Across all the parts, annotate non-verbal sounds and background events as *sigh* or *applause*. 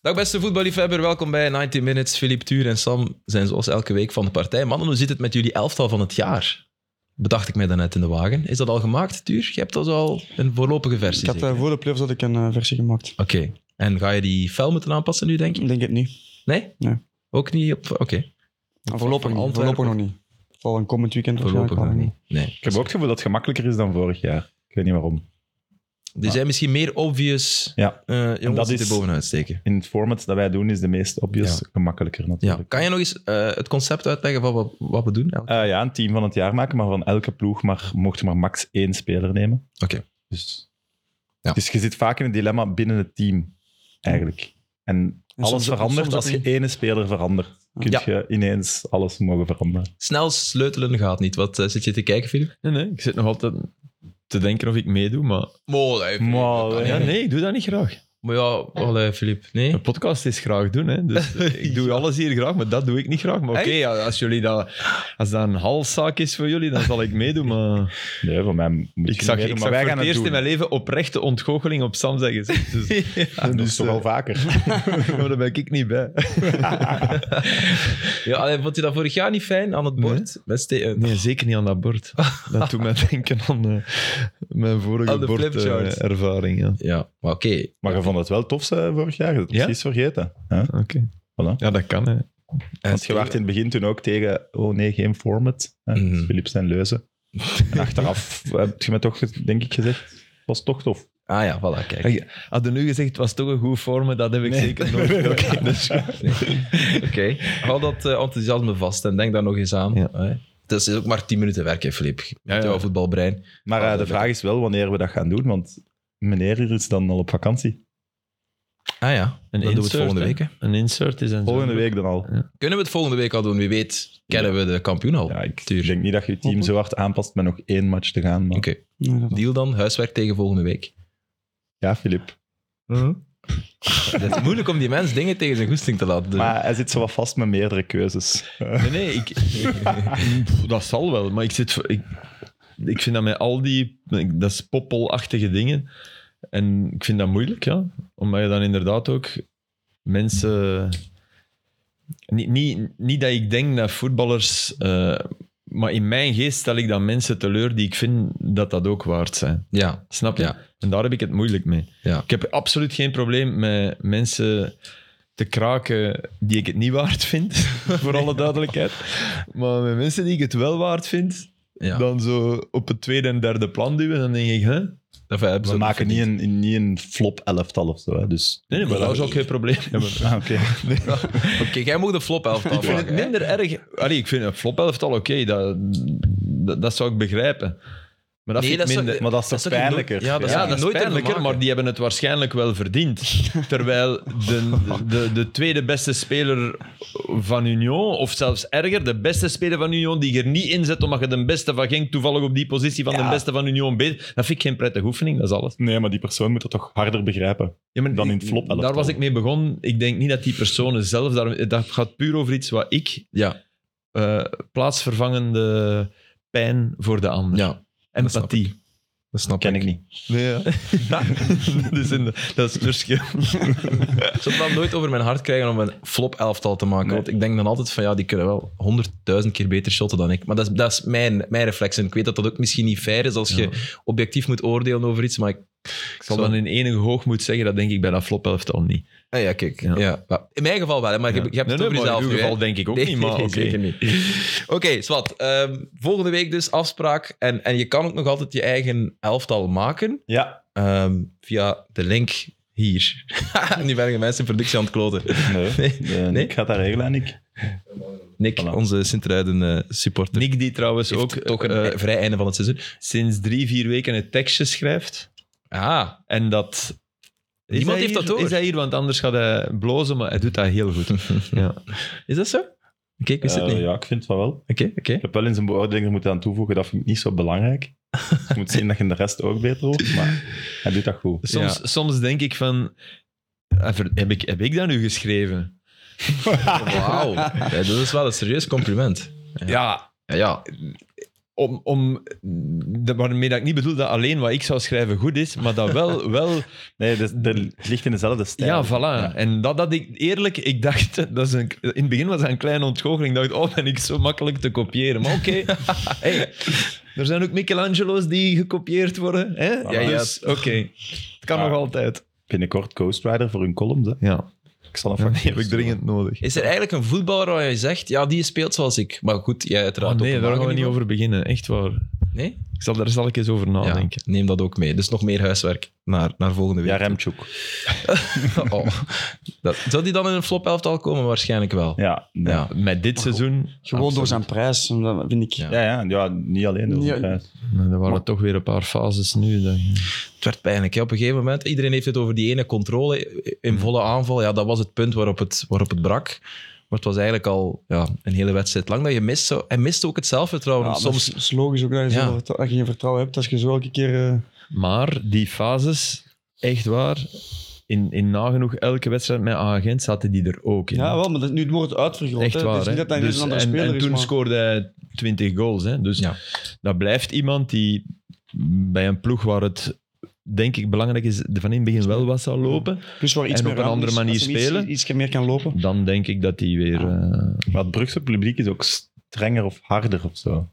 Dag beste voetballiefhebber, welkom bij 90 Minutes. Philippe Tuur en Sam zijn zoals elke week van de partij. Mannen, hoe zit het met jullie elftal van het jaar? Bedacht ik mij daarnet in de wagen. Is dat al gemaakt, Tuur? Je hebt dus al een voorlopige versie. Ik had zeker? eh, voor de playoffs had ik een eh, versie gemaakt. Oké. En ga je die fel moeten aanpassen nu, denk je? Ik denk het niet. Nee? Nee. Ook niet op... Oké. Voorlopig nog niet. Antwerpen. Voorlopig nog niet. Het zal een komend weekend Voorlopig nog waarschijnlijk niet. Nee. Ik heb ook het gevoel dat het gemakkelijker is dan vorig jaar. Ik weet niet waarom. Er zijn misschien meer obvious Ja. eh En jongens dat die er is- bovenuit steken. In het format dat wij doen is de meest obvious Ja. gemakkelijker natuurlijk. Ja. Kan je nog eens eh, het concept uitleggen van wat, wat we doen? Oké. Eh, ja, een team van het jaar maken, maar van elke ploeg maar, mocht je maar max één speler nemen. Dus, Ja. dus je zit vaak in een dilemma binnen het team, eigenlijk. En, En alles soms- verandert soms ook als je niet. ene speler verandert. Kun Ja. je ineens alles mogen veranderen. Snel sleutelen gaat niet. Wat eh, zit je te kijken, Filip? Nee, nee, ik zit nog altijd te denken of ik meedoe, maar... Mooi, hè, Filip. Maar, Dat kan eh, Ja, niet. nee, ik doe dat niet graag. Maar ja, allee, Filip. Nee. Een podcast is graag doen, hè. *laughs* Dus eh, ik doe Ja. alles hier graag, maar dat doe ik niet graag. Maar oké, Echt? ja, als, jullie dat, als dat een halszaak is voor jullie, dan zal ik meedoen, *laughs* maar... Nee, voor mij moet je Ik niet zag, meedoen, ik maar zag wij voor gaan het eerst doen. in mijn leven oprechte ontgoocheling op Sam zijn *laughs* gezicht. Dus, Ja, Ah, dat is toch wel vaker. *laughs* maar daar ben ik niet bij. Ja, allee, vond je dat vorig jaar niet fijn aan het Nee. bord? Met ste- eh, Nee, zeker niet aan dat bord. Dat doet mij *laughs* denken aan eh, mijn vorige Aan de flipchart. bordervaring. ja. Ja, maar oké. Maar je vond het wel tof eh, vorig jaar. Je hebt het Ja? precies vergeten. hè? Oké. Voilà. Ja, dat kan, hè. Want je waart in het begin toen ook tegen, oh nee, geen format. Hè? Mhm. Dus Philips en Leuze. En achteraf heb je me toch, denk ik, gezegd, het was toch tof. Ah ja, voilà, kijk. Hey, Hadden nu gezegd, het was toch een goed vormen, dat heb ik zeker *laughs* nooit. *laughs* gedaan. Dus- Oké. Hou dat eh, enthousiasme vast en denk daar nog eens aan. Ah, Ja. hè. Het is ook maar 10 minuten werk, hè, Filip. Met Ja, ja. jouw voetbalbrein. Maar Ah, eh, de dat- vraag is wel wanneer we dat gaan doen, want meneer hier is dan al op vakantie. Ah ja, Een dat doen we het volgende hè. week. hè. Een insert is een Volgende week dan al. Kunnen we het volgende week al doen? Wie weet kennen we de kampioen al. Ja, ik Tuur. denk niet dat je je team zo hard aanpast met nog één match te gaan. Maar... Oké, niet. Nee, dat- deal dan. Huiswerk tegen volgende week. Ja, Filip. Het is moeilijk om die mens dingen tegen zijn goesting te laten doen. Maar hij zit zo wat vast met meerdere keuzes. Nee, nee, ik, Pff, dat zal wel, maar ik *laughs* zit... Ik, ik vind dat met al die... Dat is poppelachtige dingen. En ik vind dat moeilijk, ja. Omdat je dan inderdaad ook mensen... Niet, niet, niet dat ik denk dat voetballers... eh, maar in mijn geest stel ik dan mensen teleur die ik vind dat dat ook waard zijn. Ja, Snap je? Ja. En daar heb ik het moeilijk mee. Ja. Ik heb absoluut geen probleem met mensen te kraken die ik het niet waard *laughs* vind, voor alle duidelijkheid. Maar met mensen die ik het wel waard vind, ja. dan zo op het tweede en derde plan duwen, dan denk ik, hè? Enfin, hebben eh, ze We ook maken niet een, niet een flop elftal of zo. Hè? Dus... Nee, nee, maar daar zou ik geen probleem hebben. Ah, oké. *laughs* Oké, jij mag de flop elf Ik vind het minder erg... Allee, ik vind een flopelftal oké, dat, dat, dat zou ik begrijpen. Maar dat Nee, vind ik dat zou- *laughs* minder... Maar dat is toch Dat is toch pijnlijker? nooit- ja, dat is Ja, zou dat je is nooit hebben pijnlijker, maken. maar die hebben het waarschijnlijk wel verdiend. Terwijl de, de, de tweede beste speler van Union, of zelfs erger, de beste speler van Union die je er niet inzet omdat je de beste van Genk toevallig op die positie van de Ja. beste van Union bezig... Dat vind ik geen prettige oefening, dat is alles. Nee, maar die persoon moet het toch harder begrijpen. Ja, maar Dan in ik- het flop elftal. Daar was ik mee begonnen. Ik denk niet dat die personen zelf... Daar, dat gaat puur over iets wat ik... Ja, eh, plaatsvervangende pijn voor de ander. ja, snap Empathie. dat snap Ken ik niet. Nee, *laughs* ja. dat, is in de- dat is het verschil. Ik zou het wel nooit over mijn hart krijgen om een flop elftal te maken. Nee. Want ik denk dan altijd van ja, die kunnen wel honderdduizend keer beter shotten dan ik. Maar dat is, dat is mijn, mijn reflex. En ik weet dat dat ook misschien niet fair is als je objectief moet oordelen over iets. Maar ik, Ik zal dan in enige hoogmoed zeggen, dat denk ik bij dat flopelftal niet. Ah ja, kijk. Ja. Ja. Maar In mijn geval wel, hè, maar je, je hebt het over jezelf In nu, ieder hè. geval denk ik ook Nee, niet, maar nee, oké. *laughs* zeker niet. Oké, Swat. ehm, volgende week dus afspraak. En, en je kan ook nog altijd je eigen elftal maken. Ja. ehm, via de link hier. *laughs* nu ben ik de mensen in productie aan het kloten. *laughs* Nee. Nee. Eh, Nee? Ik ga dat regelen, Nick. Nick, Voilà. onze Sint-Truiden eh, supporter. Nick die trouwens heeft ook toch een eh, eh, vrij einde van het seizoen. sinds drie, vier weken het tekstje schrijft. Ah, En dat... Is Niemand hij heeft hier? dat door. Is hij hier, want anders gaat hij blozen, maar hij doet dat heel goed. *laughs* ja. is dat zo? Oké, ik wist het Eh, niet. Oké, ja, ik vind het wel. oké. *laughs* Ik heb wel in zijn beoordeling er moeten aan toevoegen, dat vind ik niet zo *laughs* belangrijk. Je moet zien dat je de rest ook beter hoort, maar hij doet dat goed. Soms, soms denk ik van... eh, ver- Heb ik, heb ik dat nu geschreven? Wauw. Ja, dat is wel een serieus compliment. Ja. Ja, Ja, ja. om, om de- waarmee dat ik niet bedoel dat alleen wat ik zou schrijven goed is, maar *laughs* dat wel, wel Nee, dus, dat ligt in dezelfde stijl. ja, voilà. En dat had ik eerlijk, ik dacht, *laughs* dat is een, in het begin was dat een kleine ontgoocheling. Ik dacht, oh, ben ik zo makkelijk te kopiëren. Maar oké, hey, er zijn ook Michelangelo's die gekopieerd worden. Hè? ja. Dus oké, het kan Maar- nog altijd. Binnenkort Ghost Rider voor hun columns. Hè. Ja, Ik zal een dat factuur heb ik sturen. dringend nodig. Is er eigenlijk een voetballer waar je zegt, ja, die speelt zoals ik. Maar goed, jij uiteraard Ah, ook nee, een daar gaan we lager niet Oh, niveau. over beginnen. Echt waar. Nee? Ik zal, daar zal ik eens over Ja, nadenken. neem dat ook mee. Dus nog meer huiswerk naar, naar volgende week. Ja, Remchuk. *laughs* Oh. Dat, zou die dan in een flop elftal komen? Waarschijnlijk wel. Ja, nee. Ja. Oh, ja. Met dit seizoen Gewoon door zijn prijs, dat vind ik. Ja. Ja, ja, niet alleen door Ja. de prijs. Nou, er waren toch weer een paar fases nu. Dat... Het werd pijnlijk. hè. Op een gegeven moment, iedereen heeft het over die ene controle in volle aanval. Ja, dat was het punt waarop het, waarop het brak. Maar het was eigenlijk al ja, een hele wedstrijd lang dat je mist. Zo, en mist ook het zelfvertrouwen. Ja, Soms soms is logisch ook dat je, Ja. zoveel vertrouwen- dat je geen vertrouwen hebt als je zo elke keer. eh, Maar die fases, echt waar, in, in nagenoeg elke wedstrijd met agent zaten die er ook in. ja, wel, maar dat, nu wordt het uitvergroot. Echt hè. waar. het is hè? niet dat hij Dus- dus, een andere en, speler en is. toen maar- scoorde hij 20 goals. Hè? Dus Ja. dat blijft iemand die bij een ploeg waar het denk ik belangrijk is, van in het begin wel wat zou lopen. Plus waar iets en meer op een ruimte andere is, manier als hem iets- spelen. Iets, meer kan lopen. Dan denk ik dat hij weer. eh, Maar het Brugse publiek is ook strenger of harder of zo.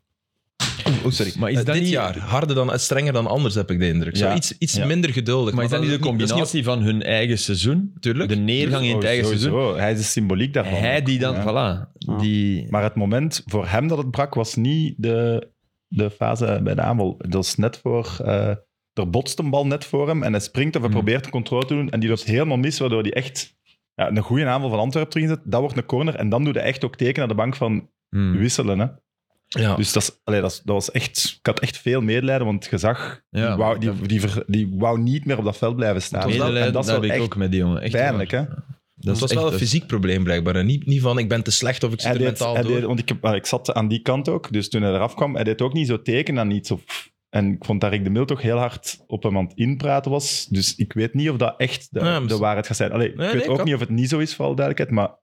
Oh, sorry. Maar is eh, dat dit niet, jaar harder dan, eh, strenger dan anders, heb ik de indruk. Zo Ja. iets iets Ja. minder geduldig. Maar is dat niet de combinatie van hun eigen seizoen? Tuurlijk. De neergang Oh, in het eigen seizoen. Oh, Sowieso, Hij is de symboliek daarvan. Hij die dan, Ja. voilà. Ja. Die, Maar het moment voor hem dat het brak, was niet de, de fase bij de aanval. Dat is net voor... eh, er botst een bal net voor hem en hij springt of hij Hmm. probeert de controle te doen en die loopt helemaal mis, waardoor hij echt ja, een goede aanval van Antwerpen erin zet. Dat wordt een corner en dan doet hij echt ook teken naar de bank van Hmm. wisselen. Hè. Ja. Dus dat, is, allee, dat, is- dat was echt... Ik had echt veel medelijden, want je zag... Ja. die, wou, die, die, ver- die wou niet meer op dat veld blijven staan. Medelijden, en dat is wel dat heb ik echt ook met die jongen. Echt pijnlijk, hè? Dat het was wel een fysiek probleem blijkbaar. En niet, niet van ik ben te slecht of ik zit er Hij deed, mentaal hij door. deed, want ik, heb- ah, ik zat aan die kant ook, dus toen hij eraf kwam, hij deed ook niet zo teken aan iets. Of, en ik vond dat Rick de Mil toch heel hard op hem aan het inpraten was. Dus ik weet niet of dat echt de, Ja, de misschien- waarheid gaat zijn. Allee, ik Nee, weet nee, ook kan. niet of het niet zo is, voor alle duidelijkheid, maar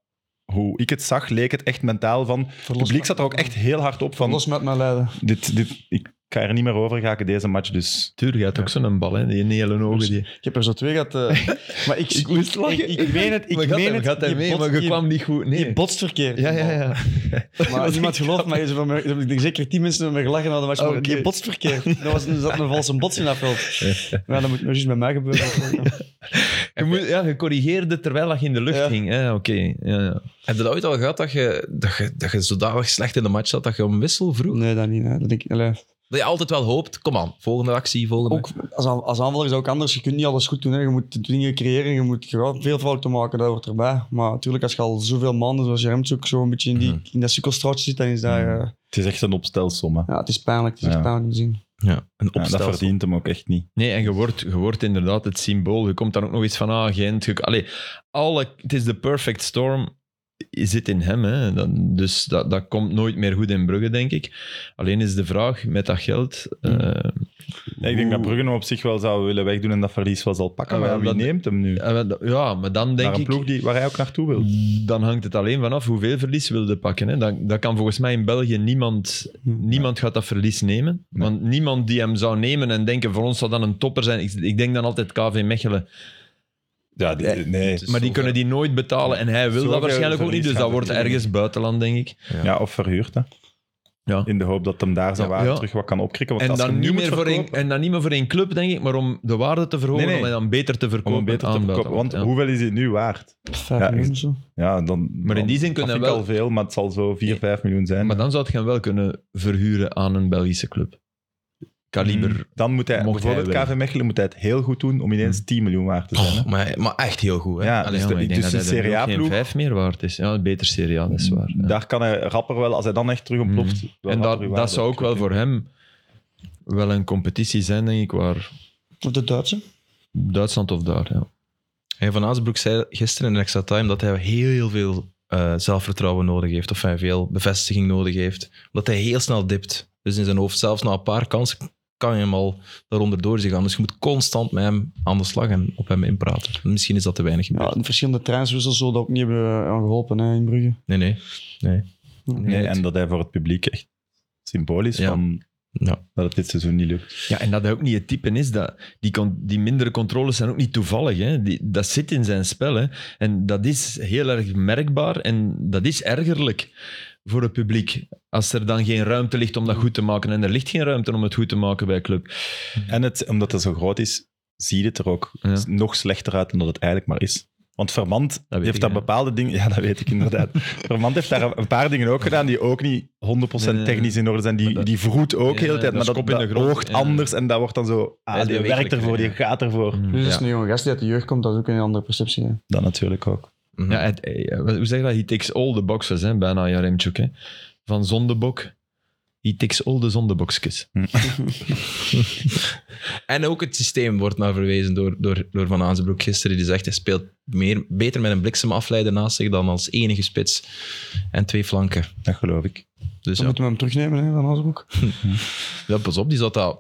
hoe ik het zag, leek het echt mentaal van... Het publiek zat er ook echt heel hard op van, Los met mijn lijden. dit, dit, ik ga er niet meer over geraken deze match, dus... Tuur gaat ook zo'n bal, hè? Die hele ogen. Die... Ik heb er zo twee gehad. eh, *laughs* maar ik, moest lachen. Ik, ik meen het, ik Maar gaat meen hij- het. gaat hij mee, maar je kwam niet goed. je botst verkeerd. Ja, ja, ja. Maar niemand gelooft mij. Ze hebben me- ze hebben zeker tien mensen hebben me gelachen hadden. Maar Oké. je botst verkeerd. Dat was een, zat een valse bots in dat veld. Maar dat moet nog eens bij mij gebeuren. Je, moet, ja, je corrigeerde terwijl dat je in de lucht Ja. ging. Ja, oké. Ja, ja. Heb je dat ooit al gehad, dat je, dat, je, dat je zodanig slecht in de match zat dat je om wissel vroeg? Nee, dat niet. Hè. Dat denk ik, allee. Dat je altijd wel hoopt, kom aan, volgende actie, volgende... Ook als, aan- als aanvaller is dat ook anders. Je kunt niet alles goed doen. Hè. Je moet dingen creëren. Je moet gewoon veel fouten maken. Dat hoort erbij. Maar natuurlijk, als je al zoveel maanden, zoals Jeremt ook, zo een beetje in, die, Mhm. in dat sukkelstraatje zit, dan is dat... eh, Het is echt een opstelsom, hè. ja, het is pijnlijk. Het is echt Ja. pijnlijk om te zien. ja, een Ja, dat opstel. verdient hem ook echt niet. Nee, en je wordt, je wordt inderdaad het symbool. Je komt dan ook nog eens van ah, Gent. Je, allee, alle, het is de perfect storm. Zit in hem. Hè. Dan, dus dat, dat komt nooit meer goed in Brugge, denk ik. Alleen is de vraag met dat geld. eh, Ja, ik denk hoe- dat Brugge hem op zich wel zou willen wegdoen en dat verlies wel zal pakken. Ah, maar wel, ja, wie dat- neemt hem nu? Ja, wel, Ja, maar dan denk Naar een ik... ploeg die, waar hij ook naartoe wil. Dan hangt het alleen vanaf hoeveel verlies wilde pakken. Hè. Dat, dat kan volgens mij in België niemand... Niemand gaat dat verlies nemen. Nee. Want niemand die hem zou nemen en denken, voor ons zou dat een topper zijn. Ik, ik denk dan altijd KV Mechelen. Ja, die- nee. nee. Maar die kunnen die nooit betalen. En hij wil Zoveel dat waarschijnlijk ook niet. verlies Dus dat gaat wordt het niet. ergens buitenland, denk ik. Ja, of verhuurd, hè. Ja. In de hoop dat hem daar zijn Ja. waarde Ja. terug wat kan opkrikken. Want En als je dan, hem nu niet moet meer voor een, verkopen, en dan niet meer voor één club, denk ik. Maar om de waarde te verhogen, Nee, nee. om hij dan beter te verkopen. om hem beter te aan verkopen. Want buitenland, ja. hoeveel is hij nu waard? Vijf Ja, minuten of zo. Ja, dan, Maar in die zin kunnen kunnen wel- al veel, maar het zal zo 4, Nee. 5 miljoen zijn. Maar dan zou het hem wel kunnen verhuren aan een Belgische club. Kaliber... Hmm. Dan moet hij, mocht bijvoorbeeld hij willen. Mm. KV Mechelen, moet hij het heel goed doen om ineens 10 miljoen waard te zijn. hè. Oh, maar, maar echt heel goed, hè? Ja, Allee, dus de- maar ik denk dus dat een hij Serie dan ook A geen ploeg- Hmm. vijf meer waard is. Ja, een beter Serie A, dat is waar. ja. Mm. Daar kan hij rapper wel, als hij dan echt terug ontploft... wel en dat, rapper uw waarde dat zou ook wel opkrikken. voor hem wel een competitie zijn, denk ik, waar Of de Duitse. Duitsland of daar. Ja. Hey, Van Azenbroek zei gisteren in Extra Time dat hij heel, heel veel eh, zelfvertrouwen nodig heeft. Of hij veel bevestiging nodig heeft. Omdat hij heel snel dipt. Dus in zijn hoofd, zelfs na een paar kansen, kan je hem al daaronder door zien gaan. Dus je moet constant met hem aan de slag en op hem inpraten. Misschien is dat te weinig gebeurd. Ja, de verschillende trainswissels zullen dat ook niet hebben eh, aan geholpen hè, in Brugge. Nee, nee. nee. Nee, Nee, en dat hij voor het publiek echt symbolisch Ja. van... Ja. dat het dit seizoen niet lukt. Ja, en dat hij ook niet het type is. Dat, die, con- die mindere controles zijn ook niet toevallig. Hè. Die, dat zit in zijn spel. Hè. En dat is heel erg merkbaar en dat is ergerlijk voor het publiek. Als er dan geen ruimte ligt om dat goed te maken. En er ligt geen ruimte om het goed te maken bij club. En het, omdat het zo groot is, zie je het er ook Ja. nog slechter uit dan dat het eigenlijk maar is. Want Vermand weet heeft ik, daar ja. bepaalde dingen... Ja, dat weet ik *laughs* inderdaad. Vermand heeft daar een paar dingen ook gedaan die ook niet 100% Nee, nee, technisch in orde zijn. Die, Maar dat- die vroet ook Ja, heel de tijd, dat maar is dat, kop in de dat grond, oogt ja. anders en dat wordt dan zo... Hij Ah, is die werkt bewegelijk, ervoor, die ja. gaat ervoor. Dus als Ja. een jonge gast die uit de jeugd komt, dat is ook een andere perceptie. hè. Dat natuurlijk ook. Ja, het, eh, hoe zeg je dat? He takes all the boxes, hè? bijna Jaremchuk. Hè? Van zondebok. He takes all the zondebokjes. En ook het systeem wordt naar verwezen door, door, door Van Aansbroek gisteren. Die zegt, hij speelt meer, beter met een bliksemafleider naast zich dan als enige spits en twee flanken. Dat geloof ik. Dus Dan ja, moeten we hem terugnemen hè, van Asbroek. ja, pas op, die zat daar...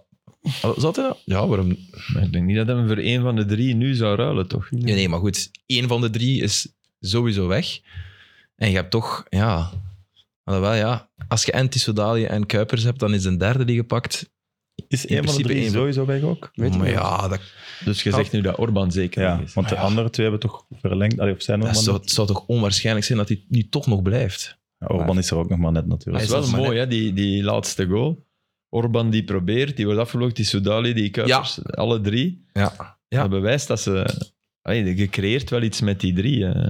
Ah, Zat hij dat? Ja, waarom... Maar ik denk niet dat hij hem voor één van de drie nu zou ruilen, toch? Nee, nee, maar goed. één van de drie is sowieso weg. En je hebt toch, ja... Alhoewel, ja. Als je en Tissodali en Kuipers hebt, dan is een derde die gepakt. Is In een van de principe drie één van- sowieso weg ook? Weet je maar wel. ja, dat, Dus je zegt nu dat Orban zeker Ja, niet is. want de andere twee hebben toch verlengd. Allee, of zijn nog dat maar zou, net. het zou toch onwaarschijnlijk zijn dat hij nu toch nog blijft. Ja, Orban is er ook nog maar net Dat natuurlijk. is Hij wel is dat mooi, hè, die, die laatste goal. Orban die probeert, die wordt afgelokt, die Soudali, die Kuipers, alle drie. Ja. Dat bewijst dat ze... Allee, je creëert wel iets met die drie. hè.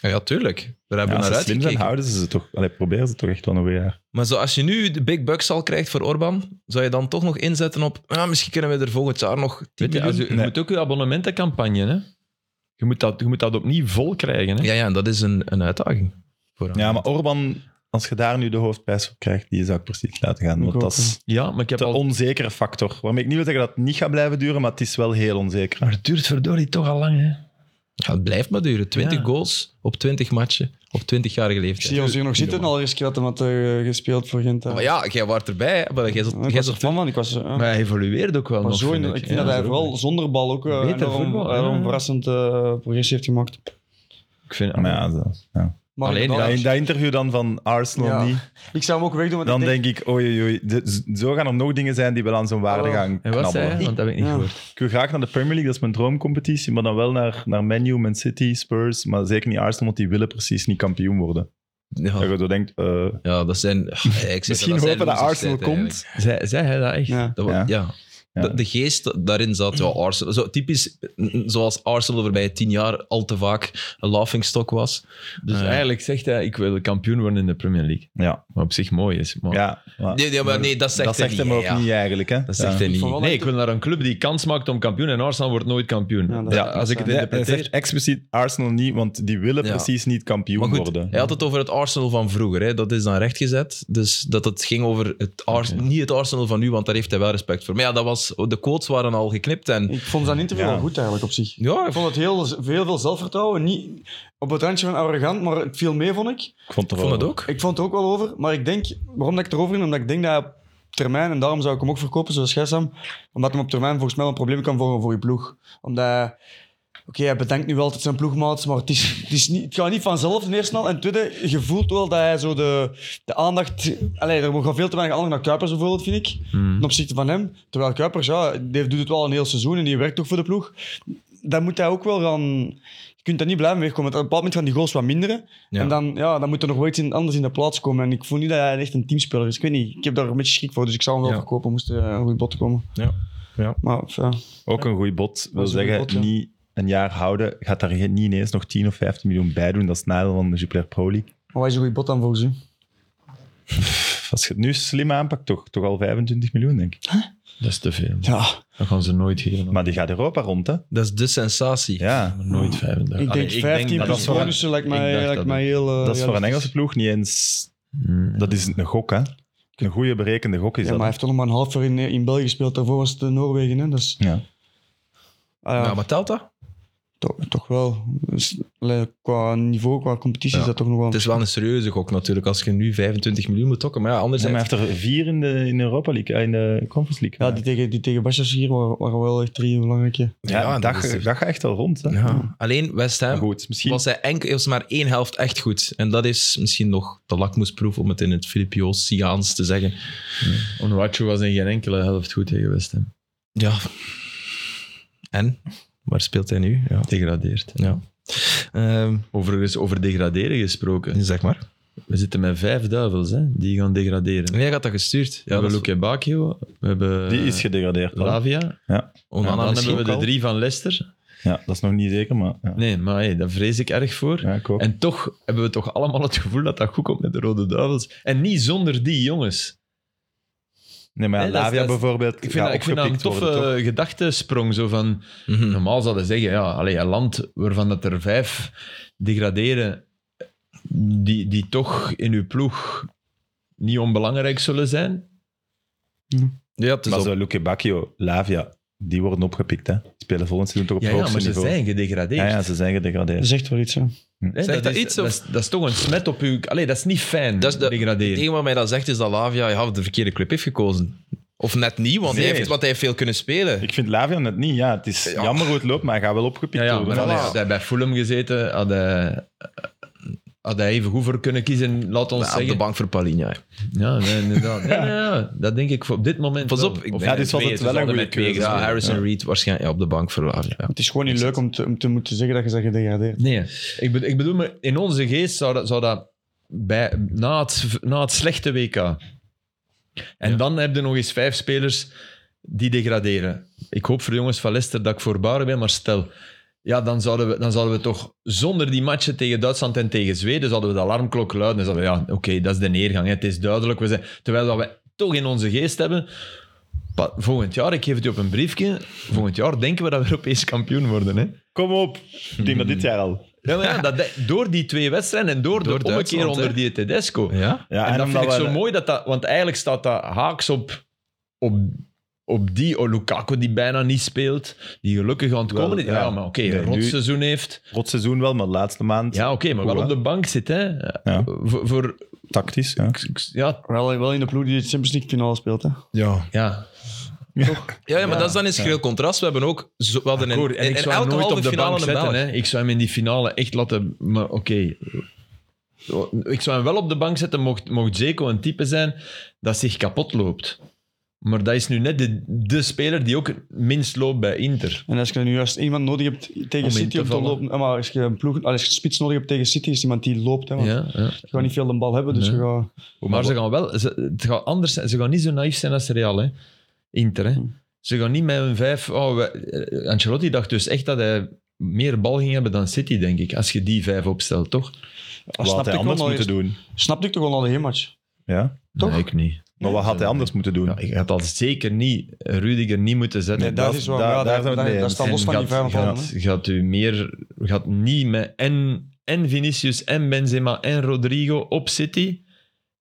Ah, Ja, tuurlijk. Daar hebben Ja, we als naar ze slim zijn, uitgekeken. houden ze ze toch... Allee, proberen ze toch echt wel nog een jaar. Maar zo, als je nu de big bucks al krijgt voor Orban, zou je dan toch nog inzetten op... Ja, misschien kunnen we er volgend jaar nog 10 Weet je, als miljoen- je, je Nee. moet ook je abonnementencampagne, hè. Je moet dat, je moet dat opnieuw vol krijgen, hè. Ja, ja, en dat is een, een uitdaging. Voor hem. Ja, maar Orban, als je daar nu de hoofdprijs voor krijgt, die zou ik precies laten gaan. Ik Want ook, dat is Ja, maar ik heb de al... onzekere factor. Waarmee ik niet wil zeggen dat het niet gaat blijven duren, maar het is wel heel onzeker. Maar het duurt verdorie toch al lang, hè. Ja, het blijft maar duren. 20 Ja. goals op 20 matchen op 20-jarige leeftijd. Ik zie ons hier nog zitten, al eerst keer dat hij had eh, gespeeld voor Gent. hè. Maar ja, jij was erbij. Maar jij zat, ik jij was zat er fan van, ik was... eh, Maar hij evolueert ook wel maar nog, zo in- vind ik ik. vind Ja, dat hij zo. vooral zonder bal ook eh, Beter enorm, voetbal, ja. enorm verrassend eh, progressie heeft gemaakt. Ik vind... Maar ja, zo, ja. Maar Alleen inderdaad, Ja, in dat interview dan van Arsenal Ja. niet, ik zou hem ook wegdoen, want dan ik denk... denk ik, oei, oei, oei, de- z- zo gaan er nog dingen zijn die wel aan zo'n waarde Oh. gaan En wat zei knabbelen. hij? Ah, Want dat heb ik niet Ja. gehoord. Ik wil graag naar de Premier League, dat is mijn droomcompetitie, maar dan wel naar, naar Man U, Man City, Spurs, maar zeker niet Arsenal, want die willen precies niet kampioen worden. Dat Ja, je zo denkt, eh, ja, dat *laughs* zijn... Ja, ik zeg misschien dat zijn hopen dat losers Arsenal tijd, eigenlijk. komt. Zei, zei hij dat echt? Ja. Dat wa- ja. Ja. Ja. De, de geest daarin zat, ja, Arsenal. Zo, typisch, mm, zoals Arsenal de voorbije tien jaar al te vaak een laughingstock was. Dus Eh. eigenlijk zegt hij, ik wil kampioen worden in de Premier League. Ja, Wat op zich mooi is. Maar... ja. maar Nee, nee, maar nee dat zegt dat hij zegt niet, hem ook ja. niet eigenlijk. Hè? Dat zegt hij niet. vond wel Nee, echt- ik wil naar een club die kans maakt om kampioen en Arsenal wordt nooit kampioen. Ja, dat Ja, is- als ik het Ja, Ja, hij interpreteer. zegt expliciet Arsenal niet, want die willen Ja. precies niet kampioen Maar goed, worden. hij had het over het Arsenal van vroeger. Hè. Dat is dan rechtgezet. Dus dat het ging over het Ars- Oké. niet het Arsenal van nu, want daar heeft hij wel respect voor. Maar ja, dat was, de quotes waren al geknipt. En, Ik vond zijn interview Ja. wel goed eigenlijk op zich. ja, Ik vond het heel, heel veel zelfvertrouwen. Niet op het randje van arrogant, maar het viel mee, vond ik. Ik vond, ik vond het ook. Ik vond het er ook wel over, maar ik denk, waarom dat ik erover ging, omdat ik denk dat hij op termijn, en daarom zou ik hem ook verkopen, zoals jij Sam, omdat hem op termijn volgens mij wel een probleem kan vormen voor je ploeg. Omdat, hij- oké, hij bedankt nu wel altijd zijn ploegmaats, maar het, is, het, is niet, het gaat niet vanzelf, ten eerste al. En ten tweede, je voelt wel dat hij zo de, de aandacht... Allee, er gaat veel te weinig aandacht naar Kuipers bijvoorbeeld, vind ik, ten opzichte van hem. Terwijl Kuipers, ja, die doet het wel een heel seizoen en die werkt toch voor de ploeg. Dan moet hij ook wel gaan... Je kunt dat niet blijven wegkomen. want Op een bepaald moment gaan die goals wat minderen. Ja. En dan, ja, dan moet er nog wel iets in- anders in de plaats komen. En ik voel niet dat hij echt een teamspeler is. Ik weet niet, ik heb daar een beetje schrik voor. Dus ik zou hem wel Ja. verkopen, moest er eh, een goed bod komen. Ja. Ja. Maar ja, Ook een goed bot. wil is een zeggen, goed bod, ja. niet een jaar houden. Gaat daar geen- niet ineens nog 10 of 15 miljoen bij doen. Dat is het nadeel van de Jupiler Pro League. maar wat is een goed bod dan volgens u? Pff, Als je het nu slim aanpakt, toch, toch al 25 miljoen, denk ik. Dat is te veel. Ja, Dat gaan ze nooit geven. Maar die gaat Europa rond, hè? Dat is de sensatie. Ja. Maar nooit 35. ik Allee, denk 15 dat plus is waar. bonussen lijkt mij, Ik dacht lijkt dat mij ook. heel... eh, Dat is voor een realistisch. Engelse ploeg niet eens... Mm. Dat is een gok, hè? Een goede berekende gok is Ja, maar dat. hij heeft toch nog maar een half jaar in, eh, in België gespeeld. Daarvoor was het eh, Noorwegen. Hè? Dus, Ja. ah, ja. Ja, maar telt dat? toch, toch wel. Dus, allee, qua niveau, qua competitie Ja. is dat toch nog wel... Het is wel een serieuze gok natuurlijk, als je nu 25 miljoen moet tokken. Maar ja, Ze anderzijds... heeft er vier in de, in de Europa League, eh, in de Conference League. ja, die tegen, die tegen Başakşehir waren, waren wel echt drie belangrijke. Ja, Ja, dat, dat is echt- dat gaat echt al rond. Hè. Ja. Alleen West Maar Ham goed, misschien... was hij enkel, was maar één helft echt goed. En dat is misschien nog de lakmoesproef, om het in het Filipioos-Siaans te zeggen. Onuachu was in geen enkele helft goed tegen West Ham. Ja. En? Waar speelt hij nu? Ja. Degradeerd. ja. Ehm, Overigens, over degraderen gesproken. zeg maar. We zitten met vijf duivels, hè, die gaan degraderen. Wanneer gaat dat gestuurd? we hebben dat Luke Bakio, we hebben die is gedegradeerd. hè. Lavia. Onana en dan misschien hebben we de ook al. drie van Leicester. Ja, dat is nog niet zeker, maar... Ja, Nee, maar hey, daar vrees ik erg voor. ja ik ook. En toch hebben we toch allemaal het gevoel dat dat goed komt met de Rode Duivels. En niet zonder die jongens. nee, maar ja, Nee, dat is- Lavia dat is- bijvoorbeeld Ik vind, gaat dat, ik vind dat een opgepikt toffe worden, toch? gedachtesprong. Zo van, Mhm. normaal zouden ze zeggen, ja, allee, een land waarvan dat er vijf degraderen, die, die toch in uw ploeg niet onbelangrijk zullen zijn. Ja, eh, het is Maar al- zo Luke Bacchio, Lavia, die worden opgepikt. Hè. Die spelen volgend seizoen toch op Ja, het ja, hoogste maar ze niveau. zijn gedegradeerd. ja, ja, ze zijn Dat gedegradeerd. is echt wel iets, hè. Hè, Zegt dat is, iets, of- Dat is, dat is toch een smet op uw... Allee, dat is niet fijn, Dat is de- degraderen. Het enige wat mij dat zegt is dat Lavia ja, de verkeerde club heeft gekozen. Of net niet, want, hij Zeer. heeft, want hij heeft veel kunnen spelen. Ik vind Lavia net niet. Ja, het is Ja. jammer hoe het loopt, maar hij gaat wel opgepikt Ja, ja worden. maar Voilà. allee, had hij bij Fulham gezeten, had hij, had hij even goed voor kunnen kiezen, laat ons Ja, Nou, op zeggen. de bank voor Palinha. hè. Ja, nee, inderdaad. Nee, nee, ja, dat denk ik voor op dit moment Pas wel. op. Ik Of ben ja, dus was twee, het ze wel een hadden goede met twee keuze. gedaan. Ja. Harrison Reed waarschijnlijk ja, op de bank voor Lavia. Ja. Het is gewoon niet leuk om te, om te moeten zeggen dat je ze gedegradeerd. Nee, ik, be- ik bedoel, maar in onze geest zou dat, zou dat bij, na, het, na het slechte WK. En dan heb je nog eens vijf spelers die degraderen. Ik hoop voor de jongens van Leicester dat ik voorbarig ben, maar stel. Ja, dan zouden, we, dan zouden we toch zonder die matchen tegen Duitsland en tegen Zweden, zouden we de alarmklok luiden. Dan zouden we, ja, oké, dat is de neergang. hè, Het is duidelijk. We zijn, terwijl dat we toch in onze geest hebben, pa- volgend jaar, ik geef het je op een briefje, volgend jaar denken we dat we Europees kampioen worden. Hè? Kom op. Ik denk dat dit jaar al. Ja, maar ja, dat, door die twee wedstrijden en door, Door de ommekeer Duitsland, onder hè? die Tedesco. Ja? Ja, en, dat vind ik omdat zo we- mooi, dat dat, want eigenlijk staat dat haaks op, op, op die oh, Lukaku die bijna niet speelt, die gelukkig aan het Wel, komen is. Ja, ja. maar oké, Nee, een nu- rotseizoen heeft. Rot seizoen wel, maar de laatste maand Ja, oké, maar wel Goed, op hè? de bank zit, hè. Voor, voor, tactisch. Ja. ja, Wel, wel in de ploeg die de Champions League finale speelt, hè. Ja. ja. Ja, maar dat is dan in schril contrast. We hebben ook... Zo, we hadden Akkoord, in, en in, ik in zou hem elke nooit halve op de finale bank een zetten. Belg. Hè. Ik zou hem in die finale echt laten... Maar oké. Ik zou hem wel op de bank zetten mocht, mocht Zeko een type zijn dat zich kapot loopt. Maar dat is nu net de, de speler die ook minst loopt bij Inter. En als je nu juist iemand nodig hebt tegen in City te om te vallen. lopen... eh, Maar als je een ploeg... Als je een spits nodig hebt tegen City, is iemand die loopt, hè. Want Ja, ja. Je gaat niet veel de bal hebben, dus Nee. je gaat... Maar ze gaan wel... Ze, het gaat anders zijn. Ze gaan niet zo naïef zijn als Real, hè. Inter, hè. Ze gaan niet met hun vijf... Oh, we- eh, Ancelotti dacht dus echt dat hij meer bal ging hebben dan City, denk ik. Als je die vijf opstelt, toch? Dat Wat had snapte hij Ah, ik wel anders nog moeten eens. doen? Snapte ik toch wel al de match Ja. Toch? Nee, ik niet. Maar wat had hij anders moeten doen? Ja, ik had al zeker niet Rudiger niet moeten zetten. Nee, dat dat- is wel... daar- ja, daar- daar zijn we het mee daar- Dat eens. staat los En van die gaat- vijf vallen, gaat, hè. gaat u meer, gaat niet met en, en Vinicius en Benzema en Rodrigo op City.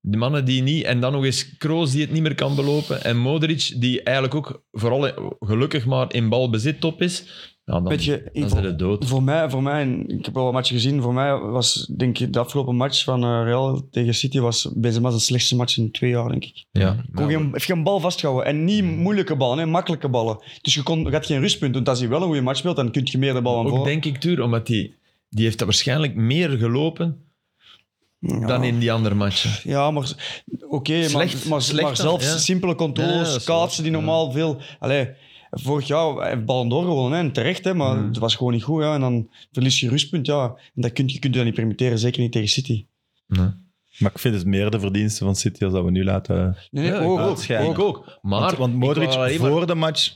De mannen die niet, en dan nog eens Kroos die het niet meer kan belopen. En Modric die eigenlijk ook vooral gelukkig maar in balbezit top is. Nou, dan, Weet je, dan ik- zijn ze dood. Voor mij, voor mij, en ik heb wel wat matchen gezien, voor mij was denk ik de afgelopen match van eh, Real tegen City was Benzema zijn slechtste match in twee jaar, denk ik. Ja. Kon geen, heeft geen bal vastgehouden. En niet Hmm. moeilijke ballen, hè, makkelijke ballen. Dus je kon, je had geen rustpunt. Want als je wel een goede match speelt, dan kun je meer de bal aan Ook voor. denk ik, Tuur, omdat die, die heeft dat waarschijnlijk meer gelopen Ja. dan in die andere matchen. Ja, maar oké, maar, Slecht, maar, slecht maar dan, zelfs ja. simpele Ja, ja, controles, dat is kaatsen die waar. normaal veel... Allee, vorig jaar heeft Ballon d'Or gewonnen, hè, en terecht, hè, maar Hmm. het was gewoon niet goed. Ja, en dan verlies je rustpunt, ja. En dat kun je, kun je dat niet permitteren, zeker niet tegen City. Maar ik vind het meer de verdiensten van City als dat we nu laten... Nee, nee, Ja, ook, ik ook, uitschijn. ook. Ik ook. Maar want, want Modric ik wou alleen maar- voor de match...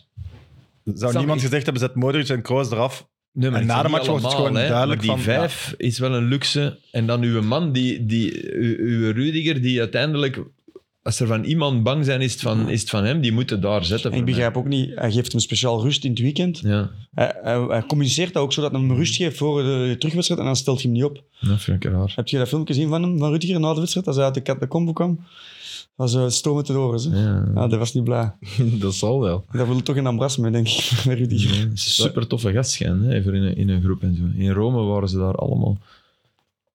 Zou Sam, niemand ik- gezegd hebben, zet Modric en Kroos eraf. Nee, maar En ik na zeg de niet match wordt het allemaal, gewoon hè, duidelijk maar die van, ja. vijf is wel een luxe. En dan uw man, die, die, uw, uw Rudiger, die uiteindelijk als er van iemand bang zijn, is het van, is het van hem. Die moeten daar zetten. En ik voor mij. begrijp ook niet, hij geeft hem speciaal rust in het weekend. Ja, Hij, hij, hij communiceert dat ook zodat hij hem rust geeft voor de terugwedstrijd en dan stelt hij hem niet op. dat vind ik raar. Heb je dat filmpje gezien van hem, van Rudiger, na de wedstrijd, als hij uit de catacombo kwam? Dat was uh, stormend te horen. hè. Ja. Ja, dat was niet blij. dat zal wel. *laughs* Dat wil toch een ambras mee, denk ik, *laughs* met Rudiger. Ja, het is een super toffe gast schijn, hè, voor in, een, in een groep en zo. In Rome waren ze daar allemaal.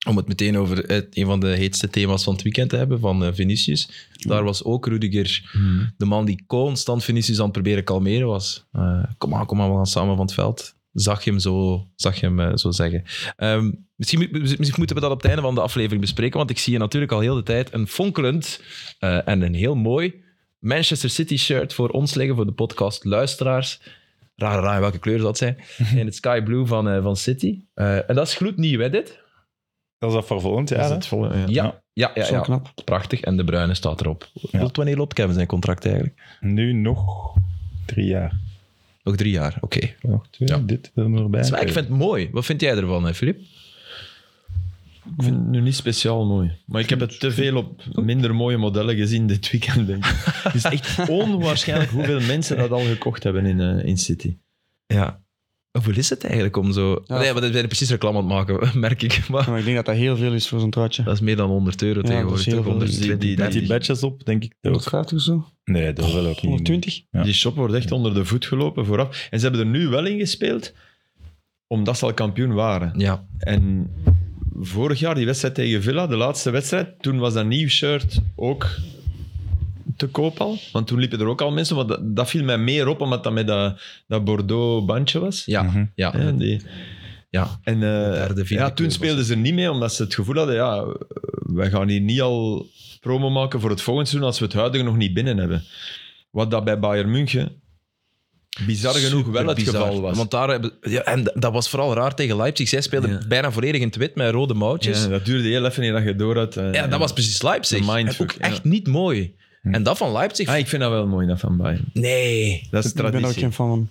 Om het meteen over het, een van de heetste thema's van het weekend te hebben, van eh, Vinicius. Daar was ook Rudiger de man die constant Vinicius aan het proberen kalmeren was. Eh, kom aan, kom aan, we gaan samen van het veld. Zag je hem zo, zag je hem, eh, zo zeggen. Ehm, misschien, moet- misschien moeten we dat op het einde van de aflevering bespreken, want ik zie je natuurlijk al heel de tijd een fonkelend eh, en een heel mooi Manchester City shirt voor ons liggen, voor de podcast Luisteraars. Raar, raar welke kleur dat zijn. In het sky blue van, eh, van City. Eh, en dat is gloednieuw, hè, dit? Dat is dat voor volgend Is jaar. hè? het vol, ja. Ja, ja, ja, Zo ja. knap. prachtig. En de bruine staat erop. Ja. Tot wanneer loopt Kevin zijn contract eigenlijk? Nu nog drie jaar. Nog drie jaar, oké. Eh, Nog twee, Ja. dit wil er erbij. Maar ik vind het mooi. Wat vind jij ervan, hè, Filip? Ik vind het nu niet speciaal mooi. Maar ik heb het te veel op minder mooie modellen gezien dit weekend, denk ik. Oh. *laughs* Het is echt onwaarschijnlijk hoeveel mensen dat al gekocht hebben in, eh, in City. Ja. Hoeveel is het eigenlijk om zo... Ja. Nee, maar we zijn er precies reclame aan het maken, *laughs* merk ik. Maar Maar ik denk dat dat heel veel is voor zo'n truitje. dat is meer dan 100 euro dat is tegenwoordig. heel toch? veel. 120, Die- die- Met die denk ik. badges op, denk ik dat ook. 150 of zo? Nee, dat wil ook niet. 120? Ja. Die shop wordt echt onder de voet gelopen vooraf. En ze hebben er nu wel in gespeeld, omdat ze al kampioen waren. Ja. En vorig jaar, die wedstrijd tegen Villa, de laatste wedstrijd, toen was dat nieuw shirt ook te koop al. Want toen liepen er ook al mensen, want dat, dat viel mij meer op, omdat dat met dat, dat Bordeaux-bandje was. Ja, Mhm. ja, Ja, die- ja. en eh, derde, vierde ja, kleur toen was speelden ze er niet mee, omdat ze het gevoel hadden, ja, eh, wij gaan hier niet al promo maken voor het volgende seizoen als we het huidige nog niet binnen hebben. Wat dat bij Bayern München bizar genoeg wel het Superbizar. geval was. Want daar hebben... Ja, en d- dat was vooral raar tegen Leipzig. Zij speelden Ja. bijna volledig in het wit met rode mouwtjes. ja, Ja, dat duurde heel even voordat je door had. eh, dat was precies Leipzig. Een En mindfuck, ook ja. Hm. echt niet mooi. En dat van Leipzig... Ah, ik vind dat wel mooi, dat van Bayern. Nee, Dat is Ik ben traditie. daar ook geen fan van.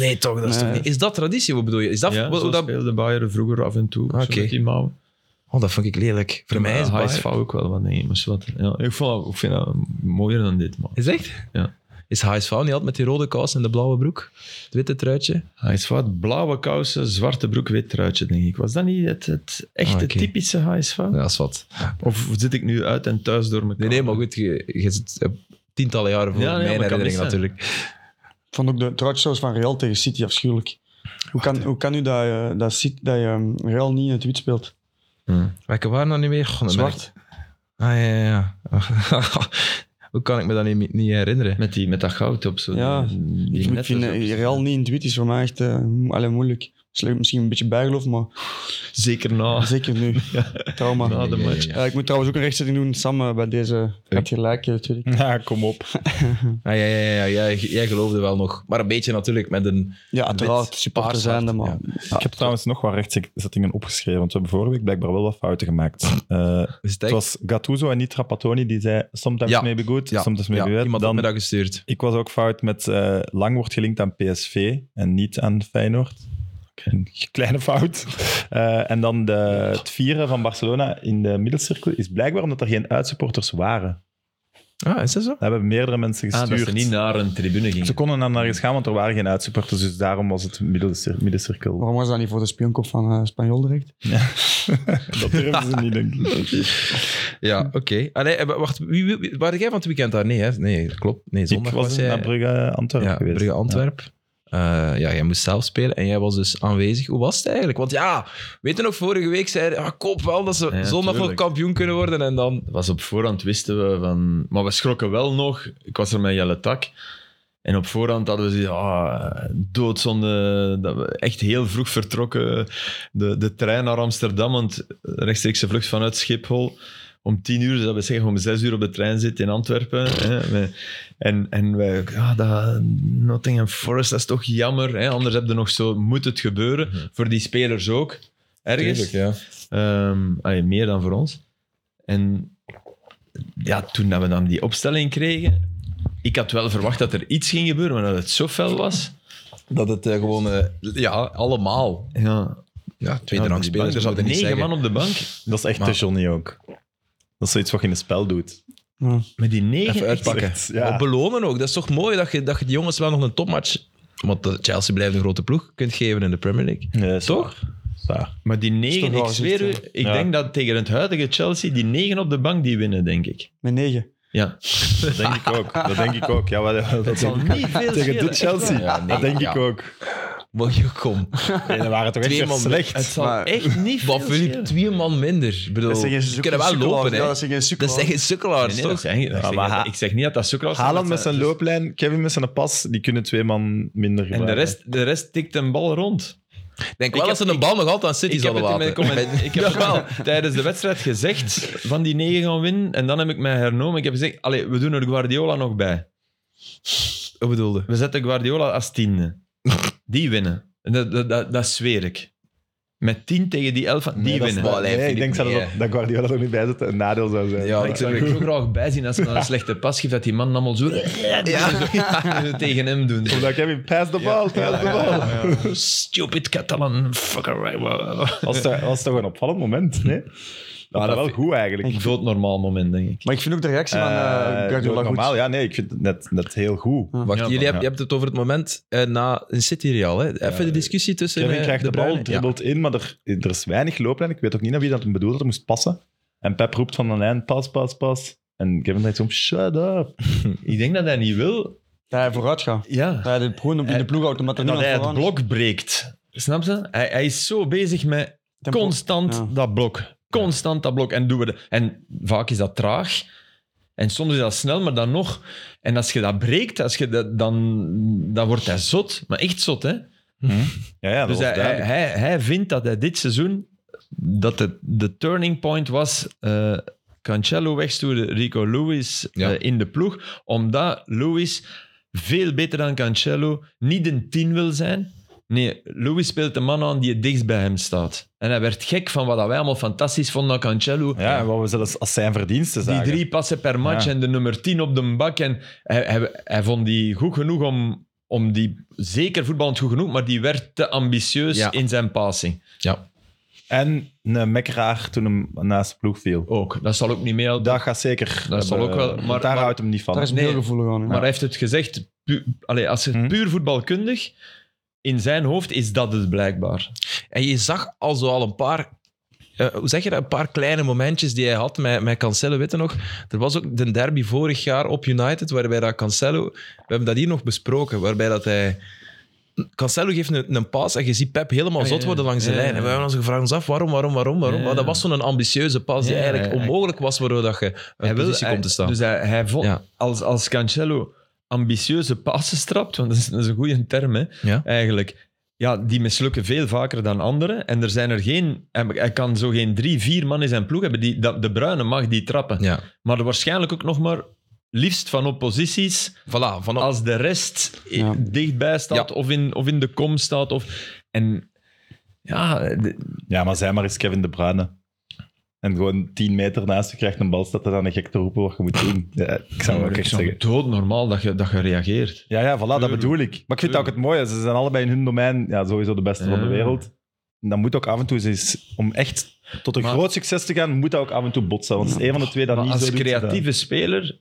nee toch, dat is Nee. toch niet... Is dat traditie, wat bedoel je? Is dat... Ja, wat- zo dat... speelde Bayern vroeger af en toe. Ah, zo oké. met die mouwen. Oh, dat vond ik lelijk. Voor mij is Maar Bayern- HSV ook wel wat nee, maar zwart. Ja, ik, vond, dat- ik vind dat mooier dan dit, man. Is echt? Ja. Is HSV niet altijd met die rode kous en de blauwe broek? Het witte truitje? HSV, had blauwe kousen, zwarte broek, wit truitje, denk ik. Was dat niet het, het echte Ah, oké. typische HSV? Ja, Ah, dat is wat. Of zit ik nu uit en thuis door elkaar? Nee, nee, maar goed, je, je zit eh, tientallen jaren voor Ja, ja, mijn maar kan herinnering mis zijn. natuurlijk. Ik vond ook de truitjes van Real tegen City afschuwelijk. Hoe kan, hoe kan u dat, eh, dat, City- dat je eh, Real niet in het wit speelt? Welke waren dat niet meer? Goh, dan ben Zwart. ik- Ah, ja, ja, *laughs* ja. Hoe kan ik me dat niet, niet herinneren? Met, die, met dat goud op zo. Ja, die, Ik, die ik netten vind zo. eh, Real niet in het wit is voor mij echt eh, mo- allee, moeilijk. Slecht, misschien een beetje bijgeloof, maar Zeker na, zeker *laughs* nu. Trauma. na Ah. de Ja, ja, match. ja. Ja, ik moet trouwens ook een rechtzetting doen, Sam, eh, bij deze. Hij had gelijk, eh, natuurlijk. *laughs* Ja, kom op. Ah, ja, ja, ja, ja, jij, jij geloofde wel nog. Maar een beetje natuurlijk met een... Ja, uiteraard, supporter paars zijn, zwart, maar... ja. Ja. *laughs* Ik heb trouwens nog wat rechtszettingen opgeschreven, want we hebben vorige week blijkbaar wel wat fouten *laughs* gemaakt. Eh, Is het het echt? was Gattuso en niet Trapattoni die zei sometimes Ja. maybe good, ja, sometimes maybe ja, bad. iemand had Dan, me dat gestuurd. Ik was ook fout met eh, lang wordt gelinkt aan PSV en niet aan Feyenoord. Een kleine fout. Eh, en dan de, het vieren van Barcelona in de middelcirkel is blijkbaar omdat er geen uitsupporters waren. Ah, is dat zo? Dat hebben meerdere mensen Ah, gestuurd. dat ze niet naar een tribune gingen. Ze konden dan naar iets gaan, want er waren geen uitsupporters, dus daarom was het middelcir- Oh. middencirkel. Waarom was dat niet voor de spionkop van eh Spanjol direct? Dat durven ze niet, *laughs* denk ik. Ja, oké. Allee, eh, wacht, wie, wie, wie- waren jij van het weekend daar? Nee, hè? nee klopt. Nee, Ik zondag was jij... naar Brugge, Antwerpen ja, geweest. Brugge Antwerp. Ja. ja, jij moest zelf spelen en jij was dus aanwezig. Hoe was het eigenlijk? Want ja, weet je nog, vorige week zei hij, ah, koop wel dat ze Ja, zondag nog tuurlijk. kampioen kunnen worden. En dan, Dat was op voorhand wisten we van... Maar we schrokken wel nog. Ik was er met Jelle Tak. En op voorhand hadden we zoiets ah, doodzonde, dat we echt heel vroeg vertrokken. De, de trein naar Amsterdam, want rechtstreekse vlucht vanuit Schiphol. Om tien uur, dus dat we zeggen om zes uur op de trein zitten in Antwerpen. Hè. We- En, en wij, ook, ah, dat, Nottingham Forest, dat is toch jammer. Hè. Anders heb je nog zo, moet het gebeuren. Voor die spelers ook, ergens. ja. Ehm, allee, meer dan voor ons. En ja, toen dat we dan die opstelling kregen, ik had wel verwacht dat er iets ging gebeuren, maar dat het zo fel was. dat het eh, gewoon, eh, ja, allemaal. Ja, Ja, ja, tweede rang die spelers, bank, er dat moet zaten ik niet negen zeggen. man op de bank. Dat is echt Maar- de Johnny ook. Dat is zoiets wat je in een spel doet. Ja. Met die negen Even echt- uitpakken. *laughs* Maar belonen ook. Dat is toch mooi dat je, dat je die jongens wel nog een topmatch... Want eh, Chelsea blijft een grote ploeg. Kunt geven in de Premier League. Ja, is Toch? waar. Is waar. Maar die Is negen, toch ik wel zweer u, gezicht, ik Ja. denk dat tegen het huidige Chelsea die negen op de bank die winnen, denk ik. Met negen. Ja. Dat denk ik ook. Dat denk ik ook. Ja, maar dat- dat Het zal denk niet ik ook. veel schelen, Tegen dit echt Chelsea. waar. Ja, dat denk ja. ik ook. Mooi, *laughs* joh, kom. Nee, dat waren toch echt Twee weer man- Het slecht. zal Maar- echt niet veel Wat Philippe, schelen. twee man minder. Ik bedoel, Dat zijn geen ze kunnen wel sukkelaars. lopen, hè. Ja, dat zijn geen Dat sukkelaars. zijn geen sukkelaars, Nee, nee, dat toch? zijn, ik, zeg maar niet- Ha- ik zeg niet dat dat sukkelaars zijn, Haaland dat met zijn zijn- looplijn, Kevin met zijn pas, die kunnen twee man minder eh, En de gebruiken. rest, de rest tikt een bal rond. Ik denk Ik wel heb- dat ze een bal nog altijd aan Ik City heb, zouden het in mijn laten. comment- *laughs* ik heb het wel tijdens de wedstrijd gezegd van die negen gaan winnen. En dan heb ik mij hernomen. Ik heb gezegd, allee, we doen er Guardiola nog bij. Wat bedoelde? We zetten Guardiola als *laughs* tiende. Die winnen. En Dat, dat, dat, dat zweer ik. Met tien tegen die elf, van- die Nee, dat is- winnen. wel- Allee, nee, ik Philippe, denk zelfs nee, dat, hè. dat Guardiola er niet bij zit een nadeel zou zijn. Ja, Maar ik zou er zo graag bij zien als hij een slechte pas geeft, dat die man allemaal zo *laughs* tegen hem doen. Omdat Kevin, pass the ball, pass the ball. Stupid Catalan fucker. Was, dat, was toch een opvallend moment, nee? Dat Maar was dat wel vind- goed eigenlijk. Ik voel het normaal moment, denk ik. Maar ik vind ook de reactie van eh, Eh, Guardiola goed. normaal, ja, nee, ik vind het net, net heel goed. Wacht, Ja, jullie maar- hebben, je hebt het over het moment eh, na in City Real. Hè? Even de discussie tussen Kevin eh, krijgt de, Bruyne- bal, dribbelt in, maar er, er is weinig looplijn. Ik weet ook niet naar wie dat hem bedoelde, dat moest passen. En Pep roept van de lijn, pas, pas, pas. En Kevin zegt zo, shut up. Ik denk dat hij niet wil. Dat hij vooruit gaat. Ja. Dat hij de, gewoon op in de ploeg houdt, omdat er dat niemand hij het vooraan is. blok breekt. Snap je? Hij, hij is zo bezig met Tempo. constant Ja. dat blok. Constant dat blok. En, doen we de- en vaak is dat traag. En soms is dat snel, maar dan nog. En als je dat breekt, als je dat, dan, dan wordt hij zot. Maar echt zot, hè? Ja, ja, dat Dus was hij, hij, duidelijk. hij, hij vindt dat hij dit seizoen... Dat de, de turning point was... eh Cancelo wegstuurde Rico Lewis eh, Ja. in de ploeg. Omdat Lewis veel beter dan Cancelo niet een 10 wil zijn. Nee, Lewis speelt de man aan die het dichtst bij hem staat. En hij werd gek van wat wij allemaal fantastisch vonden aan Cancelo. Ja, en wat we zelfs als zijn verdiensten Die zagen. drie passen per match Ja. en de nummer 10 op de bak. En hij, hij, hij vond die goed genoeg om, om die, zeker voetballend goed genoeg, maar die werd te ambitieus Ja. in zijn passing. Ja. En een mekkeraar toen hem naast de ploeg viel. Ook, dat zal ook niet meer. Dat gaat zeker. Dat zal ook wel, want maar- daar maar- houdt hem niet van. Daar is Nee. meer gevoel aan. hè. Maar hij heeft het gezegd, pu- Allee, als het Mhm. Hm. puur voetbalkundig, in zijn hoofd is dat het blijkbaar. En je zag al zo al een paar, eh, hoe zeg je dat, een paar kleine momentjes die hij had met, met Cancelo, weet je nog? Er was ook de derby vorig jaar op United, waarbij dat Cancelo, we hebben dat hier nog besproken, waarbij dat hij... Cancelo geeft een, een pas en je ziet Pep helemaal Ah, ja, zot worden langs de ja, ja. lijn. En we hebben ons gevraagd ons af waarom, waarom, waarom, waarom. Ja. Maar dat was zo'n ambitieuze pas die Ja, eigenlijk ja, ja. onmogelijk was, waardoor dat je uit wil- positie komt te staan. Dus hij, hij vond, Ja. als, als Cancelo ambitieuze passen strapt, want dat is, dat is een goede term, hè, Ja. eigenlijk. Ja, die mislukken veel vaker dan anderen. En er zijn er geen... Hij hij kan zo geen drie, vier man in zijn ploeg hebben. Die, dat- de Bruine mag die trappen. ja. Maar er waarschijnlijk ook nog maar liefst van op posities Voilà, vanaf... als de rest i- Ja. dichtbij staat Ja. of, in, of in de kom staat. Of, en ja, de- Ja, maar zij maar eens Kevin De Bruyne. En gewoon 10 meter naast je krijgt een bal, staat er dan een gek te roepen wat je moet doen. Ja, ik zou hem ook het echt is toch zeggen. doodnormaal dat je, dat je reageert. Ja, ja, voilà, dat bedoel ik. Maar ik vind dat ook het mooie. Ze zijn allebei in hun domein ja, sowieso de beste van de Ja. wereld. En dan moet ook af en toe eens, om echt tot een Maar- groot succes te gaan, moet dat ook af en toe botsen. Want het is één van de twee dat Maar niet als zo doet, dan- creatieve speler...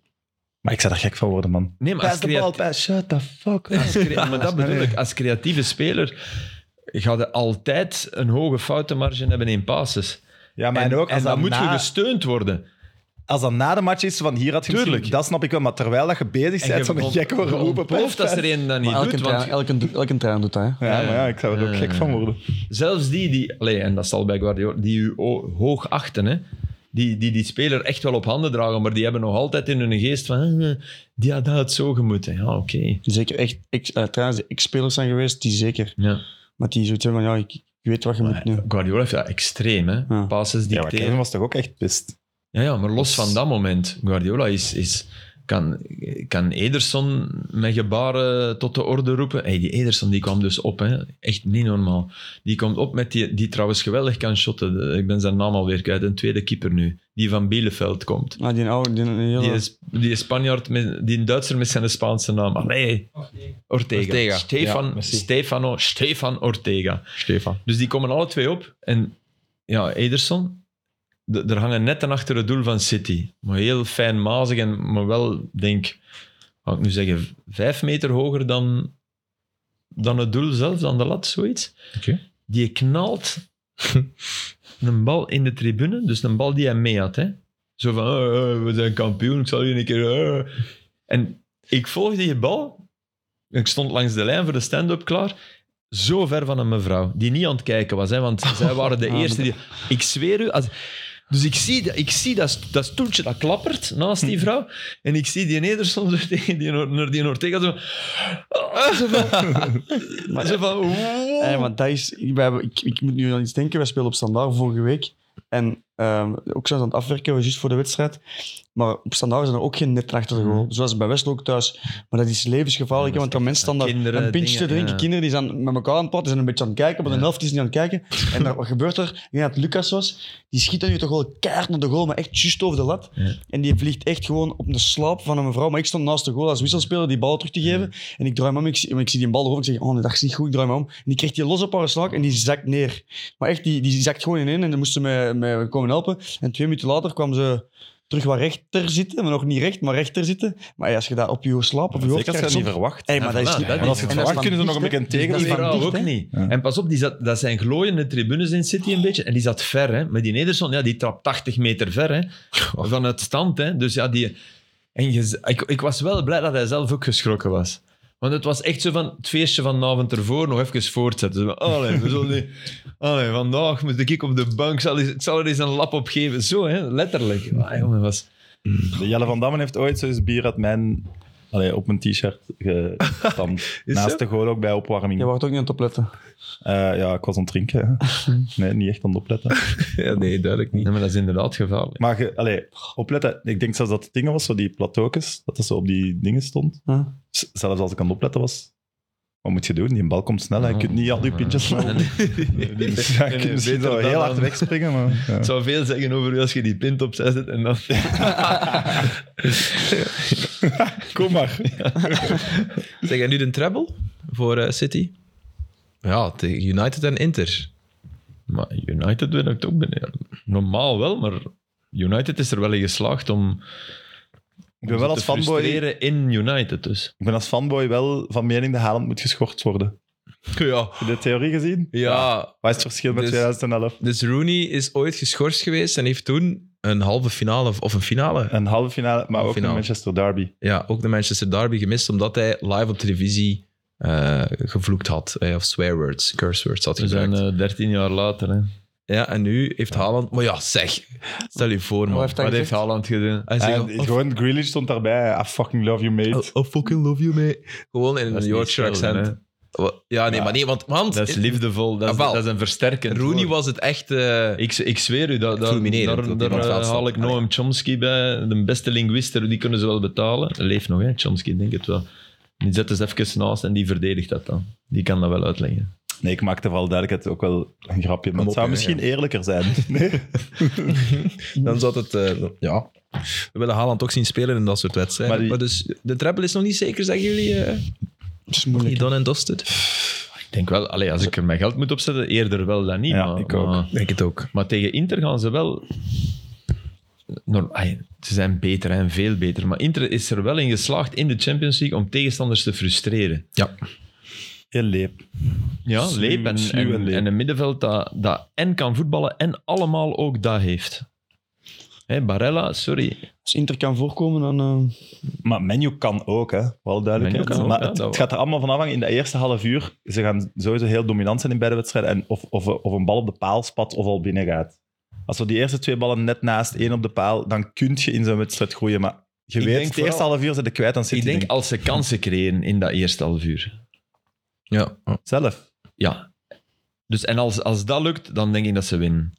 Maar ik zou daar gek van worden, man. Nee, maar als, Pass the bal, creatieve pass. Shut the fuck up. Als crea- maar dat bedoel ik. Als creatieve speler ga je altijd een hoge foutenmarge hebben in passes. Ja, maar en en ook als en dat dan moet je dus- na- gesteund worden. als dat na de match is van hier had je misschien- Tuurlijk. dat snap ik wel, maar terwijl dat je bezig En bent, zo'n gek je worden roepen. ontploft als er een dat niet Maar elke, doet. trein, Want elke, elke trein doet dat. Hè. Ja, maar ja, ik zou er ook Ja. gek van worden. zelfs die, die allee, en dat zal bij Guardiola, die u o- hoog achten, hè, die, die die speler echt wel op handen dragen, maar die hebben nog altijd in hun geest van, eh, eh, die had dat zo gemoeten. Ja, oké. Zeker echt ex, eh, trouwens, die ex-spelers zijn geweest, die zeker. Ja. Maar die zoiets hebben van, ja, ik, ik weet wat je moet nu. Guardiola heeft dat extreem, hè. Ja. Passes Ja, maar dicteren. Kevin was toch ook echt pist. Ja, ja, maar los van dat moment. Guardiola is... is kan, kan Ederson met gebaren tot de orde roepen? Hey, die Ederson die kwam dus op, hè. echt niet normaal. Die komt op met die, die trouwens geweldig kan shotten. De- Ik ben zijn naam alweer kwijt, een tweede keeper nu. Die van Bielefeld komt. Ah, die oude, die, die, Die, hele- is, die Spanjaard, met, die Duitser met zijn Spaanse naam. Allee, Ortega. Ortega. Stefan, Ja, merci. Stefano, Stefan Ortega. Stefan. Dus die komen alle twee op. En ja, Ederson d- er hangen netten achter het doel van City. Maar heel fijnmazig, en, maar wel, denk wat ik nu zeggen, vijf meter hoger dan, dan het doel zelf, dan de lat, zoiets. Oké. Die knalt een bal in de tribune, dus een bal die hij mee had. Hè? Zo van, eh, eh, we zijn kampioen, ik zal hier een keer... eh. En ik volgde die bal. Ik stond langs de lijn voor de stand-up klaar. Zo ver van een mevrouw, die niet aan het kijken was. Hè, want zij waren de eerste die... Ik zweer u... Als, dus ik zie, dat- ik zie dat, dat stoeltje dat klappert naast die vrouw. En ik zie die Nederson zo *laughs* tegen die, Noor- naar die Ortega zo... Ah, zo van... *laughs* Zo van... wow. Hey, maar dat is, we hebben- ik, ik moet nu aan iets denken. Wij speelden op standaard vorige week. En ehm, ook zijn ze aan het afwerken, juist voor de wedstrijd. Maar op standaard zijn er ook geen netten achter de goal. Zoals bij Westen ook thuis. Maar Hmm. dat is levensgevaarlijk, hè, want dan mensen staan daar kinderen, een pintje te dingen, drinken. ja. Kinderen die zijn met elkaar aan het praten, zijn een beetje aan het kijken, maar de Ja. helft is niet aan het *laughs* kijken. En daar, wat gebeurt er? Ik denk dat het Lucas was. Die schiet dan nu toch wel keihard naar de goal, maar echt juist over de lat. Ja. En die vliegt echt gewoon op de slaap van een mevrouw. Maar ik stond naast de goal als wisselspeler die bal terug te geven. En ik draai me om, ik zie, ik zie die bal erover. Ik zeg, oh, nee, dat is niet goed, ik draai me om. En die kreeg die los op haar slaak en die zakt neer. Maar echt, die, die zakt gewoon ineen en dan moesten ze mij, mij komen helpen. En twee minuten later kwam ze terug wat rechter zitten. Maar nog niet recht, maar rechter zitten. Maar ja, als je dat op je slaap, op je hoofd Zeker als je krijgt... dat niet soms- verwacht. Hey, maar dat is voilà, niet... dat Want als je het en dat is verwacht, kunnen ze nog van een beetje dicht, hè? tegen Dus Dat is Die van vrouw dicht, ook hè? niet. Ja. En pas op, die zat, dat zijn glooiende tribunes in City een beetje. En die zat ver, hè. Maar die Nederson, ja, die trapt 80 meter ver, hè. Van het stand, hè. Dus ja, die... En je- ik, ik was wel blij dat hij zelf ook geschrokken was. Want het was echt zo van het feestje van de avond ervoor nog even voortzetten. Zo van, allee, we zullen niet- allee, vandaag moet ik op de bank, ik zal, eens- ik zal er eens een lap op geven. Zo, hè, letterlijk. Ah, jongen, was... De Jelle van Dammen heeft ooit zo'n bier uit mijn... Allee, op mijn t-shirt gestampt. *laughs* Is Naast zo? de goal ook bij opwarming. Je wordt ook niet aan het opletten. Eh, ja, ik was aan het drinken. hè. *laughs* Nee, niet echt aan het opletten. Ja, nee, duidelijk niet. Nee, maar dat is inderdaad gevaarlijk. Maar ge- allee, opletten. Ik denk zelfs dat het ding was, zo die plateaukes, dat dat zo op die dingen stond. Huh? Z- Zelfs als ik aan het opletten was. Wat moet je doen? Die bal komt snel. hè. Je kunt niet al die pintjes Nee, snel. *laughs* nee. Dus ja, je Nee, kunt misschien beter wel dan heel hard dan- wegspringen. Maar, *laughs* ja. Het zou veel zeggen over u als je die pint opzij zet en dan... Kom maar. Ah. Zeg jij nu de treble voor eh, City? Ja, tegen United en Inter. Maar United wint ook toch binnen. Normaal wel, maar United is er wel in geslaagd om, Ik ben wel te als fanboy, frustreren in United dus. ik ben als fanboy wel van mening dat Haaland moet geschorst worden. Ja, Heb je de theorie gezien? ja. Wat is het verschil met Dus- 2011? Dus Rooney is ooit geschorst geweest en heeft toen een halve finale of- of een finale Een halve finale, maar ook Finale. een Manchester derby. ja, ook de Manchester Derby gemist, omdat hij live op televisie eh, gevloekt had. eh, of swear words, curse words had We zijn gebruikt. eh, 13 jaar later. Hè. Ja, en nu heeft Haaland... Maar ja, zeg. Stel je voor, man. Wat heeft hij Wat heeft gezegd? Haaland gedaan? Hij zegt, En oh, gewoon Grealish stond daarbij. I fucking love you, mate. oh, I fucking love you, mate. Gewoon in Dat een is niet Yorkshire schelden, accent. Wat- Ja, nee, Ja. maar nee, want... want Dat is liefdevol, dat is, Ah, wel. dat is een versterkend Rooney woord. was het echt... eh, Ik, ik zweer u, dat, dat, Fulminerend, dat die daar, daar eh, van het veld haal staat. ik Noam Chomsky bij, de beste linguist, die kunnen ze wel betalen. Hij Leeft nog, hè, Chomsky, ik denk het wel. Die zet dus even naast en die verdedigt dat dan. Die kan dat wel uitleggen. Nee, ik maakte vooral duidelijkheid ook wel een grapje. Maar Een het zou mopje, misschien eerlijker *laughs* zijn. Nee? Dan zat het... eh, ja. We willen Haaland ook zien spelen in dat soort wedstrijden. Maar, Maar die- dus de treble is nog niet zeker, zeggen jullie? eh? Dat is niet moeilijk. done and dusted? Ik denk wel, allee, als ik er mijn geld moet opzetten, eerder wel dan niet. Ja, maar, ik ook. Maar, Denk het ook. maar tegen Inter gaan ze wel... Norm- ay, ze zijn beter en veel beter. Maar Inter is er wel in geslaagd in de Champions League om tegenstanders te frustreren. Ja. Heel leep. Ja, Sluw- Leep en, sluw en en, Leep. en een middenveld dat, dat en kan voetballen en allemaal ook dat heeft. Hé, Barella, sorry. Als Inter kan voorkomen, dan... eh, Maar menu kan ook, hè? Wel duidelijk. Man U kan maar ook, ja, het, dat het gaat er allemaal van afhangen. In de eerste half uur, ze gaan sowieso heel dominant zijn in beide wedstrijden. En of, of, of een bal op de paal spat of al binnen gaat. Als we die eerste twee ballen net naast één op de paal, dan kun je in zo'n wedstrijd groeien. Maar je Ik weet, denk het vooral- eerste half uur zijn de kwijt, dan zit Ik die denk ding. als ze kansen creëren in dat eerste half uur. Ja. Oh. zelf. Ja. Dus, en als, als dat lukt, dan denk ik dat ze winnen.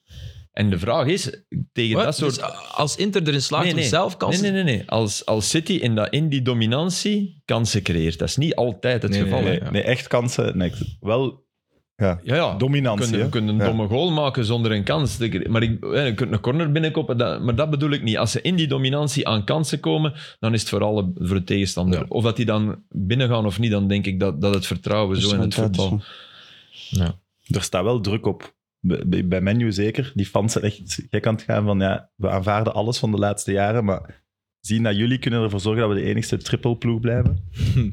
En de vraag is, tegen Wat? dat soort... Dus als Inter erin slaagt Nee, om nee. zelf kansen... Nee, nee, nee. nee. Als, als City in, dat, in die dominantie kansen creëert. Dat is niet altijd het Nee, nee, geval. nee. hè. Nee, nee, echt kansen. Nee, ik- wel Ja, ja. Je dominantie. kunt, je hè. kunt een Ja. Ah, domme goal maken zonder een kans. te creë- Maar ik, eh, je kunt een corner binnenkoppen, dat, maar dat bedoel ik niet. Als ze in die dominantie aan kansen komen, dan is het vooral een- voor de tegenstander. Ja. Of dat die dan binnengaan of niet, dan denk ik dat, dat het vertrouwen Dus zo in het mentaliteit is voetbal... van- Er staat wel druk op. bij- bij, bij Menu zeker, die fans zijn echt gek aan het gaan van ja, we aanvaarden alles van de laatste jaren, maar zien dat jullie kunnen ervoor zorgen dat we de enigste triple ploeg blijven. Hm.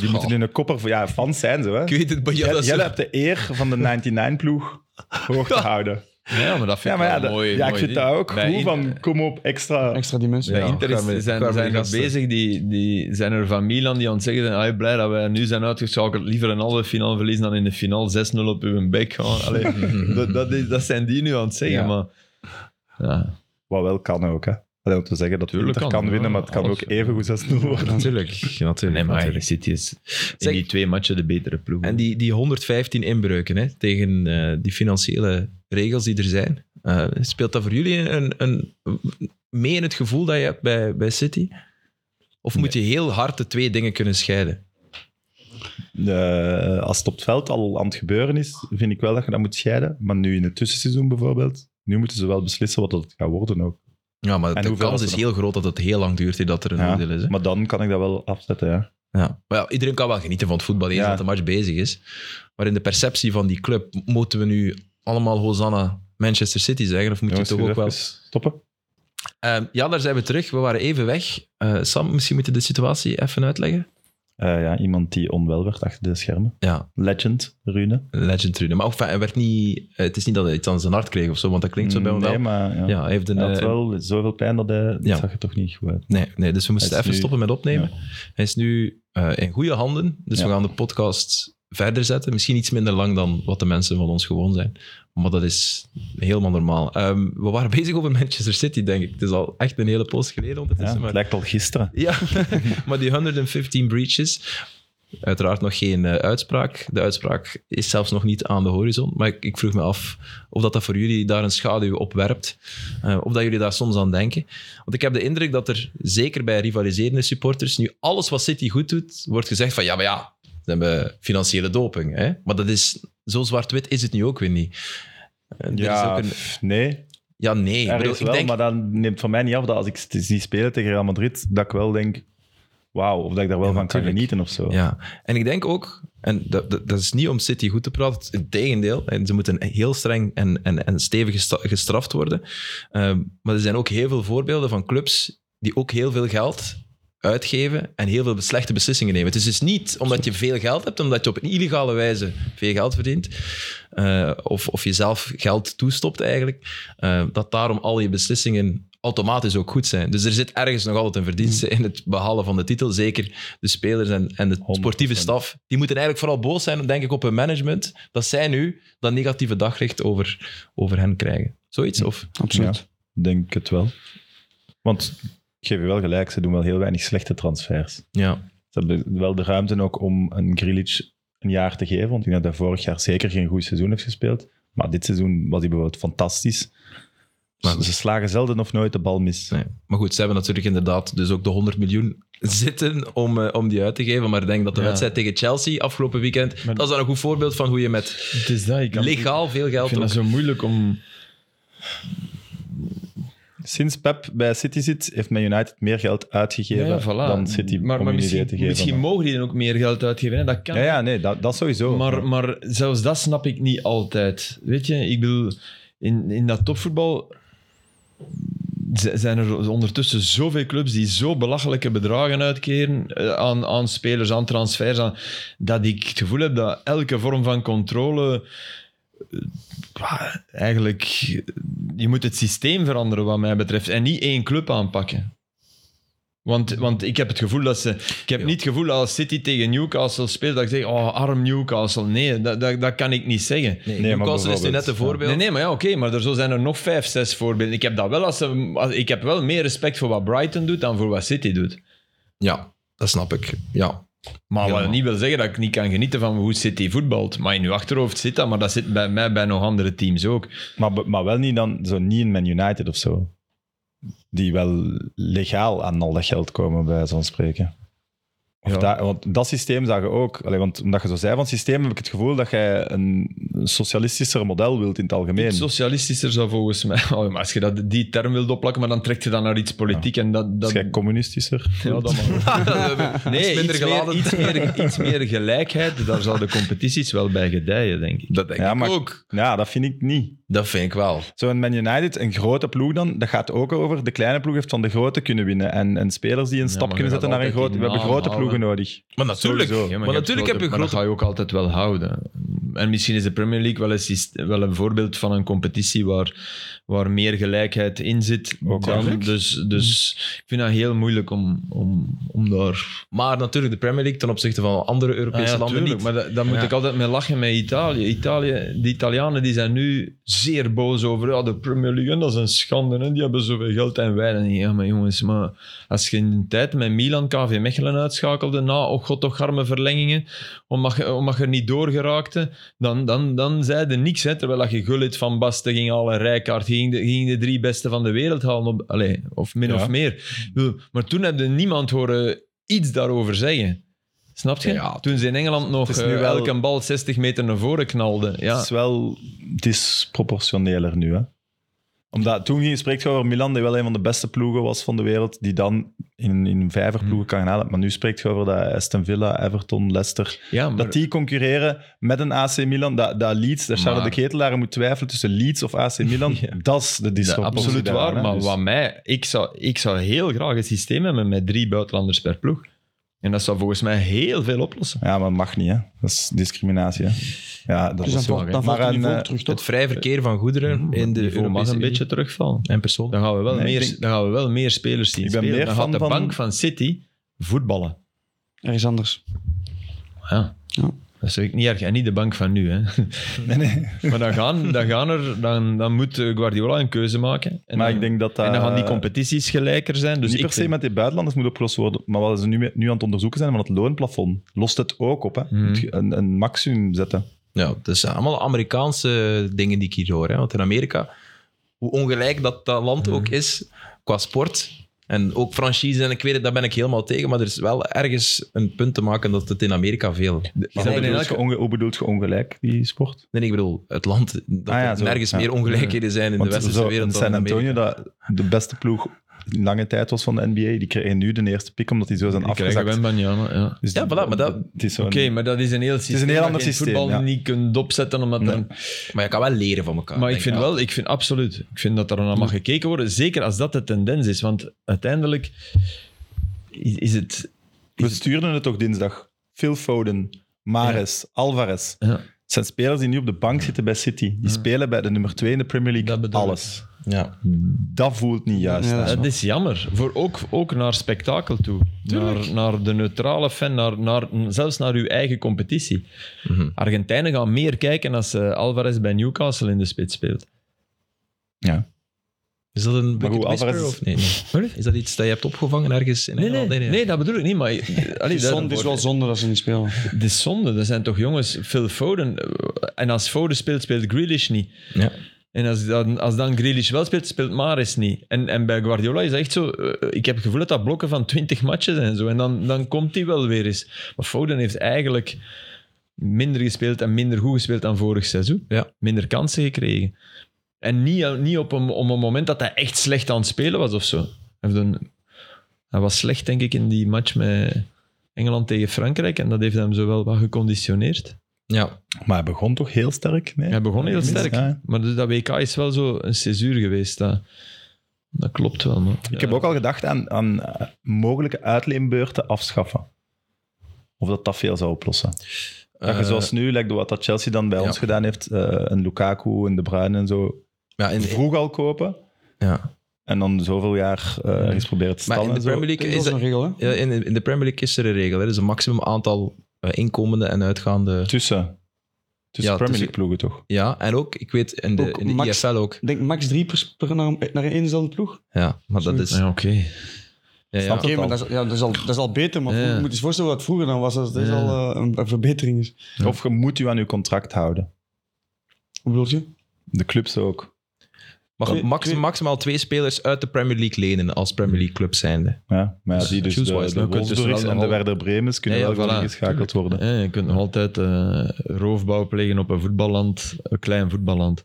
Die moeten in een kopper... Ja, fans zijn ze, hè. Ik weet het, maar ja, Jij, dat is jij hebt de eer van de 99-ploeg hoog te houden. Ja, maar dat vind Ja, ik maar ja, wel dat, mooi. ja ik mooi vind ding. dat ook Bij cool, in- van kom op, extra... Extra dimensie. Bij Ja, Inter kwamen- is, zijn, kwamen zijn die er gasten. bezig, die, die zijn er van Milan die aan het zeggen zijn, ah, blij dat wij nu zijn uitgeschakeld, liever een halve finale verliezen dan in de finale 6-0 op uw bek gaan. *laughs* Allee, dat, dat, is, dat zijn die nu aan het zeggen, Ja. maar... Ja, Wat wel kan ook, hè. Allee, om te zeggen dat Tuurlijk Inter kan, kan, ja, winnen, maar het kan alles. ook evengoed 6-0 worden. Natuurlijk, natuurlijk. nee, maar natuurlijk. City is in Zeg- die twee matchen de betere ploeg. En die, die 115 inbreuken hè, tegen eh, die financiële regels die er zijn, eh, speelt dat voor jullie een, een, mee in het gevoel dat je hebt bij, bij City? Of moet je heel hard de twee dingen kunnen scheiden? Eh, als het op het veld al aan het gebeuren is, vind ik wel dat je dat moet scheiden. Maar nu in het tussenseizoen bijvoorbeeld, nu moeten ze wel beslissen wat dat gaat worden ook. Ja, maar de hoeveel kans dat is er- heel groot dat het heel lang duurt eer dat er een Ja, oordeel is. Hè? Maar dan kan ik dat wel afzetten, ja. Ja. Maar ja, iedereen kan wel genieten van het voetbal eens Ja. dat de match bezig is. Maar in de perceptie van die club, moeten we nu allemaal Hosanna Manchester City zeggen? Of moet Jongens, je toch ook even wel... stoppen? Ehm, ja, daar zijn we terug. We waren even weg. Eh, Sam, misschien moet je de situatie even uitleggen. Eh, ja, iemand die onwel werd achter de schermen. Ja, Legend, Rune. Legend Rune. Maar ook, enfin, hij werd niet, eh, het is niet dat hij iets aan zijn hart kreeg of zo, want dat klinkt zo bij hem Mm, nee, wel. maar ja. Ja, hij heeft een, Hij had eh, wel zoveel pijn dat hij... Dat Ja. zag je toch niet goed uit. nee, nee, dus we moesten Hij is even nu- stoppen met opnemen. Hij is nu eh, in goede handen, dus Ja. we gaan de podcast verder zetten. Misschien iets minder lang dan wat de mensen van ons gewoon zijn, maar dat is helemaal normaal. Ehm, we waren bezig over Manchester City, denk ik. Het is al echt een hele post geleden Ja, ondertussen. het maar- lijkt al gisteren. Ja, *laughs* maar die 115 breaches. Uiteraard nog geen eh, uitspraak. De uitspraak is zelfs nog niet aan de horizon. Maar ik, ik vroeg me af of dat, dat voor jullie daar een schaduw op werpt. eh, of dat jullie daar soms aan denken. Want ik heb de indruk dat er, zeker bij rivaliserende supporters, nu alles wat City goed doet, wordt gezegd van ja, maar ja, dan hebben we financiële doping. Hè? Maar dat is, zo zwart-wit is het nu ook weer niet. Eh, er is Ja, ook een- pff, nee. ja, nee. Ik Er bedoel, is ik wel, denk- maar dat neemt van mij niet af dat als ik t- zie spelen tegen Real Madrid, dat ik wel denk, wauw, of dat ik daar wel Ja, van kan natuurlijk. genieten of zo. Ja, en ik denk ook, en dat, dat, dat is niet om City goed te praten, het tegendeel, en ze moeten heel streng en, en, en stevig gesta- gestraft worden. Ehm, maar er zijn ook heel veel voorbeelden van clubs die ook heel veel geld uitgeven en heel veel slechte beslissingen nemen. Het is dus niet omdat je veel geld hebt, omdat je op een illegale wijze veel geld verdient, eh, of, of jezelf geld toestopt eigenlijk, eh, dat daarom al je beslissingen automatisch ook goed zijn. Dus er zit ergens nog altijd een verdienste in het behalen van de titel. Zeker de spelers en, en de 100%. sportieve staf. Die moeten eigenlijk vooral boos zijn, denk ik, op hun management, dat zij nu dat negatieve daglicht over, over hen krijgen. Zoiets? Of? Absoluut. Denk het wel. Want ik geef je wel gelijk, ze doen wel heel weinig slechte transfers. Ja. Ze hebben wel de ruimte ook om een Grilic een jaar te geven, want ik denk dat hij vorig jaar zeker geen goed seizoen heeft gespeeld. Maar dit seizoen was hij bijvoorbeeld fantastisch. Maar- ze, ze slagen zelden of nooit de bal mis. Nee. Maar goed, ze hebben natuurlijk inderdaad dus ook de 100 miljoen zitten om, eh, om die uit te geven. Maar ik denk dat de Ja. wedstrijd tegen Chelsea afgelopen weekend, Maar- dat is dan een goed voorbeeld van hoe je met het is dat, ik legaal veel Ik geld vind ook- dat zo moeilijk om... Sinds Pep bij City zit, heeft Man United meer geld uitgegeven Ja, voilà. dan City maar, om maar hun idee misschien, te geven. misschien mogen die dan ook meer geld uitgeven. Hè? Dat kan. ja, ja, nee, dat, dat sowieso. Maar, maar zelfs dat snap ik niet altijd. Weet je, ik bedoel, in, in dat topvoetbal z- zijn er ondertussen zoveel clubs die zo belachelijke bedragen uitkeren eh, aan, aan spelers, aan transfers, aan, dat ik het gevoel heb dat elke vorm van controle eh, ja, eigenlijk, je moet het systeem veranderen wat mij betreft en niet één club aanpakken. Want, want ik heb het gevoel dat ze. Ik heb Ja. niet het gevoel dat als City tegen Newcastle speelt, dat ik zeg: oh, arm Newcastle. Nee, dat, dat, dat kan ik niet zeggen. Nee, maar Newcastle is nu net een bijvoorbeeld, ja. voorbeeld. Nee, nee, maar ja, oké, maar er, zo zijn er nog vijf, zes voorbeelden. Ik heb, dat wel als ze, als- ik heb wel meer respect voor wat Brighton doet dan voor wat City doet. Ja, dat snap ik. Ja. Maar wat Helemaal. niet wil zeggen dat ik niet kan genieten van hoe City voetbalt. Maar in uw achterhoofd zit dat, maar dat zit bij mij bij nog andere teams ook. Maar, be- maar wel niet dan zo niet in Man United of zo. Die wel legaal aan al dat geld komen, bij zo'n spreken. Of Ja. dat, want dat systeem zag je ook. Allee, want omdat je zo zei van het systeem, heb ik het gevoel dat jij een socialistischer model wilt in het algemeen. Iets socialistischer zou volgens mij... *laughs* Oh, maar als je dat, die term wilt opplakken, maar dan trekt je dat naar iets politiek en dat... dat Dus jij communistischer. *laughs* ja, dat mag. nee, minder iets meer, geladen. iets, meer, iets meer gelijkheid, daar zouden competities wel bij gedijen, denk ik. Dat denk Ja, ik maar- ook. Ja, dat vind ik niet. Dat vind ik wel. Zo'n Man United, een grote ploeg dan, dat gaat ook over. De kleine ploeg heeft van de grote kunnen winnen. En, en spelers die een Ja, stap maar kunnen je gaat zetten naar een altijd grote. die We hebben grote naam ploegen nodig. Maar natuurlijk, Sowieso. maar Ja, hebt natuurlijk grote- heb je maar dat grote... ga je ook altijd wel houden. En misschien is de Premier League wel een, syste- wel een voorbeeld van een competitie waar, waar meer gelijkheid in zit. Ook dan- wel. dus, dus ik vind dat heel moeilijk om, om, om daar... Maar natuurlijk, de Premier League ten opzichte van andere Europese Ah ja, landen tuurlijk, niet. Maar da- daar moet Ja. ik altijd mee lachen met Italië. Italië de Italianen die zijn nu zeer boos over ja, de Premier League. en Dat is een schande. Hè? Die hebben zoveel geld en wij dan niet. Ja, maar jongens, maar als je in de tijd met Milan KV Mechelen uitschakelde na, oh god, toch arme verlengingen, omdat je, omdat je er niet doorgeraakte, dan, dan, dan zei je niks. Hè? Terwijl dat je Gullit van Basten ging halen, Rijkaard, ging de, ging de drie beste van de wereld halen. Op, allez, of min Ja. of meer. Ik bedoel, Maar toen heb je niemand horen iets daarover zeggen. Snap je? Ja, Toen ze in Engeland nog is eh, nu wel- elke bal 60 meter naar voren knalde. Het Ja. is wel disproportioneler nu, hè. Omdat toen ging, spreekt je over Milan, die wel een van de beste ploegen was van de wereld, die dan in, in vijver Hmm. ploegen kan gaan halen. Maar nu spreekt je over dat Aston Villa, Everton, Leicester, Ja, maar, dat die concurreren met een AC Milan. Dat, dat Leeds, dat Charles Maar- de Ketelaar moet twijfelen tussen Leeds of AC Milan, dat is de *laughs* Ja, disproportie. absoluut daaraan, waar. hè. Maar Dus- wat mij, ik, zou, ik zou heel graag een systeem hebben met drie buitenlanders per ploeg. En dat zou volgens mij heel veel oplossen. Ja, maar dat mag niet, hè. Dat is discriminatie, hè. Ja, dat Dus dan, is valt- zo. dan valt Maar het niveau een, eh, terug, Het toch? vrij verkeer van goederen in de Het niveau Europese mag een Unie. beetje terugvallen. En personen. Dan gaan, we wel Nee, ik meer, denk- dan gaan we wel meer spelers zien Ik ben spelen. meer dan gaat fan de van- bank van City voetballen. Ergens anders. Ja. Ja. Dat is ook niet erg. En niet de bank van *laughs* nu. Hè. Nee, *laughs* nee. Maar dan, gaan, dan, gaan er, dan, dan moet eh, Guardiola een keuze maken. En Maar dan, ik denk dat dat... en dan gaan die competities gelijker zijn. Dus Dus niet ik per se vind- met die buitenlanders moet opgelost worden, maar wat ze nu, nu aan het onderzoeken zijn van het loonplafond, lost het ook op. Hè? Mhm. Moet je Een, een maximum zetten. Ja, het is allemaal Amerikaanse dingen die ik hier hoor. Hè. Want in Amerika, hoe ongelijk dat, dat land ook Mhm. is qua sport en ook franchise, en ik weet het, daar ben ik helemaal tegen, maar er is wel ergens een punt te maken dat het in Amerika veel... Maar zijn hoe in bedoelt, elke- je onge- hoe bedoelt je ongelijk, die sport? Nee, nee, ik bedoel, het land, dat Ah ja, er zo, nergens ja. meer ongelijkheden zijn in Want de westerse zo, wereld dan in San Antonio, Amerika. dat de beste ploeg in lange tijd was van de NBA, die kregen nu de eerste pick omdat die zo zijn Ik krijg afgezakt. een Wembanyama, ja. Dus Ja, voilà, maar dat- het is zo Oké, maar dat is een heel systeem. is een heel dat ander je in het systeem, voetbal ja. niet kunt opzetten. Omdat Nee. dan- Maar je kan wel leren van elkaar. maar ik denk vind wel, ik vind absoluut. Ik vind dat er naar mag gekeken worden. Zeker als dat de tendens is. Want uiteindelijk is, is het. We stuurden het toch dinsdag. Phil Foden, Mares, Alvarez. Ja. Het zijn spelers die nu op de bank zitten bij City. Die spelen bij de nummer 2 in de Premier Dat League. bedoel ik. Alles. Ja. Dat voelt niet juist. Ja, dat Dat Eh, is jammer. Voor ook, ook naar spektakel toe. Naar, naar de neutrale fan, naar, naar, zelfs naar uw eigen competitie. Mhm. Argentijnen gaan meer kijken als eh, Alvarez bij Newcastle in de spits speelt. Ja. Is dat een bucket goed, whisper Alvarez is- of nee, nee? Is dat iets dat je hebt opgevangen ergens in Nee, nee, Engeland? nee, dat bedoel ik niet. Maar, allee, Het is zonde- het is daarvoor- wel zonde dat ze niet spelen. Het is zonde. Er zijn toch jongens, Phil Foden. eh, En als Foden speelt, speelt Grealish niet. Ja. En als dan, als dan Grealish wel speelt, speelt Maris niet. En, en bij Guardiola is dat echt zo... eh, ik heb het gevoel dat dat blokken van 20 matches en zo. En dan, dan komt hij wel weer eens. Maar Foden heeft eigenlijk minder gespeeld en minder goed gespeeld dan vorig seizoen. Ja. Minder kansen gekregen. En niet, eh, niet op, een, op een moment dat hij echt slecht aan het spelen was of zo. Hij heeft een- hij was slecht, denk ik, in die match met Engeland tegen Frankrijk. En dat heeft hem zo wel wat geconditioneerd. ja. Maar hij begon toch heel sterk? Nee? Hij begon heel Minst, sterk. ja. Maar dus dat WK is wel zo een césuur geweest. Dat, dat klopt wel. Man. Ik heb ook al gedacht aan, aan eh, mogelijke uitleenbeurten afschaffen. Of dat dat veel zou oplossen. Dat je Eh, zoals nu, like wat dat Chelsea dan bij ja. ons gedaan heeft, eh, een Lukaku en De Bruyne en zo, ja, in, vroeg al kopen. ja. En dan zoveel jaar eh ergens proberen te Maar stallen in de en zo. Premier League is dat dat, een regel, hè? ja, in, in de Premier League is er een regel. hè. Er is een maximum aantal eh, inkomende en uitgaande. Tussen. Tussen Ja, Premier tussen- League ploegen toch? Ja, en ook, ik weet, in de, Ook in de max- IFL ook. Ik denk max drie per, per naar, naar een inzelde ploeg. Oké, Ja, maar dat is... Ja, Ja, oké. ja. Snap je? maar dat is, ja, dat, is al, dat is al beter, maar Ja. je moet je eens voorstellen wat vroeger dan was. Dat is Ja. al eh, een, een verbetering. Is. Of je moet je aan je contract houden. Hoe bedoel je? De clubs ook. mag Twee- max- twee- maximaal twee spelers uit de Premier League lenen als Premier League club zijnde. Ja, maar ja, die dus de, Jules Weissner de kunt dus Wolfsburgs wel en de al- Werder Bremens kunnen Ja, ja, wel voilà. geschakeld worden. Ja, je kunt nog altijd eh, roofbouw plegen op een voetballand, een klein voetballand.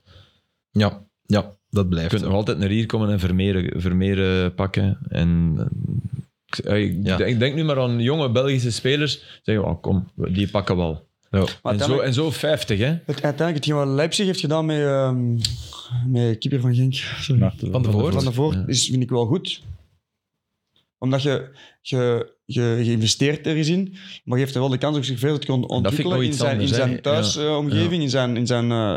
Ja, ja dat Je blijft. kunt nog altijd naar hier komen en vermeren, vermeren pakken. En, eh, ik, ik Ja. denk, denk nu maar aan jonge Belgische spelers. Zeggen, oh, kom, die pakken wel. Ja. En zo, en zo 50, hè? Het, uiteindelijk, hetgeen wat Leipzig heeft gedaan met, ehm met keeper van Genk, sorry. Maarten, Van de Voort. Van de Voort Ja. is, vind ik wel goed. Omdat je, je, je, je investeert ergens in, maar je geeft er wel de kans om zich verder te kunnen vind ik ontwikkelen nog in iets zijn, in anders, hè. zijn thuisomgeving, in zijn, in zijn eh,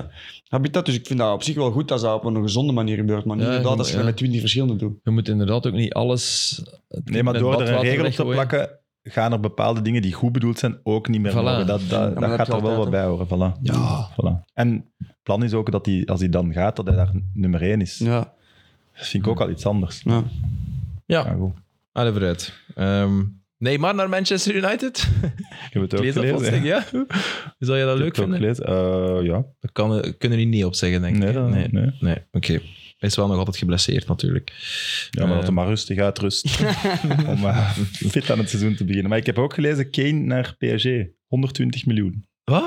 habitat. Dus ik vind dat op zich wel goed dat dat op een gezonde manier gebeurt. Maar niet Ja, inderdaad als je ja. dat met 20 verschillende doet. Je moet inderdaad ook niet alles. Nee, maar met door er een badwater regel op te weggooien. plakken, gaan er bepaalde dingen die goed bedoeld zijn ook niet meer Voilà. horen. Dat, dat, dat, maar dat gaat heb er je altijd, wel wat bij horen. Voilà. Ja. Voilà. En het plan is ook dat hij, als hij dan gaat, dat hij daar nummer één is. Ja. Dat vind ik ook al iets anders. ja. Ja, Ja, goed. allez vooruit. Ehm, nee, maar naar Manchester United. *laughs* Ik heb het ook Lees dat gelezen. plotseling, ja. ja. *laughs* Zal je dat Ik leuk heb het ook vinden? gelezen. Eh, ja. Dat kan, eh, kunnen die niet opzeggen, denk ik. Nee, hè? dat- nee. nee. nee. oké. Hij is wel nog altijd geblesseerd, natuurlijk. Ja, maar Eh. dat hij maar rustig *laughs* uitrust. om eh, fit aan het seizoen te beginnen. Maar ik heb ook gelezen, Kane naar PSG. 120 miljoen. Wat?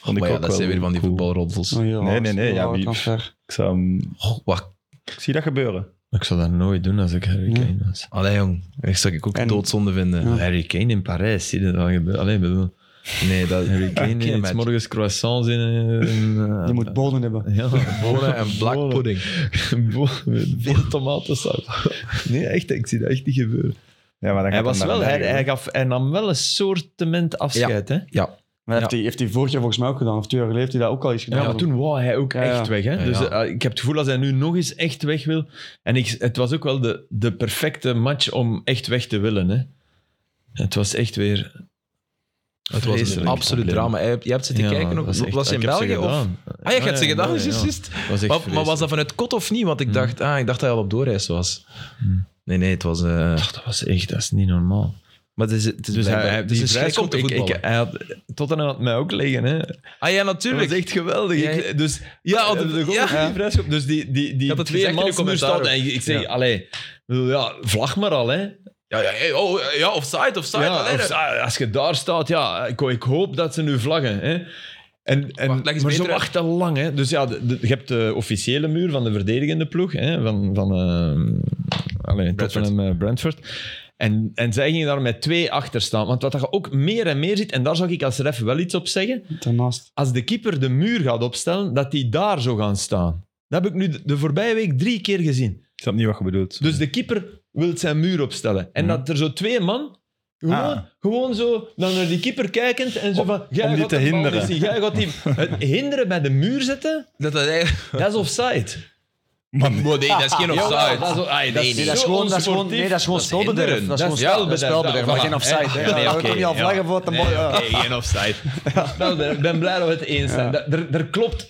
Vond maar ik Oh, ja, ook dat wel zijn weer van die cool. voetbalroddels. Oh, heel Nee, hard. nee, nee, Heel ja, hard wie- transfer. Ik, zou hem- Goh, wat? ik zie dat gebeuren. Ik zou dat nooit doen als ik Harry Nee. Kane was. Allee, jong. Ik zou ik ook En- doodzonde vinden. Ja. Harry Kane in Parijs, zie je dat al gebeuren? Alleen bedoel. Nee, *laughs* dat... Harry Kane Geen eet match. morgens croissants in. *laughs* eh, Je moet bodem hebben. *laughs* Ja, Bonen en black Bonen. pudding. Bo- Veel tomatensaus. *laughs* Nee, echt, ik zie dat echt niet gebeuren. Ja, maar dan Hij, gaat was hem naar wel, een hij, eigen- hij, gaf, hij nam wel een soortement afscheid. Hè? Ja. Maar heeft, hij, heeft hij vorig jaar volgens mij ook gedaan, of twee jaar geleden heeft hij dat ook al eens gedaan. Ja, maar toen wou hij ook Ja, ja. echt weg. Hè? Ja, dus ja. eh, ik heb het gevoel dat hij nu nog eens echt weg wil. En ik, het was ook wel de, de perfecte match om echt weg te willen. Hè? Het was echt weer... Het was een Vreselijk absoluut probleem. drama. Jij hebt zitten Ja, kijken. Ook, dat was, echt- was in ik heb België? Of? gedaan. Ah, je hebt ze ja, gedaan, ja, is ja. juist. Was echt Mm. Maar, maar was dat vanuit kot of niet? Want ik dacht, ah, ik dacht dat hij al op doorreis was. Nee, nee, het was... eh, vreselijk. dat was echt, dat is niet normaal. maar het is, het is, Dus hij, blijkbaar- hij, het is die een schrik om vrijschop, te ik, ik, voetballen. hij had, Tottenham had mij ook liggen. Hè. ah ja, Dat natuurlijk. was echt geweldig. Ja, Ik- ja. dus Ja, eh, dat- de goal ja. van die vrijschop. Dus die, die, die had het twee gezegd in de man nu commentaar staat. ook. En ik zeg, Ja. allee, ik bedoel, ja, vlag maar al, hè. Ja, ja, hey, oh, ja, offside, offside. Ja, allee, of- dat- ah, als je daar staat, ja, ik, ik hoop dat ze nu vlaggen. Hè. En, en, Wacht, leg eens maar ze beter uit. wachten lang. Hè. Dus ja, de- de- je hebt de officiële muur van de verdedigende ploeg, hè, van, van eh, allee, Brentford. Tottenham eh, Brentford. En, en zij gingen daar met twee achter staan. Want wat je ook meer en meer ziet, en daar zou ik als ref wel iets op zeggen, Daarnaast. als de keeper de muur gaat opstellen, dat die daar zou gaan staan. Dat heb ik nu de- de voorbije week drie keer gezien. Ik snap niet wat je bedoelt. Dus de keeper wil zijn muur opstellen. En Mhm. dat er zo twee man gewoon, Ah. gewoon zo dan naar die keeper kijkend en zo Om- van... jij om die gaat te de bal hinderen. niet zien, jij gaat *laughs* die, het hinderen bij de muur zetten, Dat, dat, eigenlijk- dat is *laughs* offside. *laughs* Man, Wow, nee, dat is geen offside. Jawel, dat is, Ah, ai, dat is Nee, Nee, dat is zo gewoon, dat is gewoon, onsportief. nee, dat is gewoon Dat is hinderen. spelbederf. Dat is gewoon Dat is spel- dat is spelbederf. spelbederf, maar Voilà. geen offside. hè. Ja, nee, Ja, oké, Ik kan niet al ja. vlaggen voor wat de bal... ja. geen offside. Wel, Nou, Ik ben blij dat we het eens zijn. Dat- Er, er klopt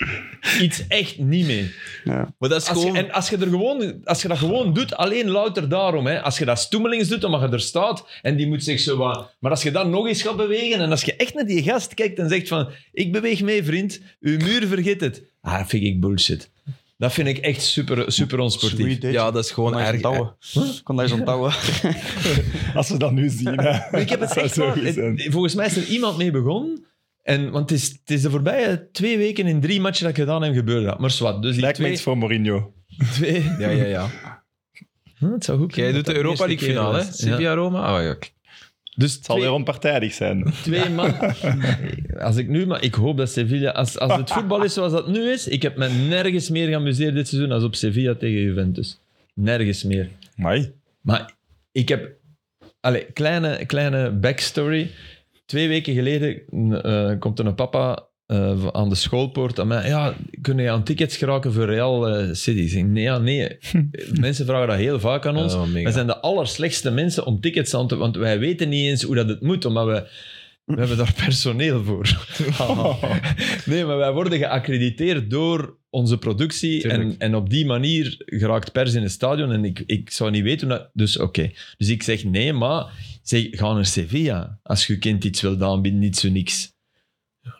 iets echt niet mee. Maar dat is Als je, gewoon... en als je, er gewoon, als je dat gewoon doet, alleen louter daarom. Hè. Als je dat stoemelings doet, omdat je er staat en die moet zich zo wat... Maar als je dan nog eens gaat bewegen en als je echt naar die gast kijkt en zegt van ik beweeg mee, vriend, uw muur vergeet het. Ah, dat vind ik bullshit. Dat vind ik echt super, super onsportief. Sweet, hè. ja, dat is gewoon Kon daar eens erg. onthouden. Kon daar eens *laughs* onthouden. als we dat nu zien. hè. Ik *laughs* heb het Dat zou echt zo waar. goed zijn. Het- Volgens mij is er iemand mee begonnen. En, want het is, het is de voorbije twee weken in drie matchen dat ik gedaan heb gebeurd. dat. Maar zwart, dus die Lijkt me twee... iets voor Mourinho. twee *laughs* Ja, ja, ja. Hm, het zou goed Jij doet kunnen dat de dat Europa eerste League keer finale, hè? was. Ja. Sevilla, Roma. Ah, ja. Dus Het zal twee- weer onpartijdig zijn. Twee man. *laughs* Als ik nu, maar ik hoop dat Sevilla. Als, als het voetbal is zoals dat nu is. Ik heb me nergens meer geamuseerd dit seizoen. als op Sevilla tegen Juventus. Nergens meer. Mai. Maar ik heb. Allee, kleine, kleine backstory. Twee weken geleden eh, komt er een papa eh, aan de schoolpoort aan mij. Ja, kun je aan tickets geraken voor Real eh, City? Ik zeg, nee, ja, nee. Mensen vragen dat heel vaak aan ons. Oh, mega. Wij zijn de allerslechtste mensen om tickets aan te... Want wij weten niet eens hoe dat het moet, omdat we... We hebben daar *laughs* personeel voor. nee, maar wij worden geaccrediteerd door onze productie. En, Tuurlijk. en op die manier geraakt pers in het stadion. En ik, ik zou niet weten hoe dat... Dus oké. Dus ik zeg nee, maar... Zeg, ga naar Sevilla. Als je kind iets wilt aanbieden, niet zo niks.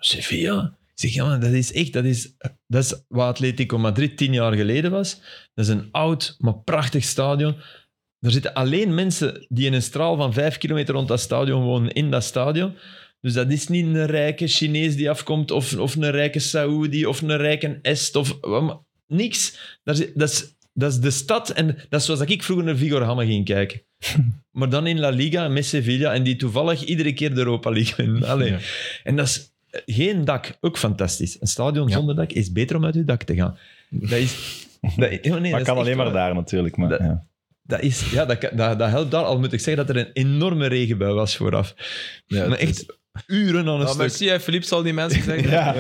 Sevilla? Ik zeg, ja, maar dat is echt, dat is, dat is wat Atletico Madrid tien jaar geleden was. Dat is een oud, maar prachtig stadion. Er zitten alleen mensen die in een straal van vijf kilometer rond dat stadion wonen, in dat stadion. Dus dat is niet een rijke Chinees die afkomt, of, of een rijke Saoedi, of een rijke Est, of wat maar- niks. Dat is, dat, is, dat is de stad, en dat is zoals ik vroeger naar Vigor Hamme ging kijken. maar dan in La Liga, met Sevilla, en die toevallig iedere keer de Europa League winnen. Allee. Ja. En dat is eh, geen dak, ook fantastisch. Een stadion zonder dak is beter om uit je dak te gaan. Dat is... Dat, oh nee, dat is dat kan echt alleen maar waar. daar natuurlijk. Maar, Dat- ja. Dat, is, ja, dat, kan- dat, dat helpt daar, al moet ik zeggen dat er een enorme regenbui was vooraf. Ja, maar echt uren aan een Nou, stuk. merci, hè, Philippe zal die *laughs* mensen zeggen. Ja.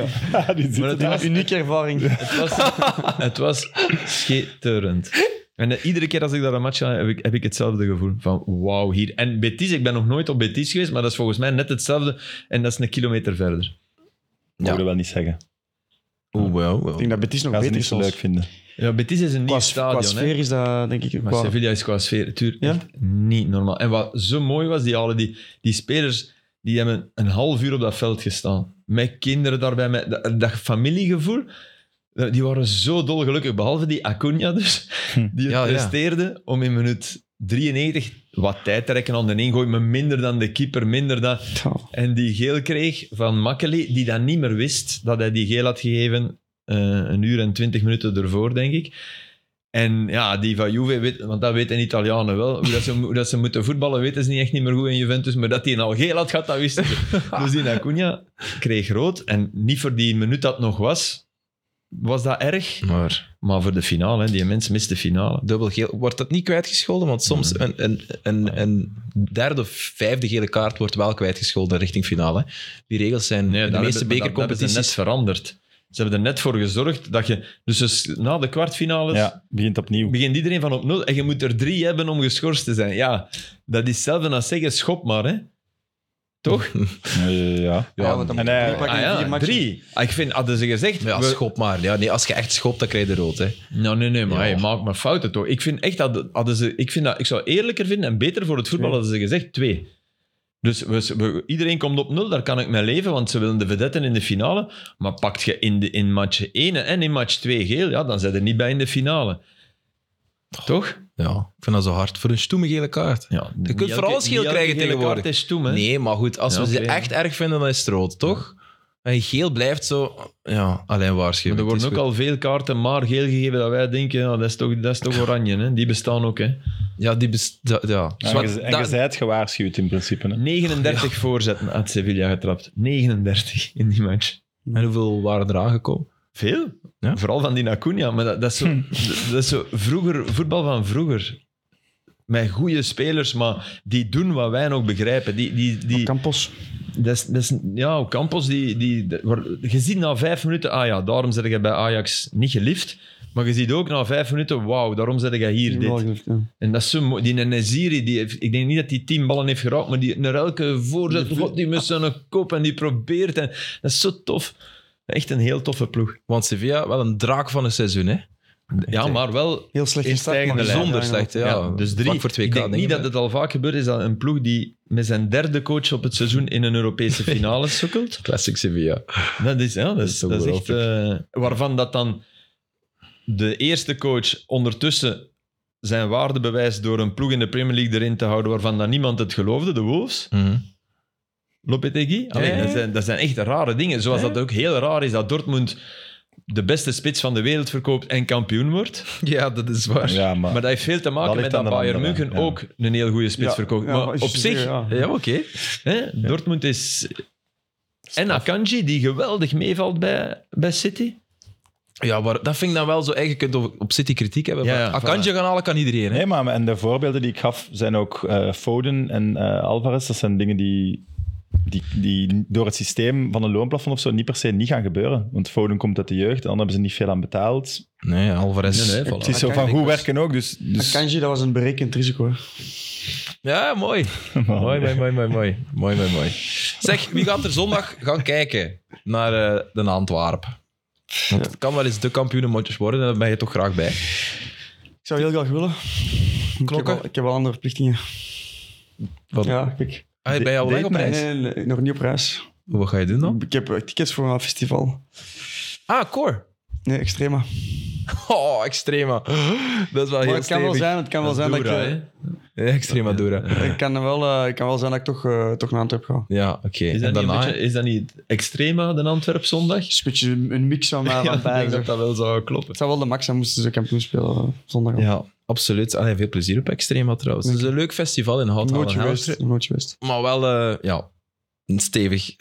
die zitten dat daar. Een unieke ervaring. Het was, het was schitterend. En eh, iedere keer als ik daar een match ga, heb ik, heb ik hetzelfde gevoel. Van wauw, hier. En Betis, ik ben nog nooit op Betis geweest, maar dat is volgens mij net hetzelfde. En dat is een kilometer verder. Mogen we wel niet zeggen. Oeh, wel, wel. Ik denk dat Betis nog Gaan ze beter niet is. zo zelfs. leuk vinden. Ja, Betis is een nieuw Qua, qua stadion. hè. sfeer is dat, denk ik... Maar qua- Sevilla is qua sfeer natuurlijk Ja? echt niet normaal. En wat zo mooi was, die, alle, die, die spelers die hebben een half uur op dat veld gestaan. Met kinderen daarbij, met dat, dat familiegevoel. Eh, Die waren zo dolgelukkig, behalve die Acuna dus. Die het Ja, ja. presteerde om in minuut 93 wat tijd te rekken aan de ingooi, maar minder dan de keeper, minder dan... Ja. En die geel kreeg van Makkeli, die dat niet meer wist, dat hij die geel had gegeven eh, een uur en twintig minuten ervoor, denk ik. En ja, die van Juve, weet, want dat weten Italianen wel, hoe dat, ze, hoe dat ze moeten voetballen weten ze niet echt niet meer goed in Juventus, maar dat hij al geel had gehad, dat wisten ze. Dus die Acuna kreeg rood en niet voor die minuut dat het nog was, was dat erg. Maar Maar voor de finale, hè, die mens mist de finale. dubbel geel, wordt dat niet kwijtgescholden? Want soms Mm. een, een, Ah, een, een derde of vijfde gele kaart wordt wel kwijtgescholden richting finale. hè. Die regels zijn in de daar meeste hebben- maar dat- dat hebben ze net bekercompetities... veranderd. Ze hebben er net voor gezorgd dat je... Dus, dus na de kwartfinales Ja, begint opnieuw. begint iedereen van op nul en je moet er drie hebben om geschorst te zijn. Ja, dat is hetzelfde als zeggen schop maar, hè. Toch? Eh, ja. Ja, want dan En moet je hij- drie pakken Ah in vier ja, matchen. drie. Ah, ik vind, hadden ze gezegd... Ja, we- schop maar. Ja, nee, als je echt schopt, dan krijg je rood. Hè. Nou, nee, nee, maar Ja. hey, maak maar fouten toch. Ik vind echt dat, hadden ze, ik, vind dat ik zou eerlijker vinden en beter voor het voetbal hadden ze gezegd twee. Dus we, we- iedereen komt op nul, daar kan ik mee leven, want ze willen de vedetten in de finale. Maar pakt je in, de, in match 1 en in match 2 geel, ja, dan zijn er niet bij in de finale. Toch? Ja, ik vind dat zo hard. Voor een stoeme gele kaart. Ja, Je kunt voor alles geel krijgen tegenwoordig. is stoem, hè? Nee, maar goed, als Ja, we ze oké, echt erg vinden, dan is het rood, toch? En geel blijft zo... Ja, alleen Maar waarschuwen. er worden ook Het is al veel kaarten maar geel gegeven dat wij denken, ja, dat, is toch, dat is toch oranje, hè? Die bestaan ook, hè? goed. Ja, die... bes- da- ja. Dus En wat- je- en da- je zijt gewaarschuwd in principe. Hè? 39 voorzetten had Sevilla getrapt. 39 in die match. En hoeveel waren er aangekomen? Veel. Ja. Vooral van die Acuna. Maar dat, dat, is zo, dat- dat is zo vroeger, voetbal van vroeger. Met goede spelers, maar die doen wat wij nog begrijpen. Die, die, die, Campos. dat is, dat is, ja, Campos, die, die, dat wordt- je ziet na vijf minuten, ah ja, daarom zet je bij Ajax niet gelift. Maar je ziet ook na vijf minuten, wauw, daarom zet je hier dit. Ja. En dat is zo mooi. Die Neziri, die heeft, ik denk niet dat hij tien ballen heeft geraakt, maar die naar elke voorzet, god, die met zijn kop en die probeert. En, dat is zo tof. Echt een heel toffe ploeg. Want Sevilla, wel een draak van een seizoen, hè? Ja, maar wel Heel slecht In gestart. stijgende maar lijn. Bijzonder slecht, ja. Ja, dus drie. Vlak voor twee ik denk niet dat het al vaak gebeurd is dat een ploeg die met zijn derde coach op het seizoen in een *laughs* Europese finale sukkelt. Classic Sevilla. Dat is, ja, dat Dat is, is dat is echt... ongelooflijk. eh, waarvan dat dan de eerste coach ondertussen zijn waarde bewijst door een ploeg in de Premier League erin te houden waarvan dan niemand het geloofde, de Wolves. Lopetegui. Allee, ja, ja. Dat, zijn, dat zijn echt rare dingen. Zoals dat ook heel raar is dat Dortmund de beste spits van de wereld verkoopt en kampioen wordt. Ja, dat is waar. Ja, maar, Maar dat heeft veel te Dat maken met ligt dat aan de Bayern anderen, München ja. ook een heel goede spits Ja, verkoopt. ja, maar maar op is je zich, zeer, ja. Ja, oké. hè, Dortmund is... En Akanji, die geweldig meevalt bij, bij City. Ja, maar dat vind ik dan wel zo... Eigenlijk, je kunt op- op City kritiek hebben. Ja, maar ja, Akanji gaan alle kan iedereen, hè? nee, maar en de voorbeelden die ik gaf zijn ook eh, Foden en eh, Alvarez. Dat zijn dingen die, die, die door het systeem van een loonplafond of zo niet per se niet gaan gebeuren. Want Foden komt uit de jeugd en dan hebben ze niet veel aan betaald. Nee, Alvarez. Nee, nee, voilà. Het is zo van Akanji goed was- werken ook. Dus, dus, *laughs* Kanji, dat was een berekend risico. hè. Ja, *laughs* mooi. Mooi, mooi, mooi, mooi, mooi. Mooi, mooi, mooi. Zeg, wie gaat er zondag gaan kijken naar eh, de Antwerpen? Want het kan wel eens de kampioenenmotjes worden en daar ben je toch graag bij. Ik zou heel graag willen. Ik Klokken? heb wel, ik heb wel andere verplichtingen. Wat? Ja, kijk. Ah, ben je al Date weg op night? reis? Nee, nee, nee, nog niet op reis. Wat ga je doen dan? Ik heb eh, tickets voor een festival. Ah, core. Nee, extrema. Oh, extrema. Dat is wel Maar Ah, heel het kan wel stevig. zijn, het kan wel zijn dat ik... Dora, eh, hè? Ja, Extrema Dora. Het kan, wel, eh, het kan wel zijn dat ik toch, eh, toch naar Antwerpen ga. Ja, oké. Is En dat, niet daarna... een beetje, is dat niet extrema, de Antwerp zondag? Het is een beetje een *laughs* mix van, mij van ik denk beide. dat dat wel zou kloppen. Het zou wel de max zijn, moesten ze kampioen spelen eh, zondag. Ik Ja, absoluut. Allee, veel plezier op Extrema trouwens. Het is een leuk festival in ben Houten. Nooit geweest. Nooit geweest. Maar wel, eh, ja, stevig. *laughs*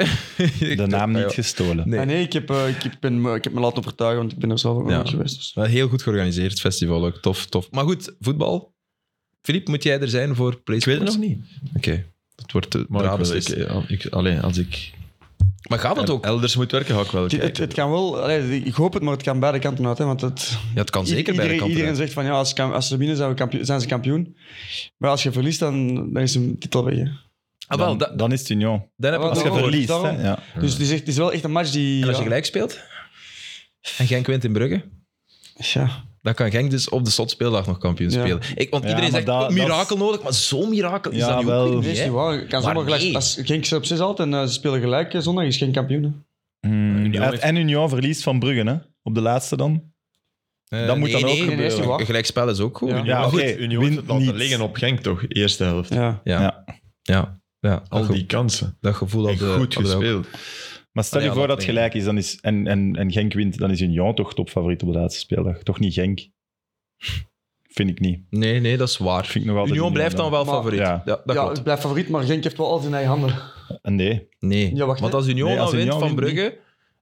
De naam niet gestolen. Nee. Ah, nee, ik heb, eh, ik, ik ben, me- ik heb me laten overtuigen, want ik ben er zelf ook nog Ja. nooit geweest. Dus. Wel heel goed georganiseerd het festival ook. Tof, tof. Maar goed, voetbal. Filip, moet jij er zijn voor PlayStation? Ik weet het nog niet. Oké, dat wordt eh, de Maar raar ik, wil- beslist. ik, ja, ik, allee, als ik Maar gaat dat ook? elders moet werken, ga ik wel Het, het, kijken. het kan wel, allee, ik hoop het, maar het kan beide kanten uit. Hè, want het, Ja, het kan zeker bij de iedereen, kant iedereen eruit. zegt van ja, als, ze kam- als ze winnen zijn, we kampioen, zijn ze kampioen. Maar als je verliest, dan, dan is een titel weg. hè. Ah, wel, da- dan, dan is het Union. daar heb ik Ah, Als het je daarom, over. verliest, hè. daarom. Ja. Dus het is, echt, het is wel echt een match die. En als je ja, gelijk speelt en Genk wint in Brugge, ja. dan kan Genk dus op de slotspeeldag nog kampioen Ja. spelen. Ik, want Ja, iedereen maar zegt, dat- oh, mirakel nodig, maar zo'n mirakel is Ja, dat nu wel. ook weer Nee, niet, is hè? niet waar. Je Maar Kan zomaar gelijk. nee. Als Genk ze op 6 altijd en eh, ze spelen gelijk eh, zondag, is geen kampioen. hè. Hmm, Union en- heeft- En Union verliest van Brugge, hè? Op de laatste dan. Eh, Dat nee, moet dan ook nee, gebeuren. nee, Een gelijkspel is ook goed. Ja. Ja, Ja, maar goed, oké, Union heeft het wint laten niet. liggen op Genk toch, eerste helft. Ja. ja. Ja. ja. ja. Al dat, ge- die kansen. Ah, dat gevoel En had eh, goed hadden we ook. gespeeld. Maar stel Allee, je Ah, ja, voor dat dat het gelijk is, dan is en, en, en Genk wint, dan is Union toch topfavoriet op de laatste speeldag. Toch niet Genk? Vind ik niet. Nee, nee, dat is waar. Vind ik nog altijd Union blijft dan wel Maar- favoriet. Ja. Ja, dat Ja, klopt. het blijft favoriet, maar Genk heeft wel altijd in eigen handen. *laughs* Eh, Nee. Nee. Ja, wacht, Want hè. als Union Nee, als dan wint Union van wint niet.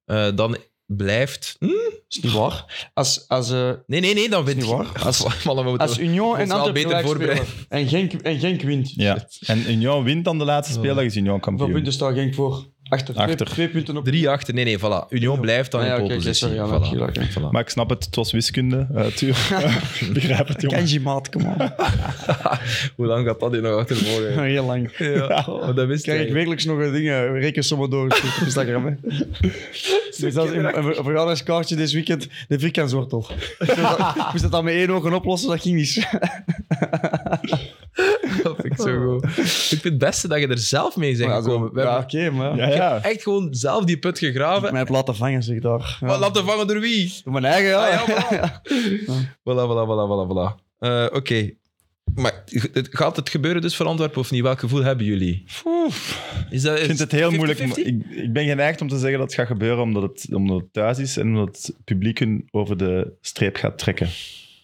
Brugge, eh, dan blijft... Hm? Is niet waar. Als, als, eh, Nee, nee, nee, dan wint... Is niet waar. *laughs* Als, mannen, we moeten- als Union en wel Antwerpen beter gelijk voorbereid. spelen en Genk, en Genk wint, Ja. En Union wint dan de laatste speeldag, is Union hoeveel kampioen. punten staat Genk voor? Achter. Twee- Achter. Twee, punten op. Drie achter. Nee, nee, voilà. Union blijft dan Ah, ja, in oké, pole oké, positie. sorry, ja, Voilà. natuurlijk, oké. Voilà. Maar ik snap het, het was wiskunde. eh tuur. *laughs* Ik Begrijp het, jongen. Kenji maat, *laughs* kom op. Hoe lang gaat dat hier nog achter *laughs* morgen? Heel lang. ja, oh, dat wist Krijg ik ik. wekelijks nog eh, dingen, rekensommen door *laughs* op Instagram. Hè. Dus dat is een, een ver- verjaardagskaartje dit weekend, de vierkantswortel. Ik moest *laughs* dat- ik moest dat dan met één oog gaan oplossen, dat ging niet. Dat vind ik zo Oh. goed. Ik vind het beste dat je er zelf mee bent Maar zo- gekomen. We ja, hebben oké, maar... Ja, ja. echt gewoon zelf die put Ik gegraven. mij heb laten vangen, zeg daar. Ja. Wat laten vangen door wie? Door mijn eigen, ja. Ah, ja, voilà. voilà, voilà, voilà, voilà, voilà. Eh, Oké. Maar het- gaat het gebeuren dus voor Antwerpen of niet? Welk gevoel hebben jullie? Is dat, Ik vind het heel moeilijk. Ik, ik ben geneigd om te zeggen dat het gaat gebeuren omdat het, omdat het thuis is en omdat het publiek hun over de streep gaat trekken.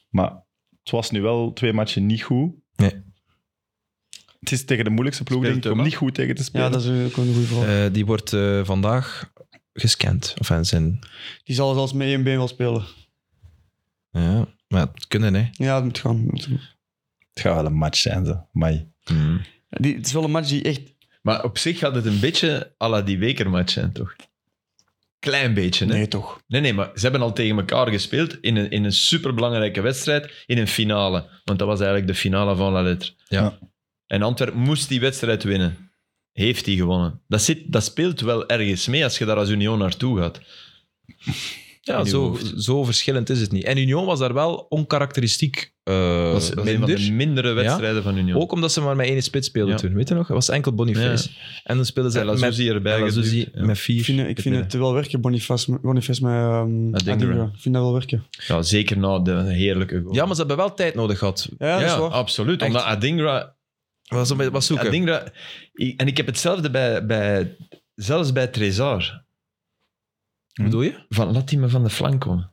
Maar het was nu wel twee matchen niet goed. Nee. Het is tegen de moeilijkste ploeg, Speelt denk ik, om Tuma? niet goed tegen te spelen. Ja, dat is ook een goede vraag. Eh, die wordt eh, vandaag gescand. Of enfin, zijn... Die zal zelfs met één been wel spelen. Ja, maar het kunnen, hè. Ja, dat moet gaan. dat moet gaan. Het gaat wel een match zijn, ze. Amai. Hmm. Die, het is wel een match die echt... Maar op zich gaat het een beetje à la die wekermatch zijn, toch? Klein beetje, hè? Nee. toch. nee, maar ze hebben al tegen elkaar gespeeld in een, in een superbelangrijke wedstrijd, in een finale. Want dat was eigenlijk de finale van La Lettre. Ja. En Antwerpen moest die wedstrijd winnen. Heeft die gewonnen. Dat, zit, dat speelt wel ergens mee als je daar als Union naartoe gaat. Ja, In uw zo, hoofd. zo verschillend is het niet. En Union was daar wel onkarakteristiek eh Dat is een van minder. de mindere wedstrijden van Union. Ook omdat ze maar met één spits speelden Ja. toen, weet je nog? Het was enkel Boniface. En dan speelden ze En met, Lazouzi erbij en Lazouzi geduwd, ja. met Ik vier. vind, ik vind het wel werken, Boniface, Boniface met... ehm Adingra. Adingra. Ik vind dat wel werken. Ja, zeker na de heerlijke goal. Ja, maar ze hebben wel tijd nodig gehad. Ja, dat Ja, is waar. absoluut. Echt. Omdat Adingra... Was, was zoeken. Adingra en ik heb hetzelfde bij, bij, zelfs bij Trezor. Wat bedoel je? Van, laat hij me van de flank komen.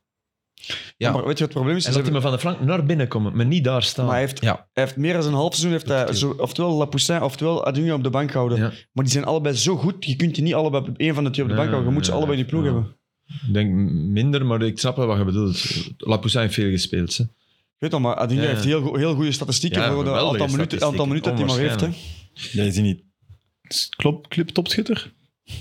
Ja. Maar weet je wat het probleem is? En Ze laat hij me van de flank naar binnen komen, maar niet daar staan. Maar hij heeft, Ja. hij heeft meer dan een half seizoen heeft hij zo, oftewel Lapoussin oftewel Adingra op de bank houden. Ja. Maar die zijn allebei zo goed, je kunt die niet allebei op één van de twee op de Nee, bank houden. Je moet ze nee, allebei in je ploeg ja. hebben. Ik denk minder, maar ik snap wel wat je bedoelt. Lapoussin heeft veel gespeeld. Hè. Weet al, maar Adingra Ja, ja. heeft heel, go- heel goede statistieken Ja, voor het geweldige aantal minuten, statistieken. aantal minuten dat hij maar heeft. Hè. Jij ziet niet. Klopt, club topschutter?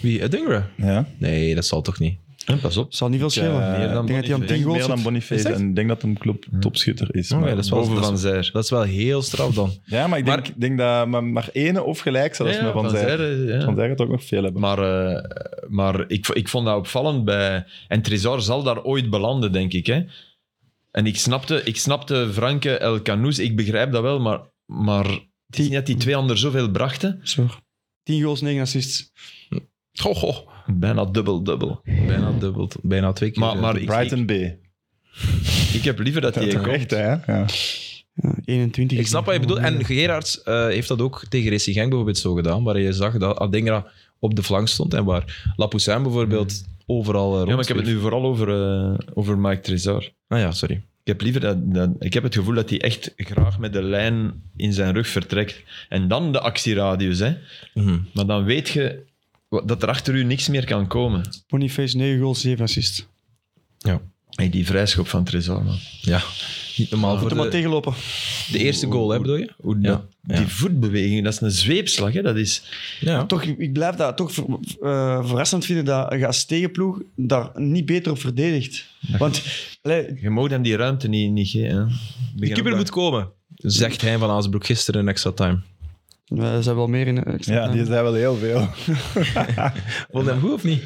Wie? Adingra? Ja. Nee, dat zal toch niet. En pas op. Zal niet veel schelen. eh, meer dan ik denk dat hij aan Boniface. Ik denk tien meer goals dan zit. Is Boniface dat? en ik denk dat hem club topschutter is. Oh, maar- ja, dat is wel- Boven dat van Zijr. Dat is wel heel straf dan. Ja, maar ik denk, denk dat maar, maar ene of gelijk zelfs Ja, met Van Zijr. eh, ja. Van Zijr gaat ook nog veel hebben. Maar, eh, maar ik, ik vond dat opvallend bij... En Trezor zal daar ooit belanden, denk ik. Hè? En ik snapte, ik snapte Franke El Canoes, ik begrijp dat wel, maar, maar het is niet dat die twee anderen zoveel brachten. Zo. Tien goals, negen assists. Goh, goh. Bijna dubbel-dubbel. Bijna dubbel. Bijna twee keer. Maar, eh, maar ik, ik, Brighton B. ik heb liever dat hij *laughs* Dat toch komt. echt, hè? Ja. Ja, 21. Ik snap wat je bedoelt. En Gerards eh, heeft dat ook tegen Racing Genk bijvoorbeeld zo gedaan, waar je zag dat Adingra op de flank stond en waar Lapoussin bijvoorbeeld overal eh, Ja, maar ik heb het nu vooral over, eh, over Mike Trezor. Ah ja, sorry. Ik heb liever dat, dat- Ik heb het gevoel dat hij echt graag met de lijn in zijn rug vertrekt. En dan de actieradius, hè. Mhm. Maar dan weet je wat- dat er achter u niks meer kan komen. Boniface, 9 goals, 7 assists. Hey, die vrijschop van Trezor, man. Ja, niet normaal Moet voor hem maar de, tegenlopen. de eerste goal, hè, bedoel je? Hoe Ja, dat- ja. Die voetbeweging, dat is een zweepslag, hè. Dat is... Ja. Toch, ik blijf dat toch ver- eh, verrassend vinden dat een als tegenploeg daar niet beter op verdedigt. Want allee, Je mag hem die ruimte niet, niet geven, hè. De keeper moet komen, zegt hij van Aasbroek gisteren in extra time. we zijn wel meer in. eh, extra ja, time. die zijn wel heel veel. Vond je hem goed of niet?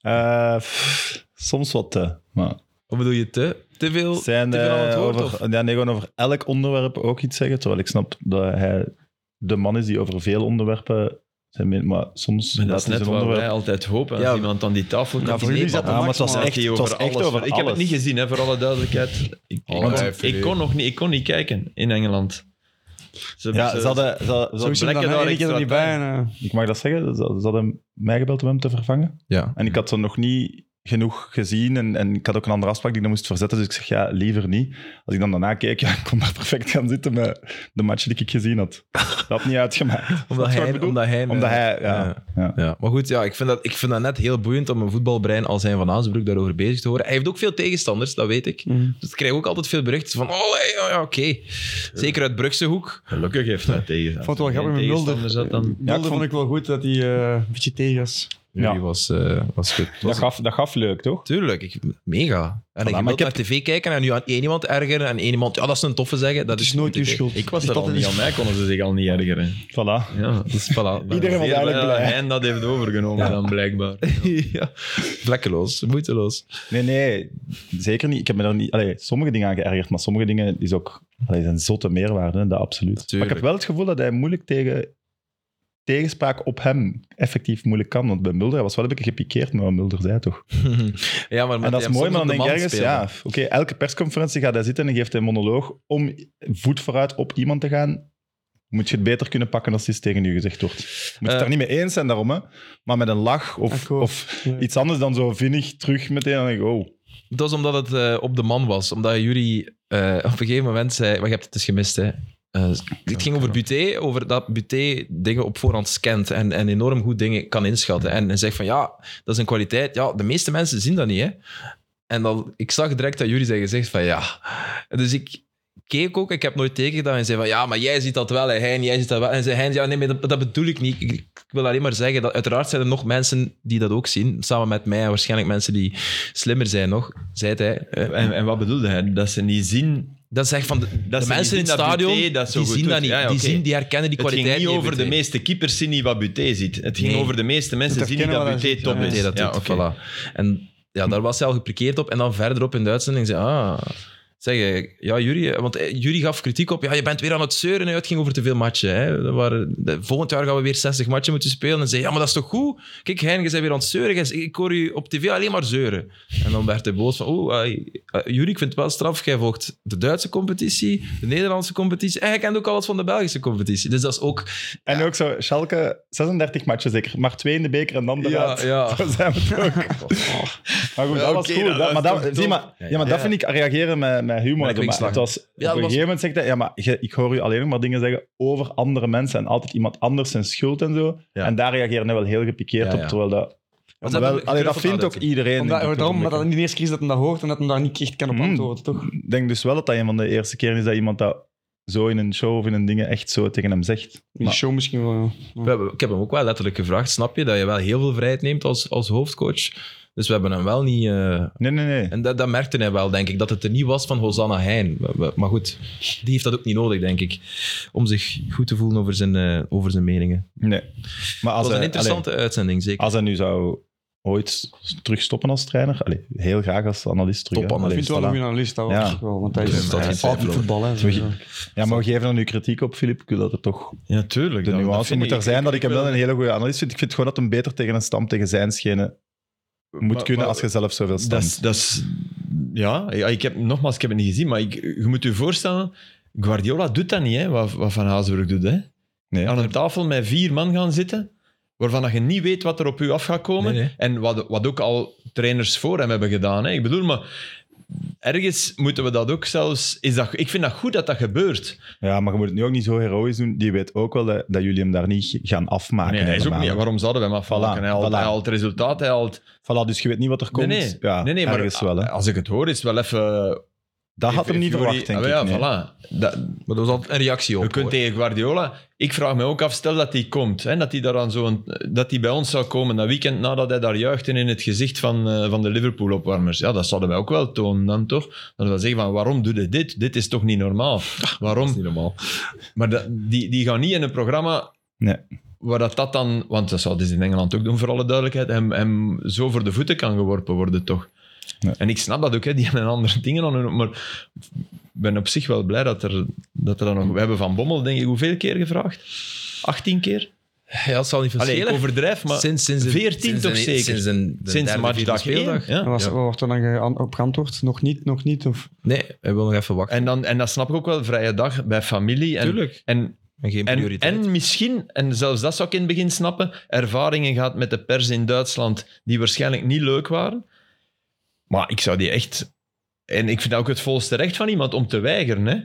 Eh, pff, soms wat te. Maar Of bedoel je te, te veel, zijn te veel aan het eh, woord? of? over, ja, nee, gewoon over elk onderwerp ook iets zeggen. Terwijl ik snap dat hij de man is die over veel onderwerpen. Zijn mening- maar soms Maar dat laat is hij net zijn waar onderwerp- wij altijd hopen. Als Ja. iemand aan die tafel komt, voor die jullie neemt zat Ah, dat maar aan. het was Praat echt- hij het was echt over Ik heb het alles. niet gezien, hè, voor alle duidelijkheid. Ik, ik, Want- kon, ik kon nog niet, ik kon niet kijken in Engeland. Ze, Ja, ze- ze hadden, ze hadden- ze Zo hadden- is hem blekken dan, hè, daar ik heb er extra niet bij. en, eh, ik mag dat zeggen, ze ze hadden mij gebeld om hem te vervangen. Ja. En ik had ze nog niet genoeg gezien en, en ik had ook een andere afspraak die ik dan moest verzetten. Dus ik zeg, ja, liever niet. Als ik dan daarna keek, *laughs* ja, ik kon daar perfect gaan zitten met de match die ik gezien had. Dat had niet uitgemaakt. Snap je Omdat wat ik hij, bedoel? omdat hij... Omdat eh, hij, ja. ja. ja. Ja, maar goed, ja, ik, vind dat, ik vind dat net heel boeiend om een voetbalbrein als zijn van Aasbroek daarover bezig te horen. Hij heeft ook veel tegenstanders, dat weet ik. Mhm. Dus ik krijg ook altijd veel berichten van, oh hey, ja, ja, oké. Zeker uit Brugse hoek. Gelukkig heeft hij tegen. Ik vond het wel grappig met Mulder. Zat dan. Mulder vond... vond- ik wel goed dat hij eh, een beetje tegen was. Ja. Ja. Die was, eh, was goed. Dat, Was- gaf, dat gaf leuk, toch? Tuurlijk, ik, mega. En Voilà, ik maar wil ik naar tv kijken en nu aan één iemand ergeren en één iemand, ja, dat is een toffe zeggen. Dat Het is nooit uw niet schuld. Ik was Dus er al dat niet, is- aan mij konden ze zich al niet ergeren. Voilà. Ja. Dus voilà. Iedereen was Zeer eigenlijk blij dat blij. hij dat heeft overgenomen dan, blijkbaar. *laughs* ja. Vlekkeloos, moeiteloos. Nee, nee, zeker niet. Ik heb me daar niet... Allee, sommige dingen aan geërgerd, maar sommige dingen is ook... Allee, zijn zotte meerwaarde, hè, dat absoluut. Maar Tuurlijk. ik heb wel het gevoel dat hij moeilijk tegen... Tegenspraak op hem effectief moeilijk kan. Want bij Mulder, hij was wel een beetje gepikeerd met wat Mulder zei, *laughs* toch? ja, maar En dat is mooi, maar dan denk ik ergens, ja, ja. oké, elke persconferentie gaat hij zitten en geeft hij een monoloog om voet vooruit op iemand te gaan. Moet je het beter kunnen pakken als iets tegen u gezegd wordt. Moet je het Eh. daar niet mee eens zijn daarom, hè? Maar met een lach of, Akkoord. of Ja. iets anders dan zo vinnig terug meteen. Dan denk ik, oh, Dat is omdat het eh, op de man was. Omdat jullie eh, op een gegeven moment zei... Maar je hebt het dus gemist, hè. Eh, het ging over Buté, over dat Buté dingen op voorhand scant en, en enorm goed dingen kan inschatten. En, en zegt van, ja, dat is een kwaliteit. Ja, de meeste mensen zien dat niet, hè. En dan, ik zag direct dat jullie zijn gezegd van, ja. Dus ik keek ook, ik heb nooit tegengedaan en zei van, ja, maar jij ziet dat wel, hè, Hein, jij ziet dat wel. En zei Hein, ja, nee, maar dat, dat bedoel ik niet. Ik, ik wil alleen maar zeggen, dat uiteraard zijn er nog mensen die dat ook zien, samen met mij en waarschijnlijk mensen die slimmer zijn nog, zei hij. Eh, En, en wat bedoelde hij? Dat ze niet zien. dat is echt van de, de ze niet mensen in het zien dat stadion, Buté dat zo die goed zien dat doet. niet. Ja, ja, die, oké. zien, die herkennen die Het kwaliteit ging niet die over de Buté- meeste keepers zien niet wat Buté ziet. Het ging Nee. over de meeste mensen Het zien niet dat herkennen Buté wat top hij is. Buté dat Ja, doet, oké. voilà. En ja, daar was hij al geprikeerd op. En dan verderop in de uitzending zei ah, zeg, eh, ja, Jury, eh, want eh, Jury gaf kritiek op, ja, je bent weer aan het zeuren, hè. het ging over te veel matchen. Hè. Er waren- de- volgend jaar gaan we weer 60 matchen moeten spelen. En zei, ja, maar dat is toch goed? Kijk, Hein, je bent weer aan het zeuren. Jij- Ik hoor u op tv alleen maar zeuren. En dan werd hij boos van, oh, eh, eh, Jury, ik vind het wel straf, jij volgt de Duitse competitie, de Nederlandse competitie, en jij kent ook alles van de Belgische competitie. Dus dat is ook... En ook zo, Schalke, 36 matchen zeker. Maar twee in de beker en dan Ja, eruit. *laughs* ja. Zo zijn we het ook. Maar goed, Ja, dat was oké, cool. dat Dat, maar was dat, toch zie maar, Ja, ja, ja. maar dat vind ik reageren met, met humor. Met Zo, maar kwinkslag. het was, dat op een was- gegeven moment zegt hij, ja, maar je- ik hoor u alleen nog maar dingen zeggen over andere mensen en altijd iemand anders zijn schuld en zo. Ja. En daar reageert hij wel heel gepikeerd Ja, ja. op, terwijl dat... ze maar wel- hebben allee, dat geknuffeld vindt ook altijd. iedereen. Omdat, denk ik, daarom, maar op dat het een niet de eerste keer is dat hij dat hoort en dat hij daar niet echt kan op Mm. antwoorden, toch? blik. Ik denk dus wel dat dat een van de eerste keren is dat iemand dat zo in een show of in een dingen echt zo tegen hem zegt. In de Maar- show misschien wel, ja. We hebben- ik heb hem ook wel letterlijk gevraagd, snap je, dat je wel heel veel vrijheid neemt als, als hoofdcoach. Dus we hebben hem wel niet... eh, Nee, nee, nee. en dat, dat merkte hij wel, denk ik, dat het er niet was van Hosanna Heijn. We- we- Maar goed, die heeft dat ook niet nodig, denk ik, om zich goed te voelen over zijn, eh, over zijn meningen. nee. Maar als eh, Het was een hij- interessante uitzending, zeker. Als hij nu zou ooit terug stoppen als trainer. Allee, heel graag als analist terug. hè. Ik Topanalist, vind het wel Allee, een goede voilà. analist, dat Ja. was ik wel. Want hij Dus is dat hij geen is altijd twijfel voetbal. Hè, Dus, eh, Terug- sowieso. Ja, maar we geven er nu kritiek op, Filip. Ik wil dat er toch Ja, tuurlijk. de dat- dat nuance vind moet ik- er zijn. Dat ik hem wil- wel een hele goede analist vind. Ik vind gewoon dat hem beter tegen een stam, tegen zijn schenen moet Maar- kunnen maar- als je zelf zoveel Dat stamt. is, dat is- ja, ja, ik heb, nogmaals, ik heb het niet gezien, maar ik, je moet je voorstellen, Guardiola doet dat niet, hè, wat, wat Van Hazenburg doet. Hè. Nee. Aan een tafel met vier man gaan zitten, waarvan dat je niet weet wat er op u af gaat komen. Nee, nee. En wat, wat ook al trainers voor hem hebben gedaan. Hè. Ik bedoel, maar ergens moeten we dat ook zelfs... Is dat, ik vind dat goed dat dat gebeurt. Ja, maar je moet het nu ook niet zo heroïs doen. Die weet ook wel dat, dat jullie hem daar niet gaan afmaken. nee, hij is ook Ah, helemaal. niet... Waarom zouden we hem afvallen? Voilà, hij, haalt, voilà. hij haalt resultaat, hij haalt... Voilà, dus je weet niet wat er komt. nee, nee. Ja, nee, nee, maar ergens wel. Hè. als ik het hoor, is het wel even... Dat had hem niet Fury- verwacht, denk Ah, ik. Ja, nee. voilà. Dat, Maar dat was altijd een reactie op. Je kunt hoor. tegen Guardiola... Ik vraag me ook af, stel dat hij komt, hè, dat hij daar aan zo'n- dat hij bij ons zou komen dat weekend nadat hij daar juichte in het gezicht van, eh, van de Liverpool-opwarmers. Ja, dat zouden wij ook wel tonen dan, toch? Dat we zeggen van, waarom doe je dit? Dit is toch niet normaal? Waarom? Ah, Dat is niet normaal. Maar dat- die, die gaan niet in een programma Nee. waar dat, dat dan... Want dat zouden ze in Engeland ook doen, voor alle duidelijkheid. Hem, hem zo voor de voeten kan geworpen worden, toch? Ja. En ik snap dat ook, hè, die hebben andere *laughs* dingen aan hun... Maar ik ben op zich wel blij dat er, dat er dan nog... We hebben Van Bommel, denk ik, hoeveel keer gevraagd? 18 keer? Ja, het zal niet Allee, verschillen. ik overdrijf, maar sinds, sinds de- 14 sinds toch de- zeker? Sinds, een, de sinds derde, matchdag vierde 1. speeldag. Ja. En was, Ja. wat wordt er dan geant- op geantwoord? Nog niet, nog niet? Of, Nee, hij wil nog even wachten. En, dan, en dat snap ik ook wel, vrije dag bij familie. En, Tuurlijk. En En geen En, prioriteit. en misschien, en zelfs dat zou ik in het begin snappen, ervaringen gehad met de pers in Duitsland die waarschijnlijk niet leuk waren. Maar ik zou die echt... En ik vind dat ook het volste recht van iemand om te weigeren. Hè?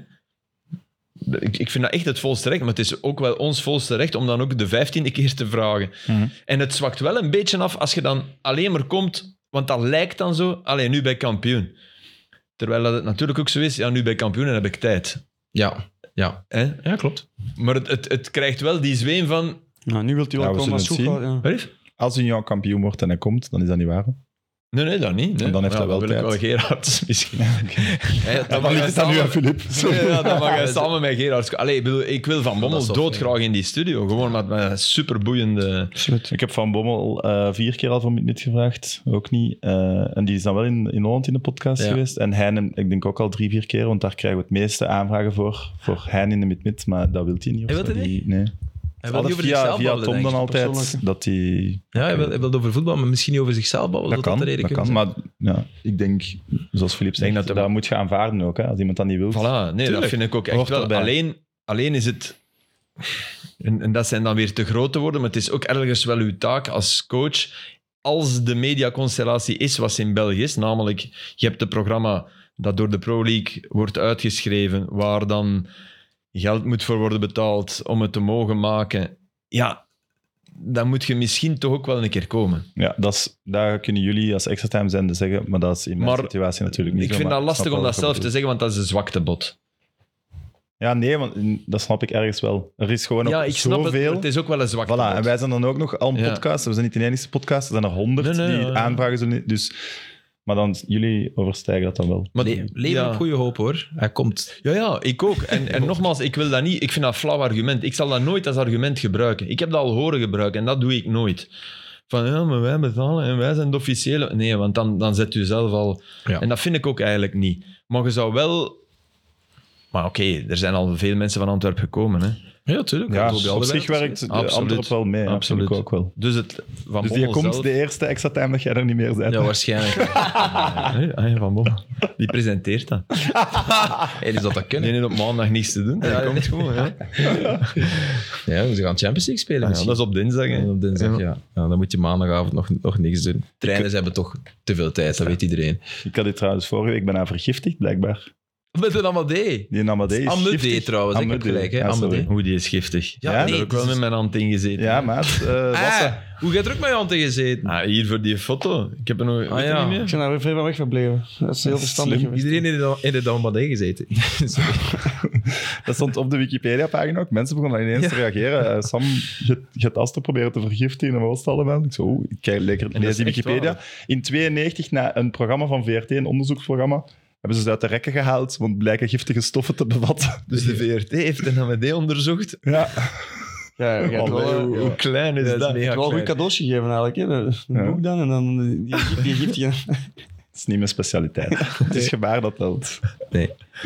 Ik, ik vind dat echt het volste recht, maar het is ook wel ons volste recht om dan ook de vijftiende keer te vragen. Mhm. En het zwakt wel een beetje af als je dan alleen maar komt, want dat lijkt dan zo, alleen nu bij kampioen. Terwijl dat het natuurlijk ook zo is, ja, nu bij kampioen en heb ik tijd. ja. ja. Hè? Ja, klopt. Maar het, het, het krijgt wel die zweem van... nou, nu wilt hij wel Ja, we komen als zullen het Soekla, ja. Wat is- Als hij jouw kampioen wordt en hij komt, dan is dat niet waar. Nee, nee, dat niet. Nee. En dan heeft Ja, hij wel dan wil tijd. ik wel Gerards *laughs* misschien. Ja, Ja, maar mag ligt hij het dan nu samen- aan Filip. Ja, Sorry. ja, dan mag hij samen met Gerards... Allee, ik, bedoel, ik wil Van Dat Bommel is wel doodgraag in die studio. Gewoon met mijn superboeiende... Absoluut. Ik heb Van Bommel eh, vier keer al voor minuut gevraagd, ook niet. Eh, en die is dan wel in, in Holland in de podcast Ja. geweest. En hij, neemt- ik denk ook al drie, vier keer, want daar krijgen we het meeste aanvragen voor. Voor hij in de mid-mid, maar dat wil hij niet. of Hij wil zo. het Die- niet? Nee. Hij wil Altijd niet over via, zichzelf via babbelen, Tom denk dan ik. altijd, persoonlijk. dat hij... Ja, hij wil, hij wil over voetbal, maar misschien niet over zichzelf babbelen. Dat Dat, kan, de reden dat kan. kunnen Maar ja, ik denk, zoals Filip zegt, denk dat, dat hem- moet je aanvaarden ook. Hè, als iemand dat niet wil. Voilà, nee, Tuurlijk. dat vind ik ook echt Hoort wel. erbij. Alleen, alleen is het... En, en dat zijn dan weer te grote woorden, maar het is ook ergens wel uw taak als coach. Als de mediaconstellatie is wat ze in België is, namelijk je hebt een programma dat door de Pro League wordt uitgeschreven, waar dan geld moet voor worden betaald om het te mogen maken. Ja, dan moet je misschien toch ook wel een keer komen. Ja, dat is, daar kunnen jullie als extra time zijn zeggen, maar dat is in mijn Maar situatie natuurlijk niet Ik zo, vind maar dat lastig snap om wel dat wat je zelf te zeggen, want dat is een zwakte bot. Ja, nee, want mm, dat snap ik ergens wel. Er is gewoon Ja, ook ik snap het, maar zoveel. het is ook wel een zwakte Voilà, bot. en wij zijn dan ook nog al een Ja. podcast. We zijn niet de enige podcast. Er zijn er honderd Nee, nee, die ja. aanvragen zullen. Dus, maar dan, jullie overstijgen dat dan wel. Maar- Le- leven ja. op goede hoop, hoor. Hij komt. Ja, ja, ik ook. En, en nogmaals, ik wil dat niet. Ik vind dat een flauw argument. Ik zal dat nooit als argument gebruiken. Ik heb dat al horen gebruiken en dat doe ik nooit. Van ja, maar wij betalen en wij zijn de officiële. Nee, want dan, dan zet u zelf al. Ja. En dat vind ik ook eigenlijk niet. Maar je zou wel. Maar oké, er zijn al veel mensen van Antwerpen gekomen. Hè? Ja, tuurlijk. Ja, Toby op Alderweireld zich werkt de Absoluut. Antwerp wel mee. Absoluut. Absoluut. ook wel. Dus het, van Dus die Bommel komt zelf- de eerste extra time dat jij er niet meer bent. Ja, *laughs* waarschijnlijk. Nee, ah ja, van Bommel. *laughs* Die presenteert dat. Hey, dus dat dat Die kunnen. heeft op maandag niets te doen. Ah, Die Ja, komt gewoon. Ja. *laughs* Ja, ze gaan Champions League spelen Ah ja, misschien. dat is op dinsdag. hè. En op dinsdag, ja. Ja, dan moet je maandagavond nog, nog niks doen. Trainers hebben toch te veel tijd, dat weet iedereen. Ik had dit trouwens vorige week. Ik ben aan vergiftigd, blijkbaar. Met een Amadee. Die Amadee is Amadee giftig. trouwens, ik heb Amadee. gelijk, hè, Ja, sorry. Amadee. Hoe die is giftig. Ja, Ja, Daar nee, heb ik wel het met is- mijn hand in gezeten. Ja, maat. eh, Wassen. Ah, hoe gaat er ook met je hand in gezeten? Ah, hier voor die foto. Ik heb er nog weet je Ah, ja. niet meer. Ik ben daar weer veel van weg gebleven. Dat is heel Dat is verstandig slim. geweest. Iedereen in de, in de Amadee *laughs* gezeten. Sorry. Dat stond op de Wikipedia-pagina ook. Mensen begonnen ineens te reageren. Eh, Sam, je je hebt as te proberen te vergiftigen en wat was het allemaal? Ik zo, oeh, ik kijk lekker, dat lees is die echt Wikipedia. In 92, na een programma van VRT, een onderzoeksprogramma, hebben ze ze uit de rekken *laughs* gehaald, want blijken giftige stoffen te bevatten. Dus de VRT heeft een AMD onderzocht. Ja, Ja, ja, je hebt Oh, wel, Allee, eh, hoe, hoe klein is Ja, dat is dat? mega je hebt wel klein. goed cadeaus gegeven eigenlijk. Hè. Een Ja. boek dan en dan die, die, die gift. ja. is niet mijn specialiteit. Het is gebaar dat telt.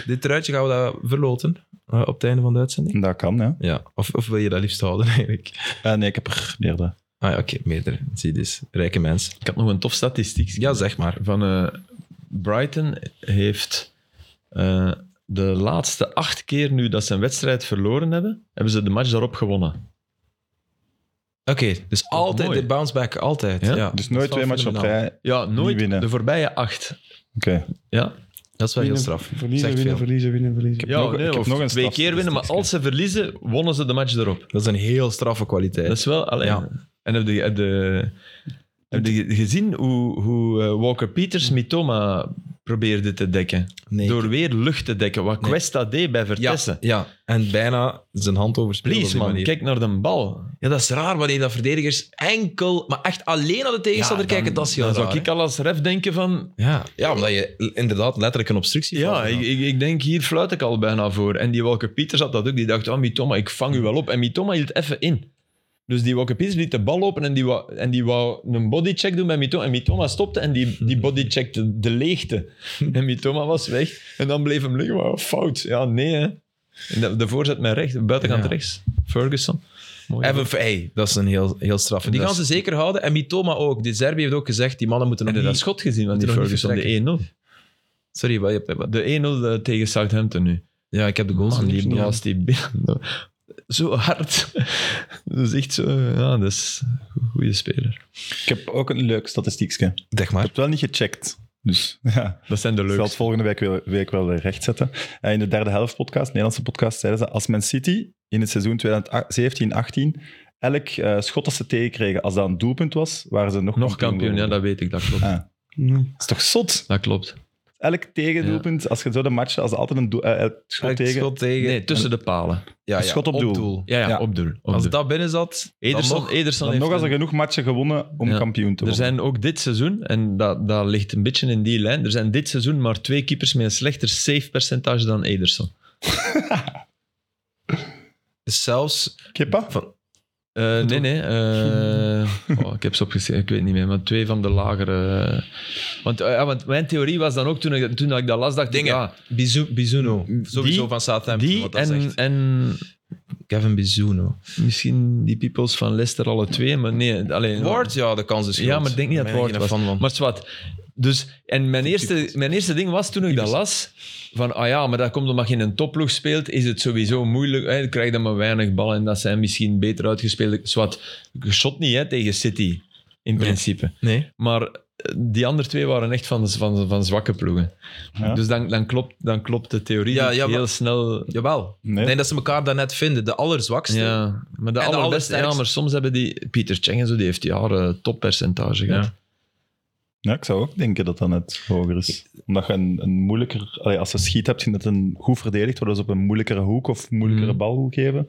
Dit truitje gaan we dat verloten eh, op het einde van de uitzending. Dat kan, ja. Ja, of, of wil je dat liefst houden *laughs* eigenlijk? Eh, nee, ik heb er meerdere. Ah ja, oké, meerdere. Zie je dus, rijke mensen. Ik had nog een tof statistiek. Ja, zeg maar. Van eh, Brighton heeft eh, de laatste acht keer nu dat ze een wedstrijd verloren hebben, hebben ze de match daarop gewonnen. Oké, dus altijd mooi. de bounce back, altijd. Ja? Ja, Dus Dat is nooit wel twee matchen op fenomenaal. rij. Oké. Ja, nooit winnen. de voorbije acht. Ja, Dat is wel heel Winnen, straf. Verliezen, Zegt winnen, veel. verliezen, winnen, verliezen. ja nog- nee, ik heb of nog een twee keer winnen, maar als ze verliezen, wonnen ze de match erop. Dat is een heel straffe kwaliteit. Dat is wel... Alleen, Ja. En heb je, heb je, heb je gezien hoe, hoe eh, Walker Peters Mitoma probeerde te dekken? Mm. nee. Door weer lucht te dekken, wat Nee. Cuesta deed bij ja, Vertessen. ja, en bijna zijn hand overspelen. Please, man, kijk naar de bal. Ja, dat is raar wanneer dat verdedigers enkel, maar echt alleen naar de tegenstander dan- kijken. Dat is heel Dan raar. zou ik hè? al als ref denken van... ja. ja, omdat je l- inderdaad letterlijk een obstructie Ja, valt. ik, ik, ik denk, hier fluit ik al bijna voor. En die Walker Pieters had dat ook. Die dacht, oh, Mitoma, ik vang u wel op. En Mitoma hield even in. Dus die Walker Pieters liet de bal lopen en die wou, en die wou een bodycheck doen bij Mitoma. En Mitoma stopte en die, die bodycheckte de *laughs* leegte. En Mitoma was weg. En dan bleef hem liggen. Maar fout. Ja, nee, hè. En de, de voorzet met rechts, buitenkant Ja. rechts. Ferguson. Mooi. Even, hey, dat is een heel, heel dus- straf. Die Dat gaan ze zeker houden. En Mitoma ook. De Serbië heeft ook gezegd, die mannen moeten nog Heb je dat niet... schot gezien van die nog niet Ferguson? De 1-0. Sorry, wat, je hebt- wat- De 1-0 tegen Southampton nu. ja, ik heb de goals Man, niet die gezien. blaast die binnen. Zo hard. Dat is echt zo... Ja, dat is een goede speler. Ik heb ook een leuk statistiekje. Ik Zeg heb maar. het wel niet gecheckt. Dus ja, Dat zijn de ik zal het leukste. volgende week, weer- week wel weer rechtzetten. En in de derde helft podcast, Nederlandse podcast, zeiden ze als Man City in het seizoen 2017-18 elk eh, schot dat ze tegenkregen, als dat een doelpunt was, waren ze nog, Nog kampioen, ja, geworden. dat weet ik. Dat klopt. Ah. Ja. is toch zot? Dat klopt. Elk tegendoelpunt, als je zo de match, als er altijd een doel, eh, het schot Elk tegen... schot tegen. Nee, tussen de palen. ja, ja, schot op doel. Ja, ja, Ja. op doel. Op Als doel. dat binnen zat, dan Ederson, nog- Ederson Dan heeft nog als er een- genoeg matchen gewonnen om Ja. kampioen te er worden. zijn ook dit seizoen, en dat, dat ligt een beetje in die lijn, er zijn dit seizoen maar twee keepers met een slechter save percentage dan Ederson. zelfs... Kepa? Eh, nee, nee. eh, oh, ik heb ze opgeschreven, ik weet niet meer. Maar twee van de lagere. want, eh, ja, want mijn theorie was dan ook toen ik, toen ik dat las, dacht ik, ah, Dingen. ja, Bizu- Bizuno. Sowieso Die- van Southampton. die wat dat en, zegt. en Kevin Bizuno. misschien die peoples van Leicester alle twee. Maar nee, alleen. Ward, ja, de kans is groot. Ja, maar ik denk niet dat Daar ben ik Ward was. geen fan van. Maar zwart. Dus, en mijn eerste, mijn eerste ding was toen ik dat las, van ah ja, maar dat komt omdat je in een topploeg speelt, is het sowieso moeilijk. Hè, dan krijg je dan maar weinig ballen en dat zijn misschien beter uitgespeeld. Zwart, je shot niet hè, tegen City, in principe. Nee. Maar eh, die andere twee waren echt van, van, van zwakke ploegen. Ja. Dus dan, dan, klopt, dan klopt de theorie Ja, niet ja, heel maar- snel. Jawel. Nee. Ik denk dat ze elkaar daarnet vinden. De allerzwakste. Ja, maar de En de allerbeste, ja, allersterkste. maar soms hebben die... Pieter Cheng en zo, die heeft jaren toppercentage gehad. Ja, ik zou ook denken dat dat net hoger is. Omdat je een, een moeilijker... allee, als ze schiet hebt, je net een goed verdedigd worden ze op een moeilijkere hoek of moeilijkere Mm. bal geven.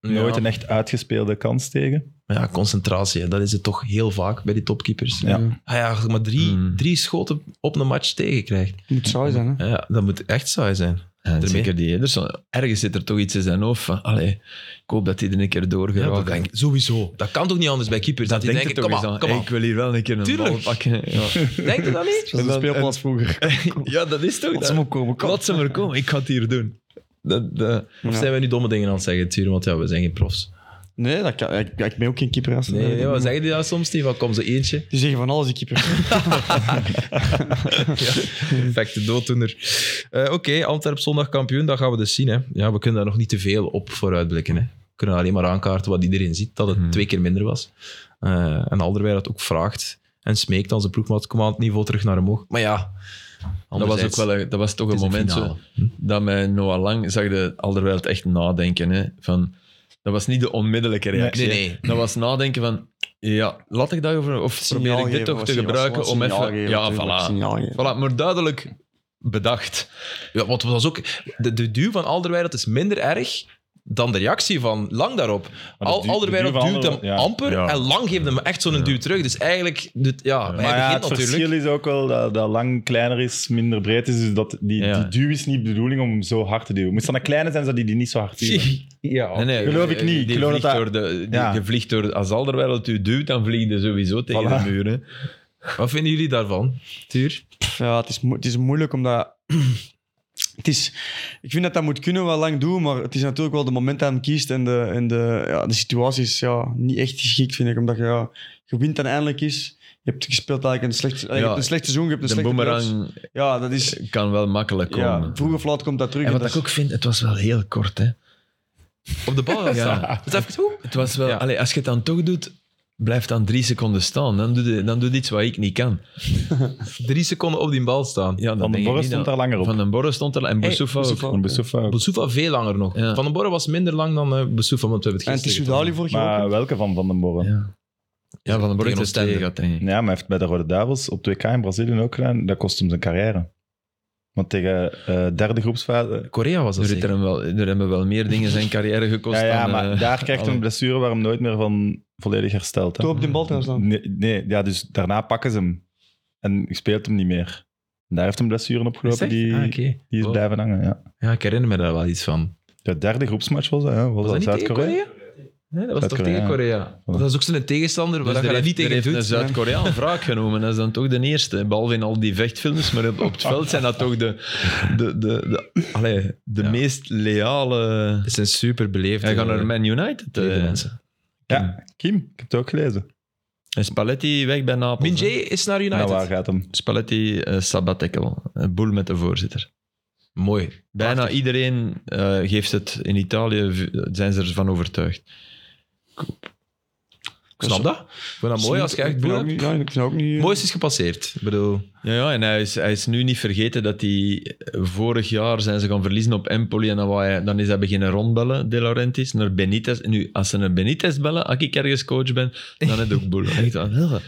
Nooit een echt uitgespeelde kans tegen. Ja, concentratie. hè. Dat is het toch heel vaak bij die topkeepers. Ja. Ah ja, als je maar drie, Mm. drie schoten op een match tegenkrijgt. Moet saai zijn, hè. Ja, dat moet echt saai zijn. En Ermee. zeker die Ederson. Ergens zit er toch iets in zijn hoofd van... Allee, ik hoop dat hij er een keer Ja, doorgeraakt. dat denk ik. Sowieso. Dat kan toch niet anders bij keepers? Dat, die denkt denken, er toch kom eens aan, kom aan, hey, aan. Ik wil hier wel een keer een Tuurlijk. bal *laughs* pakken. *laughs* Ja. Denk je dat niet? Dat is En een dan- speelplaats vroeger. ja, dat is toch... Dat ze Dat, moet komen. Kom. laat ze maar komen. Ik ga het hier doen. Dat, dat, Of Ja. zijn we nu domme dingen aan het zeggen, Tuur? Want ja, we zijn geen profs. Nee, dat kan, ik, ik ben ook geen keeper. als- Nee, nee, wat zeggen die dat soms, Steve? Van, Kom ze eentje. Die zeggen van alles, die keeper. Perfecte dooddoener. Eh, Oké, Antwerp zondag kampioen, dat gaan we dus zien. Hè. Ja, we kunnen daar nog niet te veel op vooruitblikken. Hè. We kunnen alleen maar aankaarten wat iedereen ziet, dat het Mhm. twee keer minder was. Eh, en Alderweir dat ook vraagt en smeekt aan zijn ploegmaat, kom aan het niveau terug naar omhoog. Maar ja, dat was ook wel... een- Dat was toch een moment zo... dat met Noah Lang zag de Alderweireld echt nadenken. Hè? Van, dat was niet de onmiddellijke reactie. Nee, nee, nee. hè. Dat was nadenken van, ja, laat ik dat over, of probeer ik dit toch te gebruiken om even... ja, voilà. voilà. Maar duidelijk bedacht. Ja, want het was ook... De, de duw van Alderweir, dat is minder erg dan de reactie van Lang daarop. de Al, du- Alderweireld de duw van duwt hem Alderweireld, ja. amper Ja. en Lang geeft hem echt zo'n duw terug. Dus eigenlijk, dit, ja, bij Maar ja, begint het verschil natuurlijk. is ook wel dat, dat lang kleiner is, minder breed is. Dus dat, die, Ja. die duw is niet de bedoeling om hem zo hard te duwen. Moest dan een kleine zijn, zou die die niet zo hard duwen. Ja, *laughs* Nee, nee, Geloof ik niet. Ik Die geloof vliegt dat door de, die, Ja. Je vliegt door... Als Alderweireld u duwt, dan vlieg je sowieso tegen Voilà. de muur. Hè. Wat vinden jullie daarvan, Tuur? Pff, Ja, het is, mo- het is moeilijk omdat. *clears throat* Het is, ik vind dat dat moet kunnen wel lang doen, maar het is natuurlijk wel de moment dat hem kiest en de, en de, ja, de situatie is ja, niet echt geschikt, vind ik. Omdat je, ja, je wint dan eindelijk is. Je hebt gespeeld eigenlijk een slecht, eh, je hebt een slecht seizoen, je hebt een De slechte boemerang plaats. Ja, dat is... kan wel makkelijk komen. Ja, vroeg of laat komt dat terug. En wat dat ik is- ook vind, het was wel heel kort. Hè. Op de bal? ja. Dat is even hoe? Het was wel, Ja. allee, als je het dan toch doet, blijf dan drie seconden staan. Dan doe je, dan doe je iets wat ik niet kan. Drie seconden op die bal staan. Ja, Van dan denk den ik Borre niet stond dat- daar langer op. Van den Borre stond er en Boussoufa ook. Boussoufa. Van Boussoufa ook. Boussoufa veel langer nog. Ja. Van den Borre was minder lang dan eh Boussoufa, want we hebben En het het is gisteren Soudali vorig jaar ook. Maar welke van Van den Borren? Ja. Ja. ja, Van den Borre Tegen heeft ons stand twee. gehad, denk ik. maar hij heeft bij de Rode Duivels op 2K in Brazilië ook gedaan. Dat kost hem zijn carrière. Want tegen eh derde groepsfase... gedaan. Korea was dat Er, zit er, zeker. hem wel, er hebben wel meer dingen zijn carrière gekost. Ja, ja, dan, maar eh, daar krijgt hij een alle- blessure waar hem nooit meer van volledig herstelt. hè. Toe op die bal trouwens dan. Nee, nee, ja, dus daarna pakken ze hem. En speelt hem niet meer. En daar heeft hem blessuren opgelopen. Echt? Die, Ah, oké. die is Wow. blijven hangen, ja. Ja, ik herinner me daar wel iets van. Dus De derde groepsmatch was dat, hè? Was, Was dat dat niet tegen Zuid-Korea? Korea? Nee, dat was toch Zuid-Korea. tegen Korea. Dat is ook zo'n tegenstander waar Dus je er dat heeft- niet er tegen heeft doet. een Zuid-Koreaan *laughs* wraak genomen. Dat is dan toch de eerste. Behalve in al die vechtfilms, maar op, op het veld zijn dat toch de, de, de, de, allee, de Ja. meest leale... Het zijn super beleefd. Hij gaat naar Man United. eh. mensen. Ja, Kim. Ik heb het ook gelezen. En Spalletti weg bij Napels. Min hè. is naar Nou, United. waar gaat hem? Spalletti, eh sabbatical. Een boel met de voorzitter. Mooi. Bijna Prachtig. iedereen eh, geeft het in Italië, v- zijn ze ervan overtuigd. Ik snap dat. Ik vind dat mooi als je echt Ik boel ben ook hebt. niet- Ja, ik vind ook niet... Moois is dus gepasseerd. Ik bedoel, Ja, ja en hij is, hij is nu niet vergeten dat hij eh, vorig jaar zijn ze gaan verliezen op Empoli en dan, wou hij- dan is hij beginnen rondbellen, De Laurentiis, naar Benitez. Nu, als ze naar Benitez bellen, als ik ergens coach ben, dan heb ik ook boel. Echt waar. *laughs* Ja.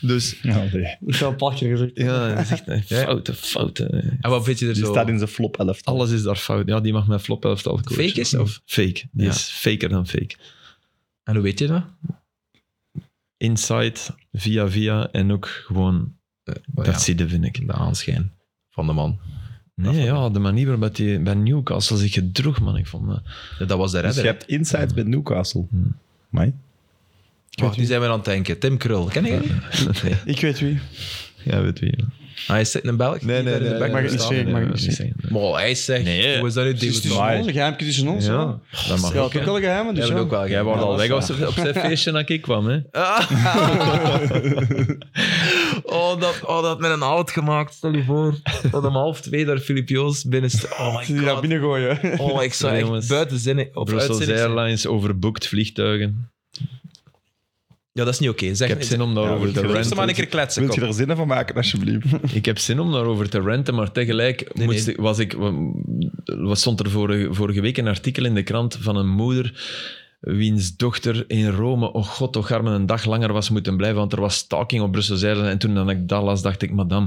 Dus Ja, nee. Ik zou een pakje gezegd. *laughs* ja, dat is echt een foute, foute. eh, en wat vind je er Die zo? staat in zijn flop 11. Dus Alles is daar fout. Ja, die mag met flop elftal coachen. Fake is, of? Fake. Die Ja. is faker dan fake. En hoe weet je dat? Inside, via via en ook gewoon Maar Oh, dat ja, zie je, vind ik. de aanschijn van de man. Nee, ja, de manier waarop hij bij Newcastle zich gedroeg, man. Ik vond dat... Ja, Dat was de Dus redder. je hebt insights bij Newcastle. Hmm. Amai. Wacht, nu Oh, zijn we aan het denken. Tim Krul, ken je die? Nee. Ik weet wie. Ja, weet wie. ja. Ah, Hij is in een Belg. die daar in de back mag het moet niet staan. zeggen, ik mag het dat niet zeggen. Maar hij zegt, Nee. hoe is dat nu? Het is David tussen Moyes? ons, een geheimje tussen ons. hè. Ja, dat mag Ja, ook. het is ook wel een geheim, Jij dus wordt ja. ook wel Jij geheim. was Ja, al dat weg is als er- op zijn feestje dat ik kwam, hè. *laughs* Oh, dat, oh, dat met een hout gemaakt, stel je voor. Dat om half twee daar Filip Joos binnen staat. Oh Die my daar god. binnen gooien. Oh, ik zou Nee, echt jongens. buiten zinnen op Brussels uitzinnig zijn. Airlines overboekt vliegtuigen. Ja, dat is niet oké. Ik Zeg heb zin om Ja, daarover ik te heb Geef ze ranten. maar een keer kletsen. Wilt je kom. er zinnen van maken, *laughs* alsjeblieft? Ik heb zin om daarover te ranten, maar tegelijk Nee, moest nee. ik- was ik, was, stond er vorige, vorige week een artikel in de krant van een moeder wiens dochter in Rome, oh god, toch armen een dag langer was moeten blijven, want er was staking op Brusselse Airlines. En toen dan ik dat las, dacht ik, madame,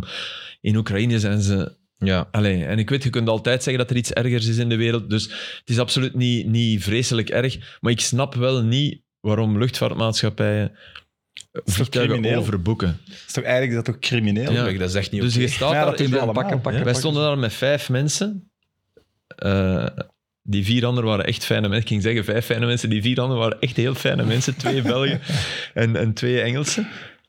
in Oekraïne zijn ze... Ja. Allee, en ik weet, je kunt altijd zeggen dat er iets ergers is in de wereld, dus het is absoluut niet, niet vreselijk erg, maar ik snap wel niet waarom luchtvaartmaatschappijen vliegtuigen crimineel? overboeken. is toch eigenlijk is dat toch crimineel? Ja. Dat is echt niet Dus oké. je staat Maar ja, daar dat doen in ze een- allemaal. Pakken, pakken, wij pakken. stonden daar met vijf mensen. Eh, die vier anderen waren echt fijne mensen. Ik ging zeggen vijf fijne mensen. Die vier anderen waren echt heel fijne mensen. *laughs* Twee Belgen en, en twee Engelsen.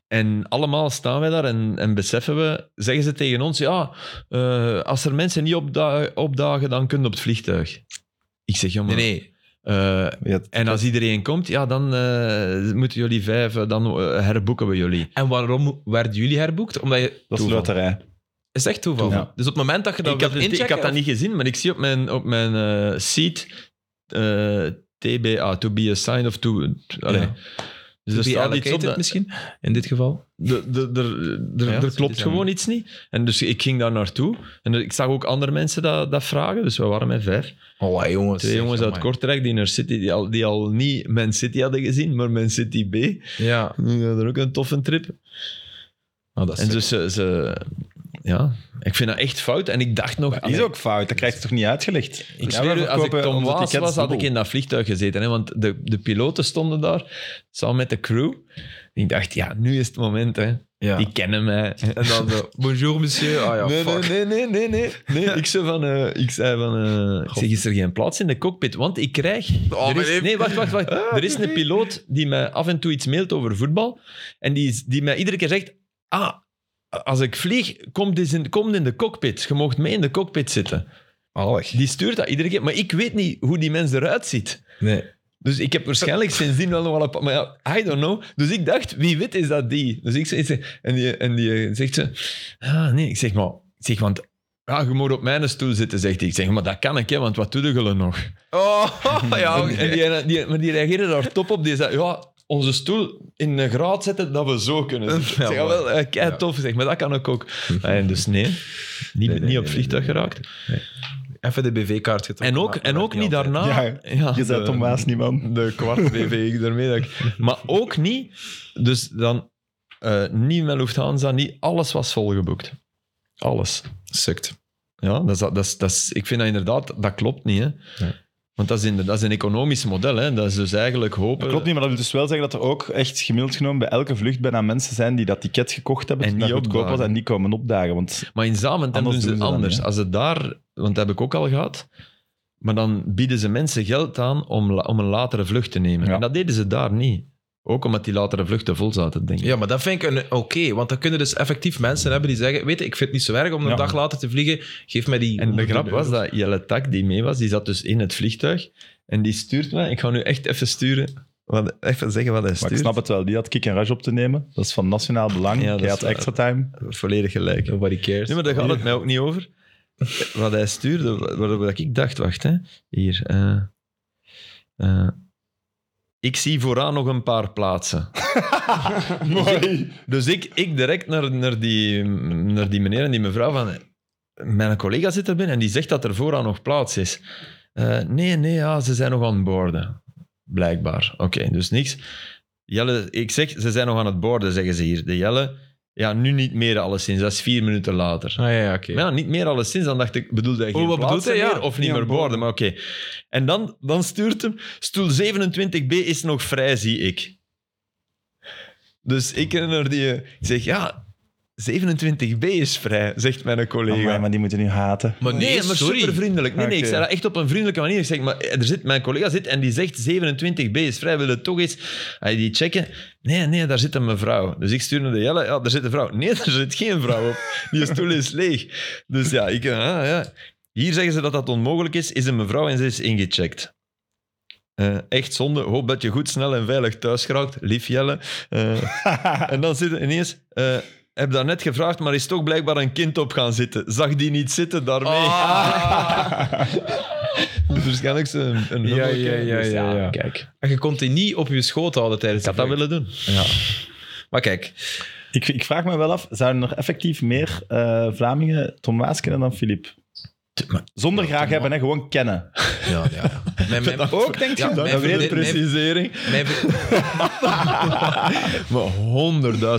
En allemaal staan wij daar en, en beseffen we, zeggen ze tegen ons, ja, eh, als er mensen niet opda- opdagen, dan kunnen op het vliegtuig. Ik zeg, ja, maar, Nee, nee. eh, Ja, en als iedereen komt, ja, dan eh, moeten jullie vijf, eh, dan eh, herboeken we jullie. En waarom werden jullie herboekt? Omdat je... dat is toeval. loterij. Het is echt toeval. Toeval. Dus op het moment dat je dat ik, had wilt het- ik had inchecken, dat niet gezien, maar ik zie op mijn, op mijn eh, seat eh, TBA, to be assigned of to... allee. Ja. Dus to er be staat iets op allocated dat- misschien, in dit geval. de- de- de- de- Ja, Er zoiets klopt aan. gewoon iets niet. En dus ik ging daar naartoe. En ik zag ook andere mensen dat, dat vragen. Dus we waren met vijf. Oh, hey, jongens. Twee zeg, jongens uit amai. Kortrijk die, naar City, die, al, die al niet Man City hadden gezien, maar Man City B. Ja. Die hadden ook een toffe trip. Oh, dat is En dus ze, ze, ja, ik vind dat echt fout. En ik dacht nog... Ah, Dat is ook fout, dat krijg je toch niet uitgelegd? Ik Ja, we zweer u, als ik verkopen Tom onze Waas tickets was, had ik dubbel. in dat vliegtuig gezeten. Hè? Want de, de piloten stonden daar, samen met de crew. En ik dacht, ja, nu is het moment. Hè? Ja. Die kennen mij. *laughs* En dan eh, zo, bonjour monsieur. Ah ja, nee, fuck. nee, nee, nee, nee, nee. Ik zei van, eh, ik zei van eh, ik zeg, is er geen plaats in de cockpit? Want ik krijg... Oh, er mijn is, lief. nee, wacht, wacht, wacht. er is een piloot die mij af en toe iets mailt over voetbal. En die, is- die mij iedere keer zegt, ah, als ik vlieg, kom, dit in, kom in de cockpit. Je mag mee in de cockpit zitten. Die stuurt dat iedere keer. Maar ik weet niet hoe die mens eruit ziet. Nee. Dus ik heb waarschijnlijk sindsdien wel nog wel een paar... Maar ja, I don't know. Dus ik dacht, wie weet is dat die? Dus ik zeg, en die, en die eh, zegt ze... Ah, nee. Ik zeg, maar... Ik zeg, want... Ja, je moet op mijn stoel zitten, zegt hij. Ik zeg, maar dat kan ik, hè, want wat doe je er nog? Oh, ja, En, en die, die, maar die reageerde daar top op. Die zei, ja, onze stoel in een graad zetten dat we zo kunnen zitten. Ik *laughs* zeg, Ja, ja, wel, eh, kei tof. Zeg, maar dat kan ik ook. En dus nee, niet, nee, niet op nee, vliegtuig nee, nee, geraakt. Even de BV-kaart getrokken. En ook, maar en dat ook werkt niet altijd. daarna... Ja, ja, Je zei de- Tom Waas niet, man. de kwart BV, ik daarmee. Dat ik, maar ook niet, dus dan eh, niet met Lufthansa, niet, alles was volgeboekt. Alles. Sukt. Ja, dat is, dat is, dat is, ik vind dat inderdaad, dat klopt niet. Hè? Nee. Want dat is, in, dat is een economisch model. Hè? Dat is dus eigenlijk hopen. Dat klopt niet, maar dat wil dus wel zeggen dat er ook echt gemiddeld genomen bij elke vlucht bijna mensen zijn die dat ticket gekocht hebben En toen niet dat goedkoop was opdagen. en die komen opdagen. Want Maar in Zaventem Anders doen ze doen het ze dat anders. niet, hè? Als het daar, want dat heb ik ook al gehad. Maar dan bieden ze mensen geld aan om, la- om een latere vlucht te nemen. Ja. En dat deden ze daar niet. Ook omdat die latere vluchten vol zaten, denk ik. Ja, maar dat vind ik een oké. want dan kunnen dus effectief mensen hebben die zeggen: Weet je, ik vind het niet zo erg om een Ja. dag later te vliegen. Geef mij die. En de 100 grap euro. was dat Jelle Tak, die mee was, die zat dus in het vliegtuig. En die stuurt mij. Ik ga nu echt even sturen. Wat, even zeggen wat hij maar stuurt. ik snap het wel, die had kick en rush op te nemen. Dat is van nationaal belang. Ja, dat Jij is had waar. extra time. Volledig gelijk. Nobody cares. Nee, maar daar gaat het mij ook niet over. Wat hij stuurde, wa- waarover dat ik dacht, wacht hè. Hier. eh, eh, ik zie vooraan nog een paar plaatsen. Mooi. Dus ik, ik direct naar, naar, die, naar die meneer en die mevrouw van... Mijn collega zit er binnen en die zegt dat er vooraan nog plaats is. Eh, nee, nee, ja, ze zijn nog aan het boorden. Blijkbaar. Oké, dus niks. Jelle, ik zeg, ze zijn nog aan het boorden, zeggen ze hier. De Jelle, ja, nu niet meer alleszins. Dat is vier minuten later. Ah ja, ja, oké. Maar ja, niet meer alleszins. Dan dacht ik, bedoelde hij Oh, geen wat bedoelt plaatsen hij? Ja. meer of niet Ja, meer boorden. borden? Maar oké. En dan, dan stuurt hem, stoel 27b is nog vrij, zie ik. Dus ik ren naar die... eh, Ik zeg, ja, 27b is vrij, zegt mijn collega. Amai, maar die moeten nu haten. Maar nee, Nee, maar sorry. super vriendelijk. Nee, nee, ik Oké. zei dat echt op een vriendelijke manier. Ik zeg, maar eh, er zit, mijn collega zit en die zegt 27b is vrij, wil het toch eens Hij die checken? Nee, nee, daar zit een mevrouw. Dus ik stuur naar de Jelle, ja, daar zit een vrouw. Nee, *laughs* daar zit geen vrouw op. Die stoel is leeg. Dus ja, ik, ah, ja. Hier zeggen ze dat dat onmogelijk is, is een mevrouw en ze is ingecheckt. Eh, echt zonde. Hoop dat je goed, snel en veilig thuis geraakt. Lief Jelle. Eh, en dan zit er ineens... eh, heb daar net gevraagd, maar is toch blijkbaar een kind op gaan zitten. Zag die niet zitten daarmee? Ah. Ah. Dus waarschijnlijk ze een, een Ja, huppelke. ja, ja, Dus ja, ja. Kijk, ik En je kon die niet op je schoot houden tijdens had dat de vlucht. willen doen. Maar kijk, Ik, ik vraag me wel af, zouden er effectief meer eh, Vlamingen Tom Waas kennen dan Filip? Zonder graag hebben, hè, gewoon *laughs* kennen. ja, ja, ja. Mijn, mijn, Ook, denk je? Ja, *laughs* Dat mijn is weer vriendin- precies. Precisering. mijn vri- Maar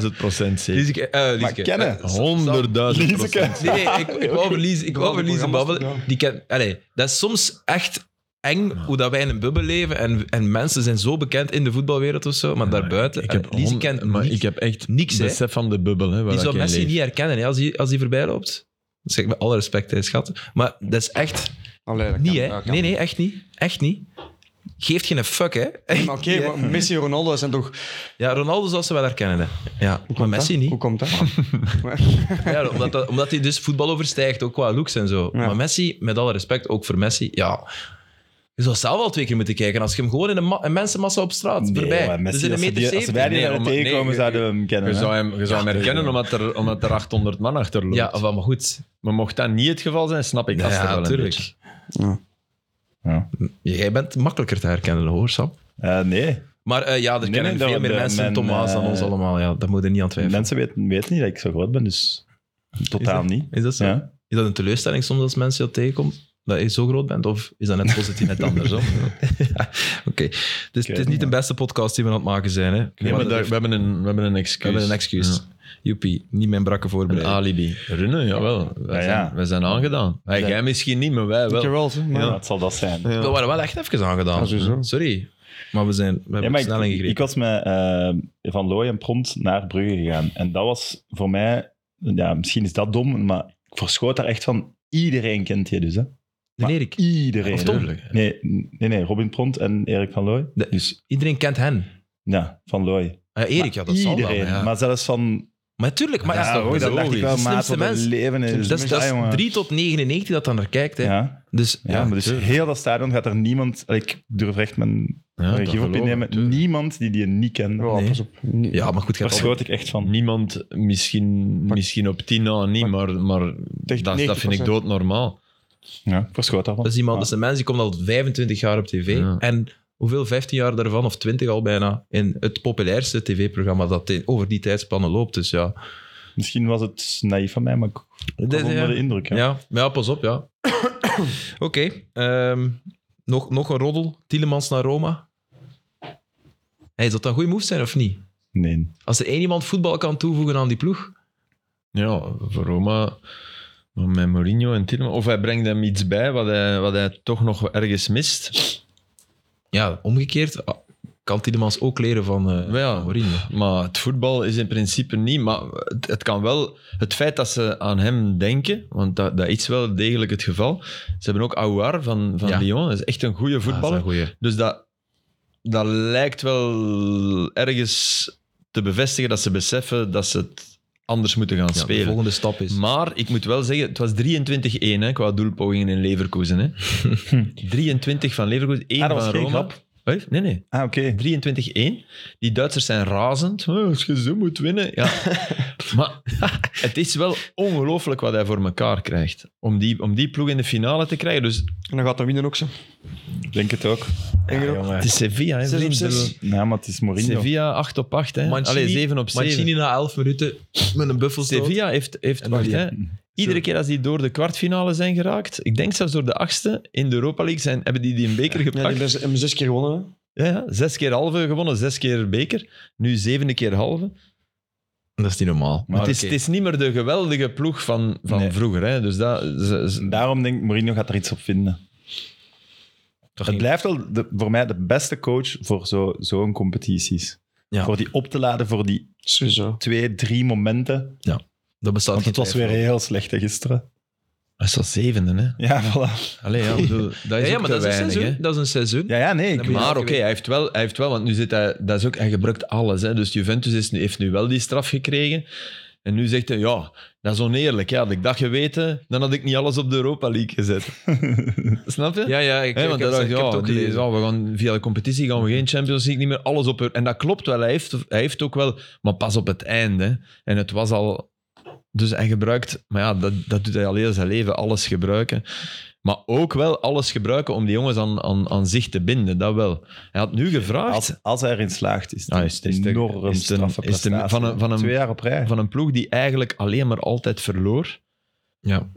100.000 procent zeker. Lieseke, eh, Lieseke. Maar kennen. 100.000 procent. Lieseke. Nee, nee, ik, ik wou over Lies, ik wou over Lies babbelen. Die ken, allee, dat is soms echt eng hoe dat wij in een bubbel leven. En, en mensen zijn zo bekend in de voetbalwereld of zo, maar daarbuiten... Ik heb, allee, Lies hond- kent maar niks. ik heb echt niks, hè. besef van de bubbel. Hè, waar Die ik zou in Messi leef. niet herkennen hè, als hij als die voorbij loopt. Dat zeg ik met alle respect, hij schat. Maar dat is echt Allee, dat niet, kan- hè? dat kan. Nee, nee, echt niet. Echt niet. Geeft geen fuck, hè? Maar Oké, Ja. maar Messi en Ronaldo zijn toch... Ja, Ronaldo zou ze wel herkennen. Hè. Ja, maar Messi Hè? niet. Hoe *laughs* komt dat? *laughs* Ja, omdat, dat- omdat hij dus voetbal overstijgt, ook qua looks en zo. Ja. Maar Messi, met alle respect, ook voor Messi, ja. Je zou zelf wel twee keer moeten kijken als je hem gewoon in een, ma- een mensenmassa op straat Nee, voorbij. maar Dus Messi, in een als, ze meter die, als zeventig. wij die Nee, daar omdat- tegenkomen, nee, zouden we hem kennen. Je hè? zou hem, je zou hem herkennen omdat er, omdat er 800 man achter loopt. Ja, wel, maar goed. Maar mocht dat niet het geval zijn, snap ik dat Ja, er wel een tuurlijk. beetje. Ja. Jij bent makkelijker te herkennen, hoor, Sam. Eh, nee, Maar eh, ja, er Nee, kennen nee, dat- veel meer dat- mensen mijn, Thomas dan eh, ons allemaal. Ja, dat moet je niet aan twijfelen. mensen weten, weten niet dat ik zo groot ben, dus totaal niet. Is dat zo? Ja. Is dat een teleurstelling soms als mensen je tegenkomt? Dat je zo groot bent? Of is dat net positief net *laughs* andersom? Ja, Oké. Dus het is weet niet niet, de beste podcast die we aan het maken zijn. Hè? Nee, maar daar- dat- we, hebben een, we hebben een excuus. we hebben een excuus. Ja. Joepie, niet mijn brakke Een voorbereiding. alibi. Runnen, jawel. Wij, Ja, zijn, ja. wij zijn aangedaan. Hey, Ja. Jij misschien niet, maar wij wel. Dankjewel. hè, maar- Ja, het zal dat zijn. Ja. We waren wel echt even aangedaan. Ja, sowieso. Sorry. Maar we, zijn, we hebben Ja, maar snel ik, ingegrepen. ik was met eh, Van Looy en Pront naar Brugge gegaan. En dat was voor mij... Ja, misschien is dat dom, maar ik verschoot daar echt van... Iedereen kent je dus, hè. Nee, Erik, Iedereen. Of Tom. Nee, nee, nee, Robin Pront en Erik van Looy. De- Dus iedereen kent hen. ja, van Looy. Eh, Erik, ja, dat zal wel. Iedereen. ja. Maar zelfs van... Maar tuurlijk, maar ja, ja, hoor, dat dacht ik wel, De maat, slimste wat een mens. leven is. Ah, Dat is, dat is jongen. 3 tot 99 dat dan naar kijkt. Hè. Ja, Dus, ja, maar dus heel dat stadion gaat er niemand... Ik durf echt mijn Ja, dat gif op geloof ik, innemen. tuurlijk. Niemand die die niet kende. Ja, Nee. pas op. Nee. ja, maar goed, je Daar hebt altijd- schoot ik echt van. Niemand, misschien, misschien op tien na niet, maar, maar dat, dat vind ik 90%. doodnormaal. Ja, ik verschoot daarvan. dat is iemand, Ja. dat is een mens die komt al 25 jaar op tv. Ja. En hoeveel, 15 jaar daarvan, of 20 al bijna, in het populairste tv-programma dat in- over die tijdspannen loopt. Dus ja. Misschien was het naïef van mij, maar ik was Dit- onder ja. de indruk. Ja. Ja, maar ja, pas op, ja. *coughs* Oké, ehm, nog, nog een roddel. Tielemans naar Roma. Hey, zou dat een goede move zijn of niet? Nee. Als er één iemand voetbal kan toevoegen aan die ploeg. Ja, voor Roma, maar met Mourinho en Tillman. Of hij brengt hem iets bij wat hij, wat hij toch nog ergens mist. Ja, omgekeerd ah, kan Tielemans ook leren van eh, Maar ja, van Mourinho. Maar het voetbal is in principe niet. Maar het, het kan wel. Het feit dat ze aan hem denken, want dat, dat is wel degelijk het geval. Ze hebben ook Aouar van, van Ja. Lyon. Dat is echt een goede voetballer. dus dat, dat lijkt wel ergens te bevestigen dat ze beseffen dat ze het anders moeten gaan Ja, de spelen. volgende stap is... Maar ik moet wel zeggen, het was 23-1 hè, qua doelpogingen in Leverkusen. Hè. 23 van Leverkusen, 1 Ah, dat was van geen Roma. grap. Hoi? Nee, nee. Ah, oké. 23-1. Die Duitsers zijn razend. Oh, Als je zo moet winnen. Ja. maar het is wel ongelooflijk wat hij voor elkaar krijgt. Om die, om die ploeg in de finale te krijgen. Dus En dan gaat dat winnen ook zo. Ik Denk het ook. Denk je ook? het is Sevilla. Hè, Zes op vriend. zes. Ja, maar het is Mourinho. Sevilla 8 op 8. Hè. Mancini- Allee, 7 op 7. Mancini na 11 minuten met een buffelstoot. Sevilla heeft, heeft En wacht, Maria. hè. iedere keer als die door de kwartfinale zijn geraakt, ik denk zelfs door de achtste in de Europa League, zijn, hebben die die een beker Ja, die gepakt. hebben ze- hebben zes keer gewonnen. hè. Ja, ja, zes keer halve gewonnen, zes keer beker, nu zevende keer halve. Dat is niet normaal. Maar het, is, oké. het is niet meer de geweldige ploeg van, van Nee. vroeger. Hè. Dus dat, ze- ze- Daarom denk ik, Mourinho gaat er iets op vinden. Toch Het niet- blijft wel de, voor mij de beste coach voor zo- zo'n competities. Ja. Voor die op te laden voor die Sowieso. twee, drie momenten. dat bestaat Want geen het was weer twijfel. heel slecht hè, gisteren. dat is al zevende. Hè. Ja, voilà. Allee, ja, ik bedoel, dat Ja, is ja, ook maar te dat is, een weinig. hè. seizoen, dat is een seizoen. Ja, ja nee. Dan Ik, moet je- Maar oké, hij, heeft wel, hij heeft wel, want nu zit hij, dat is ook, hij gebruikt alles. Hè. Dus Juventus is nu, heeft nu wel die straf gekregen. En nu zegt hij, ja, dat is oneerlijk. Ja, had ik dat geweten, dan had ik niet alles op de Europa League gezet. Snap je? Ja, ja, ik, Hè, ik want heb, hij dacht, ik heb het ja, ook die- gelezen. ja, we gaan, via de competitie gaan we geen Champions League niet meer alles op. En dat klopt wel, hij heeft, hij heeft ook wel, maar pas op het einde. hè. En het was al. Dus hij gebruikt, maar ja, dat, dat doet hij al heel zijn leven, alles gebruiken. Maar ook wel alles gebruiken om die jongens aan, aan, aan zich te binden, dat wel. Hij had nu gevraagd als, als hij erin slaagt, is het Ja, een is het- is het- enorm is het een- straffe is het een- prestatie. van een- van een- Twee jaar op rij. van een ploeg die eigenlijk alleen maar altijd verloor. Ja.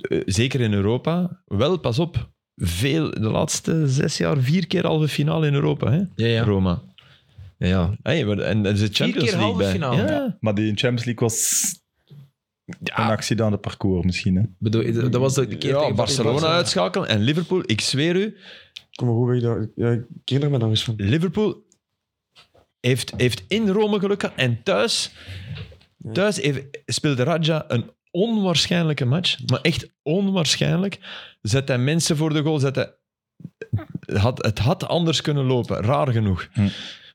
Eh, Zeker in Europa. Wel, pas op, veel, de laatste zes jaar vier keer halve finale in Europa, hè? Ja, ja. Roma. Ja, ja. Hey, maar- en er zit Champions keer League halve bij. finale. Ja. Maar die Champions League was een actie dan de parcours misschien. Hè? Bedoel, dat dat was de de keer Ja, tegen Barcelona uitschakelen en Liverpool. Ik zweer u, Kom maar goed weg. daar. Ja, ik herinner me daar eens van. Liverpool heeft, heeft in Rome geluk gehad en thuis, thuis heeft, speelde Raja een onwaarschijnlijke match. Maar echt onwaarschijnlijk. Zet hij mensen voor de goal, zet hij, het had, het had anders kunnen lopen, raar genoeg. Hm.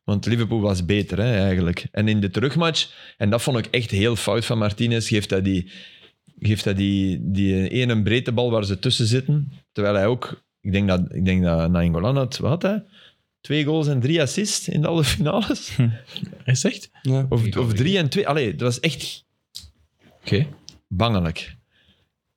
Want Liverpool was beter hè, eigenlijk. En in de terugmatch, en dat vond ik echt heel fout van Martinez, geeft hij die, geeft hij die, die ene breedte bal waar ze tussen zitten. Terwijl hij ook, ik denk dat, ik denk dat Nainggolan had, wat had hij? Twee goals en drie assists in de alle finales. Hij zegt? Ja. *laughs* Of, Ik of weet drie en twee. Allee, dat was echt Oké. bangelijk.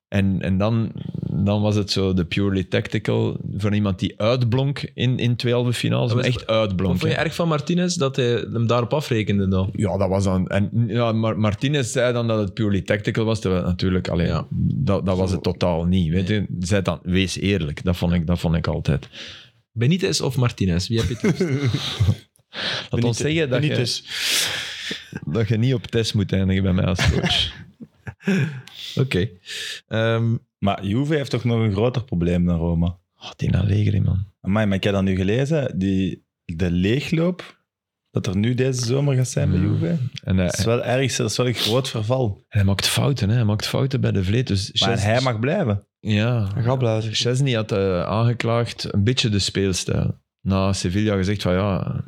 En, en dan, dan was het zo de purely tactical van iemand die uitblonk in, in twee halve finales. Dat Maar was- echt uitblonk. Wat vond je hè. erg van Martinez dat hij hem daarop afrekende dan? Ja, dat was dan. En ja, maar Martinez zei dan dat het purely tactical was. Terwijl het natuurlijk, allee, Ja. dat, dat was het totaal niet. Weet je, zei dan, wees eerlijk. Dat vond ik, dat vond ik altijd. *laughs* Benitez of Martinez? Wie heb je het liefst? Laat ons zeggen dat je, Benitez. dat je niet op test moet eindigen bij mij *laughs* als coach. Oké. Ehm, Maar Juve heeft toch nog een groter probleem dan Roma. Oh, die Allegri, man. Amai, maar ik heb dat nu gelezen. Die, de leegloop dat er nu deze zomer gaat zijn bij Mm. Juve. En hij, Dat is wel erg, dat is wel een groot verval. hij maakt fouten, hè. Hij maakt fouten bij de vleet. Dus Maar Chesney- hij mag blijven. Ja. Een grapluizer. Chesney had eh, aangeklaagd een beetje de speelstijl. Na Sevilla gezegd van ja,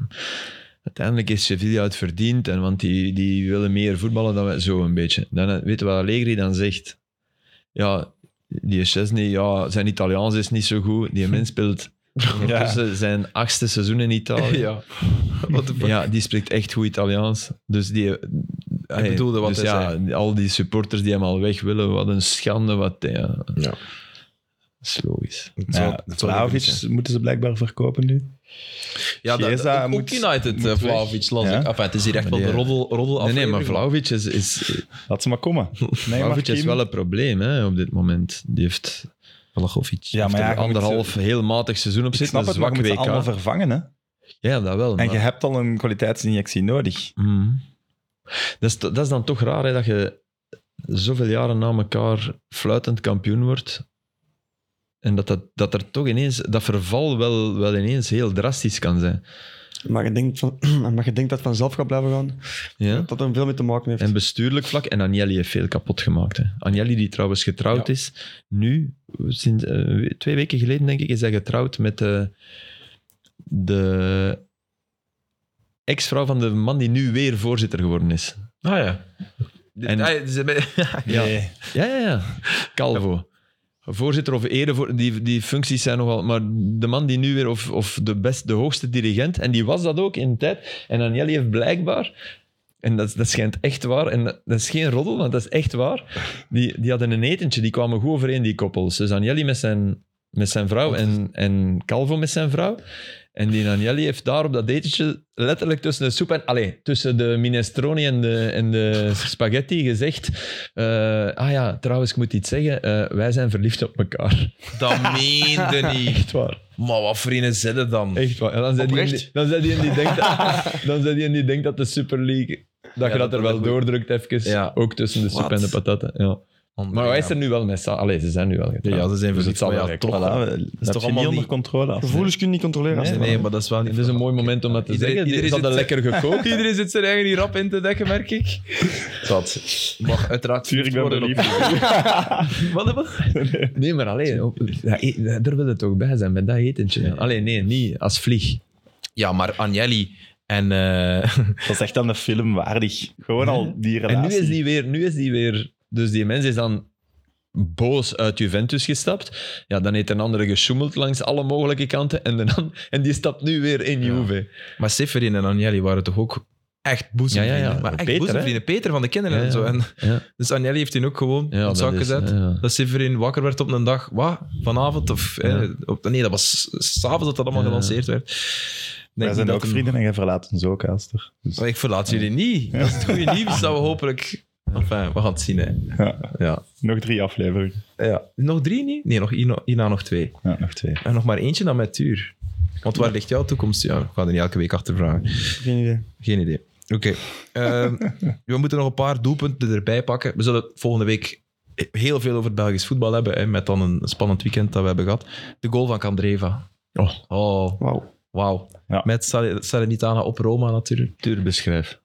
uiteindelijk is Sevilla het verdiend, en, want die, die willen meer voetballen dan wij, zo een beetje. Dan eh, weet je wat Allegri dan zegt? Ja, die Chesney, ja, zijn Italiaans is niet zo goed. Die mens speelt ondertussen zijn achtste seizoen in Italië. Ja. ja. Wat de fuck? die spreekt echt goed Italiaans. Dus die... Hij bedoelde wat dus hij ja, al die supporters die hem al weg willen, wat een schande. Wat, ja. Ja. Dat is logisch. Het zou- Ja, het zou niet Vlahovic zijn. moeten ze blijkbaar verkopen nu. Ja, dat, Chiesa ook moet- United, eh, weg. Vlahovic, las Ja. ik. Enfin, het is hier echt wel die- de roddel, roddel Nee, nee, maar aflevering. Vlaovic is, is, Laat ze maar komen. Nee, *laughs* Vlahovic is Martin. wel een probleem hè, op dit moment. Die heeft, Vlahovic. Ja, maar heeft ja, er je moet anderhalf ze- heel matig seizoen op Ik zitten. snap Een het, maar zwak je moet ze WK. allemaal vervangen. Hè? Ja, dat wel. En maar- je hebt al een kwaliteitsinjectie nodig. Dus Mhm. dat, is, to- dat is dan toch raar hè, dat je zoveel jaren na elkaar fluitend kampioen wordt. En dat, dat, dat er toch ineens, dat verval wel, wel ineens heel drastisch kan zijn. Maar je denkt, van, *clears throat* maar je denkt dat het vanzelf gaat blijven gaan. Ja? Dat er veel mee te maken heeft. En bestuurlijk vlak. En Agnelli heeft veel kapot gemaakt. Hè. Agnelli, die trouwens getrouwd Ja. is, nu, sinds, eh, twee weken geleden denk ik, is hij getrouwd met eh, de ex-vrouw van de man die nu weer voorzitter geworden is. Ah ja. *laughs* En- Ah, ja, ze- Ja. Nee. Ja, ja, ja. Calvo. Voorzitter of erevoor, die, die functies zijn nogal... Maar de man die nu weer, of, of de, best, de hoogste dirigent, en die was dat ook in de tijd. En Agnelli heeft blijkbaar... En dat, dat schijnt echt waar, en dat, dat is geen roddel, want dat is echt waar. Die, die hadden een etentje, die kwamen goed overeen, die koppels. Dus Agnelli met zijn, met zijn vrouw en, en Calvo met zijn vrouw. En die Agnelli heeft daar op dat etentje letterlijk tussen de soep en... Allee, tussen de minestrone en de, en de spaghetti gezegd... eh, ah ja, trouwens, ik moet iets zeggen. eh, wij zijn verliefd op elkaar. *laughs* dat meende niet. Echt waar. Maar wat vrienden zetten dan? Echt waar. En dan zijn die, en die- Oprecht? dan zijn die, en die denkt dat, *laughs* dan zijn die, en die denkt dat de Super League... Dat je dat dat, er wel wel goed- doordrukt even. Ja. Ook tussen de soep Wat? en de patatten. Ja. Maar hij is er nu wel mee samen. Allee, ze zijn nu wel getrouwd. Ja, ze zijn Dus verliefd, het zal maar wel ja, werken. toch. Dat Voilà, dat is heb toch je allemaal niet onder niet- controle. Af. Gevoelens kun je niet controleren. als Nee, je nee, dat- maar dat is wel niet... Dit is dus een mooi moment om dat te Iedereen- zeggen. Die- iedereen Ze hadden zit- lekker gekookt. *laughs* Iedereen zit zijn eigen hier rap in te dekken, merk ik. Dat. Mag uiteraard Tuur, ik ben worden op- *laughs* Wat, wat? Nee, maar alleen, op- ja, e- daar wil het toch bij zijn, met dat etentje. Allee, nee, niet als vlieg. Ja, maar Agnelli en... eh, *laughs* Dat is echt aan de film waardig. Gewoon al die relatie. En nu is die weer, nu is die weer, dus die mens is dan boos uit Juventus gestapt. Ja, dan heeft een andere gesjoemeld langs alle mogelijke kanten en, de an- en die stapt nu weer in Ja. Juve. maar Seferin en Agnelli waren toch ook echt boezemvrienden? Ja, ja, ja. Maar echt Peter, hè? boezemvrienden. Peter van de kinderen Ja, en zo. ja. En, Ja. dus Agnelli heeft hij ook gewoon op het zak dat is- gezet. ja. Dat Severin wakker werd op een dag, wat, vanavond? Of, hè, Ja. op, nee, dat was s'avonds dat dat allemaal Ja. gelanceerd werd. Denk Wij niet zijn dat ook hem- vrienden en jij verlaat ons ook, Elster. Dus, Maar ik verlaat jullie niet. Dat is het goede nieuws dat we hopelijk... Enfin, we gaan het zien, hè. ja. Ja. Nog drie afleveringen. ja. Nog drie niet? Nee, nog hierna, hierna nog twee. Ja, nog twee. En nog maar eentje dan met Tuur. Want waar ligt jouw toekomst? Ja, ik ga er niet elke week achter vragen. Geen idee. Geen idee. Oké. *laughs* Ehm, we moeten nog een paar doelpunten erbij pakken. We zullen volgende week heel veel over het Belgisch voetbal hebben. Hè, met dan een spannend weekend dat we hebben gehad. De goal van Candreva. Oh. Oh, Wauw. wauw. Ja. Met Sal- Salernitana op Roma natuurlijk. Tuur, beschrijf.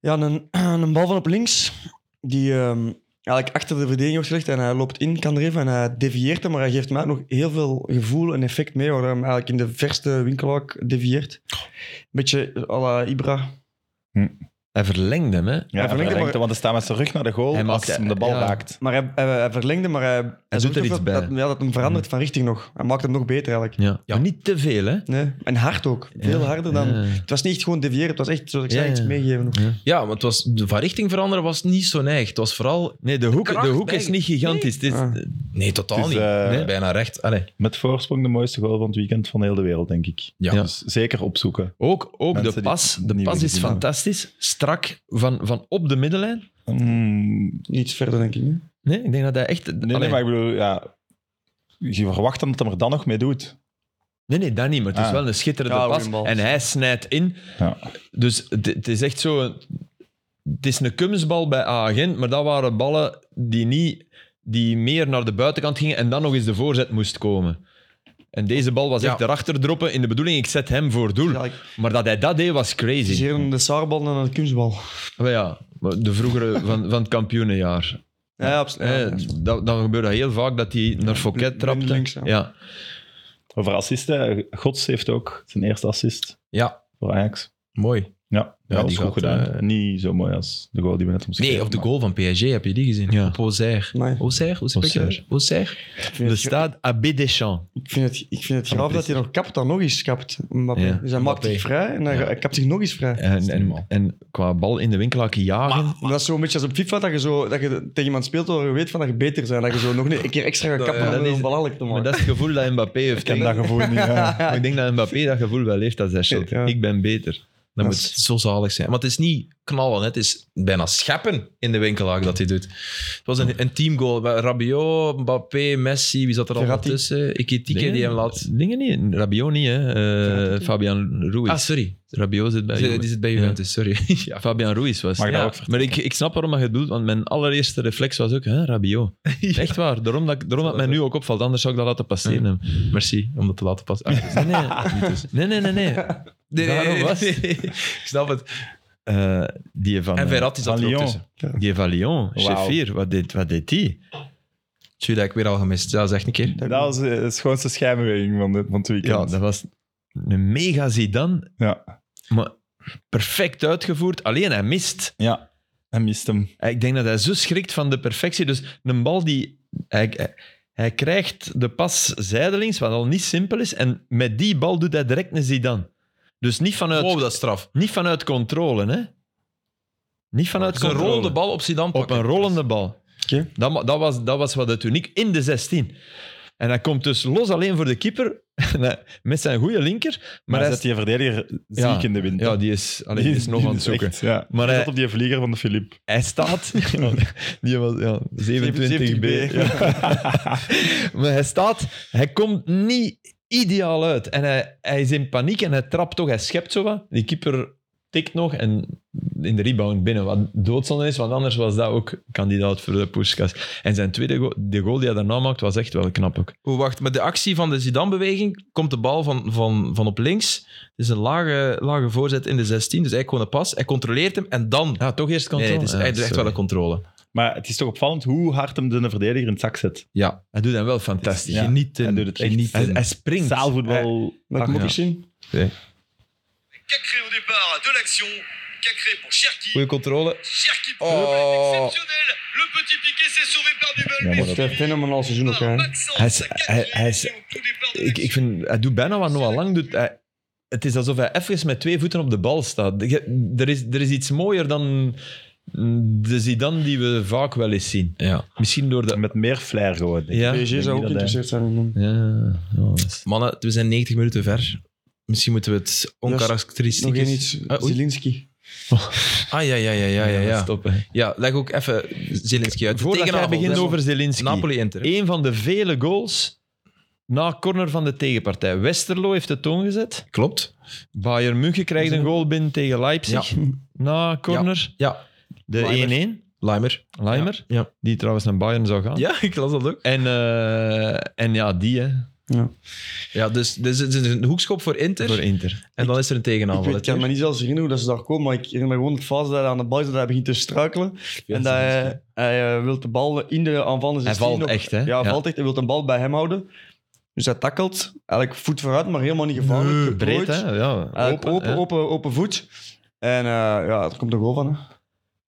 Ja, een, *clears throat* een bal van op links. Die ehm, eigenlijk achter de verdediging wordt gelegd. En hij loopt in, kan er even. En hij devieert hem. Maar hij geeft hem ook nog heel veel gevoel en effect mee. Waardoor hij hem eigenlijk in de verste winkel ook devieert. Beetje à la Ibra. Hij verlengde hem, hè? Ja, hij verlengt verlengt maar- hem, want hij staat met zijn rug naar de goal Hij maakt- als hem de bal ja. raakt. Maar hij, hij, hij verlengde, maar hij, hij doet er ook iets dat- bij. Dat, ja, dat hem verandert van richting nog. Hij maakt hem nog beter eigenlijk. Ja. Maar niet te veel, hè? Nee. En hard ook. Veel Ja. harder dan... Ja. Het was niet echt gewoon deviëren. Het was echt, zoals ik Ja, zei, iets ja. meegeven. Ja, want het was, de van richting veranderen was niet zo neig. Het was vooral... Nee, de hoek, kracht de hoek bij- is niet gigantisch. Het is- Ah. Nee, totaal Het is, niet. eh, Nee, bijna recht. Allee. Met voorsprong de mooiste goal van het weekend van heel de wereld, denk ik. Ja. Ja. Dus zeker opzoeken. Ook, ook Mensen de die pas. het De niet pas is gezien hebben. fantastisch. Strak van, van op de middenlijn. Mm, Iets verder, denk ik. hè. Nee, ik denk dat hij echt... Nee, nee, Allee, maar ik bedoel, ja, je verwacht dan dat hij er dan nog mee doet. Nee, nee, dat niet, maar het is Ah. wel een schitterende Ja, goeie pas. bal. En hij snijdt in. Ja. Dus het, het is echt zo... Het is een kumsbal bij A-agent, maar dat waren ballen die, niet, die meer naar de buitenkant gingen en dan nog eens de voorzet moest komen. En deze bal was echt Ja. erachter droppen in de bedoeling, ik zet hem voor doel. Ja, ik Maar dat hij dat deed, was zie crazy. hier de saarbal dan een kunstbal. Maar ja, maar de vroegere van, van het kampioenenjaar. Ja, ja, absoluut. Hè, dat, dan gebeurde heel vaak dat hij naar Fouquet trapte. Blindlings, ja. ja. Over assisten, Gods heeft ook zijn eerste assist Ja, voor Ajax. mooi. Ja, Ja, ja, dat die is goed gaat, gedaan. eh, Niet zo mooi als de goal die we net omschreven. Nee, op de maar- goal van PSG heb je die gezien. Ja. Op Ozer. Amai. Ozer? Hoe spreek je Auxerre. dat? Auxerre? Ik vind De het- staat Abbé Deschamps. Ik vind het, ik vind het Van graaf dat hij Christen. nog kapt, dan nog eens kapt. Mbappé. Ja. Dus hij maakt Mbappé. zich vrij en hij Ja. hij kapt zich nog eens vrij. En, niet normaal. en, en qua bal in de winkel laten jagen. Maar Dat is zo'n beetje als op FIFA, dat je, zo, dat je tegen iemand speelt waar je weet van dat je beter bent. Dat je zo nog een keer extra gaat kappen Ja, om dat een is- belachelijk te Maar maken. dat is het gevoel dat Mbappé heeft. Ik ken *laughs* dat gevoel niet. ja. Maar ik denk dat Mbappé dat gevoel wel heeft als hij shot. Ja. Ik ben beter. Dat Dat moet zo zalig zijn. Maar het is niet knallen, hè. het is bijna scheppen in de winkelhaak dat hij doet. Het was een, een teamgoal. Bij Rabiot, Mbappé, Messi, wie zat er allemaal Verratti. tussen? Ikitike die hem laat... Dingen niet. Rabiot niet, hè. Eh, Fabian Ruiz. Ah, sorry. Rabiot zit bij Die Juve. die zit bij Juventus, *laughs* sorry. ja. Fabian Ruiz was. Mag ik dat Ja. ook vertellen? Maar ik, ik snap waarom dat je het doet, want mijn allereerste reflex was ook, hè, *laughs* Rabiot. Echt waar, daarom dat, ik- daarom dat mij nu ook opvalt, anders zou ik dat laten passeren. hebben. Merci om dat te laten passen. Ah, Nee, nee, *laughs* nee, nee, nee, nee. nee, nee, Daarom nee, *laughs* was- nee, nee. Ik snap het. Eh, die van, En eh, Verratti zat van er ook Lyon. tussen. die van Lyon, Shafir, wat deed, wat deed die? Tjoe, dat heb ik weer al gemist. Ja, zeg een keer. Dat was eh, de schoonste schijnbeweging van, dit- van het weekend. Ja, dat was een mega Zidane, ja. maar perfect uitgevoerd. Alleen hij mist. ja. Hij mist hem. Ik denk dat hij zo schrikt van de perfectie. Dus een bal die... Hij, hij- hij krijgt de pas zijdelings, wat al niet simpel is. En met die bal doet hij direct een Zidane. Dus niet vanuit, Wow, Oh, dat is straf. niet vanuit controle, hè. Niet vanuit Het is een controle. rollende bal op Zidane Op pakken. een rollende bal. Oké. Dat, ma- dat, was, dat was wat het uniek in de 16. En hij komt dus los alleen voor de keeper *laughs* En hij- met zijn goede linker. Maar Maar hij hij zet die verdediger ziek Ja. in de wind. ja, die is, alleen, die is nog aan het zoeken. echt, ja. Maar Maar hij hij- zat op die vlieger van de Filip. Hij *laughs* staat. die was ja, 27 B. *laughs* 27B. *laughs* maar hij staat. Hij komt niet ideaal uit. En hij, hij is in paniek en hij trapt toch. Hij schept zo wat. Die keeper tikt nog en in de rebound binnen. Wat doodzonde is, want anders was dat ook kandidaat voor de Puskas. En zijn tweede goal, de goal die hij daarna maakt, was echt wel knap ook. Oh, wacht, met de actie van de Zidane-beweging komt de bal van, van, van op links. Het is een lage, lage voorzet in de 16, dus eigenlijk gewoon een pas. Hij controleert hem en dan... Ja, toch eerst Nee, controle. het is Ja, hij doet echt sorry. wel een controle. Maar het is toch opvallend hoe hard hem de verdediger in het zak zet. Ja, Hij doet hem wel fantastisch. Ja. genieten. hij doet het echt. genieten. Hij, hij springt. Zaalvoetbal. Dat moet ja. ik zien. Cacré au départ de l'action. Cacré pour Cherki. Goeie controle. Cherki pour Oh. le exceptionnel. Le petit piqué s'est sauvé par Ja, Dubel. maar mais Het is dat- een fenomenaal seizoen ook. par Hè. Maxence. Hij is- Cacré hij- hij is- était au tout départ de Ik, ik vind, hij doet bijna wat Noah Lang doet. Hij- het is alsof hij even met twee voeten op de bal staat. Je- Er is, er is iets mooier dan de Zidane die we vaak wel eens zien. Ja. Misschien door de... Met meer flair gewoon. denk ik. Ja. PSG denk zou ook niet dat hij- geïnteresseerd zijn in hem. Ja, ja, dat is- Mannen, we zijn 90 minuten ver. Misschien moeten we het Nog onkarakteristiek... één iets. Ah, oei. Zielinski. ah, ja, ja, ja, ja, ja. ja, ja. stoppen. Ja, leg ook even Zelinski uit. Voordat jij Tegenaanval, begint hè. over Zelinski. Napoli-Inter. Een van de vele goals na corner van de tegenpartij. Westerlo heeft de toon gezet. Klopt. Bayern München krijgt een goal binnen tegen Leipzig na corner. Ja, De 1-1. Limer. Leimer, Ja. die trouwens naar Bayern zou gaan. Ja, *laughs* ik las dat ook. En, eh, en ja, die hè, Ja, dus, dus het is een hoekschop voor Inter. voor Inter. En dan is er een Ik tegenaanval. weet, ik kan me niet zelfs herinneren hoe dat ze daar komen, maar ik herinner me gewoon de fase dat hij aan de bal is, dat hij begint te struikelen. en eh, dat hij, hij eh, wil de bal in de aanvallende 16 Hij valt nog- echt, hè? Ja, hij Ja. valt echt. Hij wil de bal bij hem houden. Dus hij takkelt. Eigenlijk voet vooruit, maar helemaal niet gevaarlijk. Nee, Nooit. breed, hè? Ja, Eigenlijk open, open, hè. open, open voet. En eh, ja, er komt een goal van. Hè.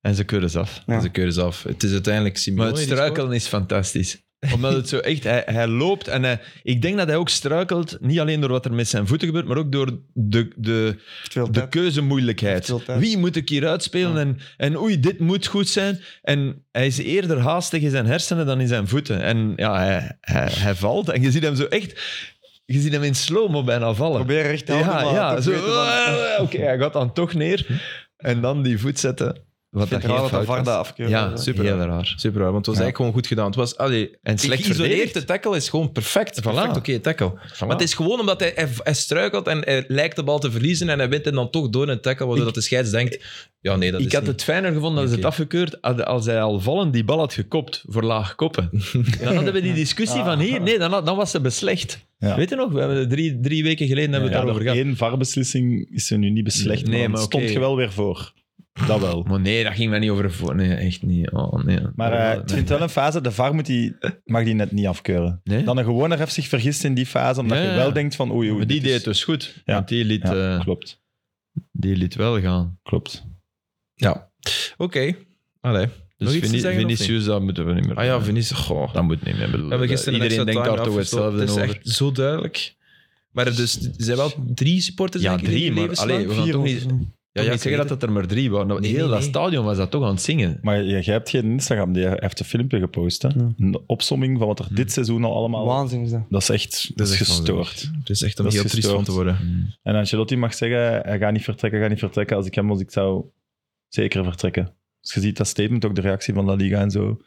En ze keuren ze af. Ze keuren ze af. Het is uiteindelijk Simeone Maar het die struikelen is fantastisch. Omdat het zo echt, hij, hij loopt en hij, ik denk dat hij ook struikelt, niet alleen door wat er met zijn voeten gebeurt, maar ook door de, de, Heeft veel de tijd. keuzemoeilijkheid. Veel tijd. Wie moet ik hier uitspelen? En, en oei, dit moet goed zijn. En hij is eerder haastig in zijn hersenen dan in zijn voeten. En ja, hij, hij, hij valt en je ziet hem zo echt... Je ziet hem in slow-mo bijna vallen. Probeer recht te houden, Ja, maar ja toch zo, beter dan- oké, hij gaat dan toch neer. En dan die voet zetten. Wat vind dat het raar geen dat dat fout was. Varda afkeurde. Ja, Super. super. Heel raar. Super raar, want het was Ja. eigenlijk gewoon goed gedaan. Het was, allee, En slecht geïsoleerd, verdedigd. de tackle is gewoon perfect. Perfect oké tackle. Maar het is gewoon omdat hij, hij, hij struikelt en hij lijkt de bal te verliezen en hij wint en dan toch door een tackle, waardoor Ik- dat de scheids denkt, ja nee, dat ik is had niet. het fijner gevonden als Oké. het afgekeurd had als hij al vallen die bal had gekopt voor *laughs* laag koppen. Dan hadden we die discussie van hier, nee, dan, had- dan was ze beslecht. Ja. Weet je nog, we hebben drie, drie weken geleden hebben we Ja, het door daarover gehad. één VAR-beslissing is ze nu niet beslecht, Nee, maar, dan maar oké. stond je wel weer voor. Dat wel. Maar nee, dat ging daar niet over voor. Nee, echt niet. Oh, nee. Maar eh, het vindt wel een fase, de VAR moet die, mag die net niet afkeuren. Nee? Dan een gewone ref zich vergist in die fase, omdat Ja, je ja. wel denkt van oei, oei. Maar die dit deed is- het dus goed. Ja. Want die liet, Ja, eh, klopt, die liet wel gaan. klopt. Ja. Oké. Allee. Nog Dus iets te Vini- zeggen, of Vinicius, dat moeten we niet meer. Ah ja, Vinicius, goh. dat moet niet meer. Bedoel, eh, We hebben gisteren een Iedereen extra denkt daar time toch afgestopt. hetzelfde Het is over. echt zo duidelijk. Maar er, dus, er zijn wel drie supporters, Ja, denk ik, drie, die maar levenslang- allee, we gaan Vier toch of niet- zo. Ja, ja, ik zeg dat het er maar drie waren. Nou, Nee, heel nee, dat nee. stadion was dat toch aan het zingen. Maar jij hebt geen Instagram, die heeft een filmpje gepost. Hè? Een opsomming van wat er dit seizoen al allemaal... Waanzin is dat. Dat is echt dat is gestoord. Het is echt om Dat is heel triest van gestoord. te worden. En Ancelotti mag zeggen, hij gaat niet vertrekken, hij gaat niet vertrekken. Als ik hem was, ik zou zeker vertrekken. Dus je ziet dat statement, ook de reactie van La Liga en zo.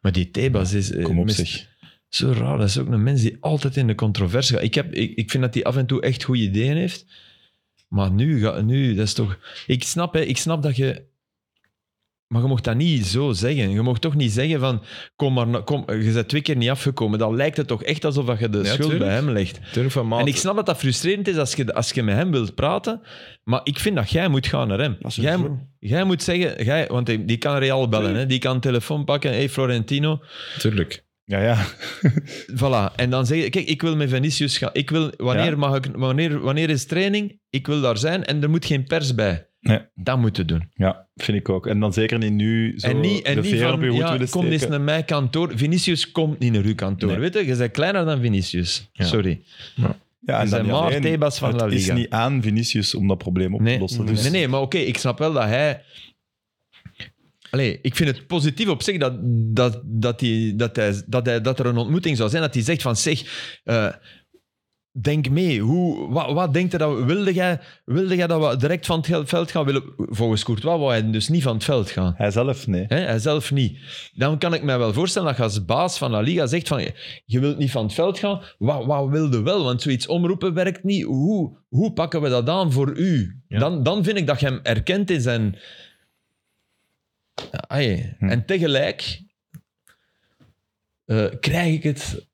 Maar die Tebas is... eh, Kom op mis- zich. Zo raar, dat is ook een mens die altijd in de controverse gaat. Ik, heb, ik, ik vind dat hij af en toe echt goede ideeën heeft. Maar nu, ga, nu dat is toch... Ik snap, hè, ik snap dat je... Maar je mocht dat niet zo zeggen. Je mocht toch niet zeggen van... Kom maar, na- kom, je bent twee keer niet afgekomen. Dan lijkt het toch echt alsof dat je de Ja, schuld tuurlijk. bij hem legt. Turf van Maat. En ik snap dat dat frustrerend is als je, als je met hem wilt praten. Maar ik vind dat jij moet gaan naar hem. Dat is Jij, sowieso. moet- jij moet zeggen... Jij, want die die kan Real bellen. Hè, die kan een telefoon pakken. hey, Florentino... Tuurlijk. Ja, ja. Voilà, en dan zeg je, kijk, ik wil met Vinicius gaan. Ik wil, wanneer, Ja. mag ik, wanneer, wanneer is training? Ik wil daar zijn en er moet geen pers bij. Nee. Dat moeten doen. Ja, vind ik ook. En dan zeker niet nu zo en niet, en de niet veer op je van, hoed ja, willen kom steken. eens naar mijn kantoor. Vinicius komt niet naar uw kantoor. Nee. Weet je, je bent kleiner dan Vinicius. Ja. Sorry. ja, er zijn niet maar alleen. Tebas van het La Liga. is niet aan Vinicius om dat probleem op Nee. te lossen. dus Nee, nee, maar oké, ik snap wel dat hij... Allee, ik vind het positief op zich dat, dat, dat, hij, dat, hij, dat, hij, dat er een ontmoeting zou zijn. Dat hij zegt van, zeg, eh, denk mee. Hoe, wat, wat denkt er dat... we- Wilde jij, wilde jij dat we direct van het gel- veld gaan? Willen, volgens Courtois wou hij dus niet van het veld gaan. Hij zelf, nee. Hè, hij zelf niet. Dan kan ik mij wel voorstellen dat je als baas van La Liga zegt van je wilt niet van het veld gaan, wat, wat wilde wel? Want zoiets omroepen werkt niet. Hoe, hoe pakken we dat aan voor u? Dan, dan vind ik dat je hem erkent in zijn... Ah, jee. Hm. En tegelijk eh, krijg ik het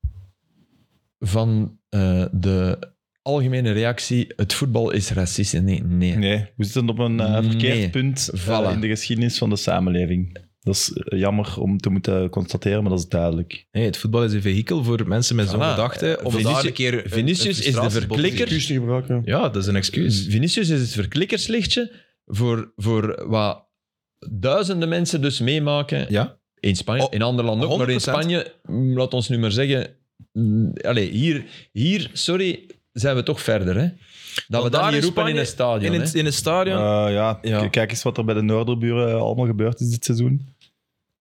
van eh, de algemene reactie, het voetbal is racistisch. Nee, nee. Nee, we zitten op een eh, verkeerd Nee. punt eh, Voilà. in de geschiedenis van de samenleving. Dat is eh, jammer om te moeten constateren, maar dat is duidelijk. Nee, het voetbal is een vehikel voor mensen met zo'n Voilà. gedachte. Om Vinicius- daar een keer een- Vinicius een is de frustratiebod te verklikker. Mm. zien. Excuus te gebruiken. ja. Ja, dat is een excuus. Vinicius is het verklikkerslichtje voor, voor wat duizenden mensen dus meemaken Ja. in Spanje. Oh, in andere landen ook, maar in 100%. Spanje, mm, laat ons nu maar zeggen... mm, Allee, hier, hier, sorry, zijn we toch verder, hè? Dat we daar dat niet in roepen in Spanje- een stadion, In het, hè? in het stadion. Eh, ja, Ja. k- kijk eens wat er bij de Noorderburen eh, allemaal gebeurd is dit seizoen.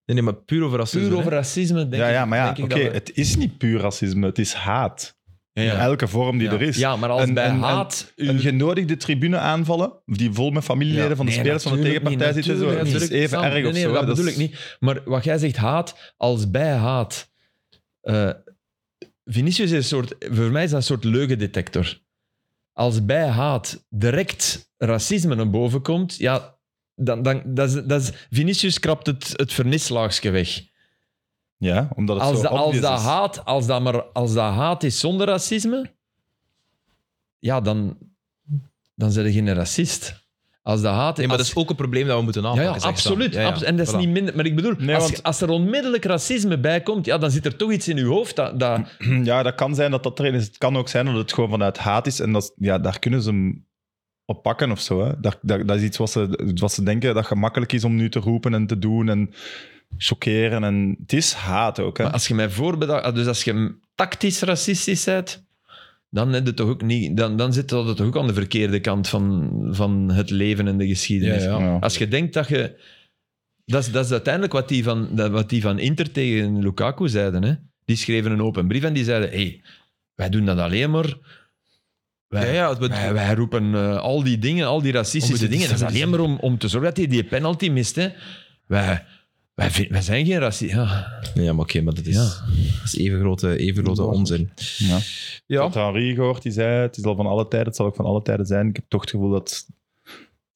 nee, nee, maar puur over racisme. Puur hè. over racisme, denk ja, ik. ja, maar ja, denk ik oké, dat we- het is niet puur racisme, het is haat. Ja, ja. Elke vorm die Ja. er is. Ja, maar als En- bij en- en- haat... uw- Een genodigde tribune aanvallen, die vol met familieleden Ja. van de Nee, spelers van de natuurlijk tegenpartij niet, zitten, zo, natuurlijk dat is niet. even Sam, erg nee, of nee, zo. dat is- bedoel ik niet. Maar wat jij zegt, haat als bij haat. Eh, Vinicius is een soort, voor mij is dat een soort leugendetector. Als bij haat direct racisme naar boven komt, ja, dan, dan, dat is, dat is, Vinicius krapt het, het vernislaagske weg. Ja, omdat het Als, zo dat- als, obvious dat is. haat, als, dat maar, als dat haat is zonder racisme, ja, dan, dan zijn je geen racist. Als dat haat Nee, maar als- dat is ook een probleem dat we moeten ja, aanpakken. ja, zegt Sam. absoluut. Ja, ja. abso- En dat is Voilà. niet minder. Maar ik bedoel, Nee, als, want- je- als er onmiddellijk racisme bij komt, ja, dan zit er toch iets in je hoofd. Dat, dat, *clears throat* Ja, dat kan zijn dat dat erin is. Het kan ook zijn dat het gewoon vanuit haat is. En dat, is- ja, daar kunnen ze hem op pakken of zo. Hè. Dat, dat, dat is iets wat ze, wat ze denken dat gemakkelijk is om nu te roepen en te doen en chockeren. En het is haat ook. Hè. maar als je mij voorbedacht, dus als je tactisch racistisch bent, dan, heb je toch ook niet, dan, dan zit dat toch ook aan de verkeerde kant van, van het leven en de geschiedenis. Ja, Ja. Als je denkt dat je. Dat is, dat is uiteindelijk wat die, van, dat- wat die van Inter tegen Lukaku zeiden. Hè? Die schreven een open brief en die zeiden: hey, wij doen dat alleen maar Ja, Wij, ja, het- wij, wij roepen eh, al die dingen, al die racistische Om het dingen. Dat is te- alleen maar om, om te zorgen dat hij die penalty mist. Hè. Wij, wij, vind- wij zijn geen racist. Ja. Ja, maar oké, maar dat is, Ja. dat is even grote, even grote onzin. Ja. Ik Ja, had Henri gehoord, die zei het is al van alle tijden, het zal ook van alle tijden zijn. Ik heb toch het gevoel dat het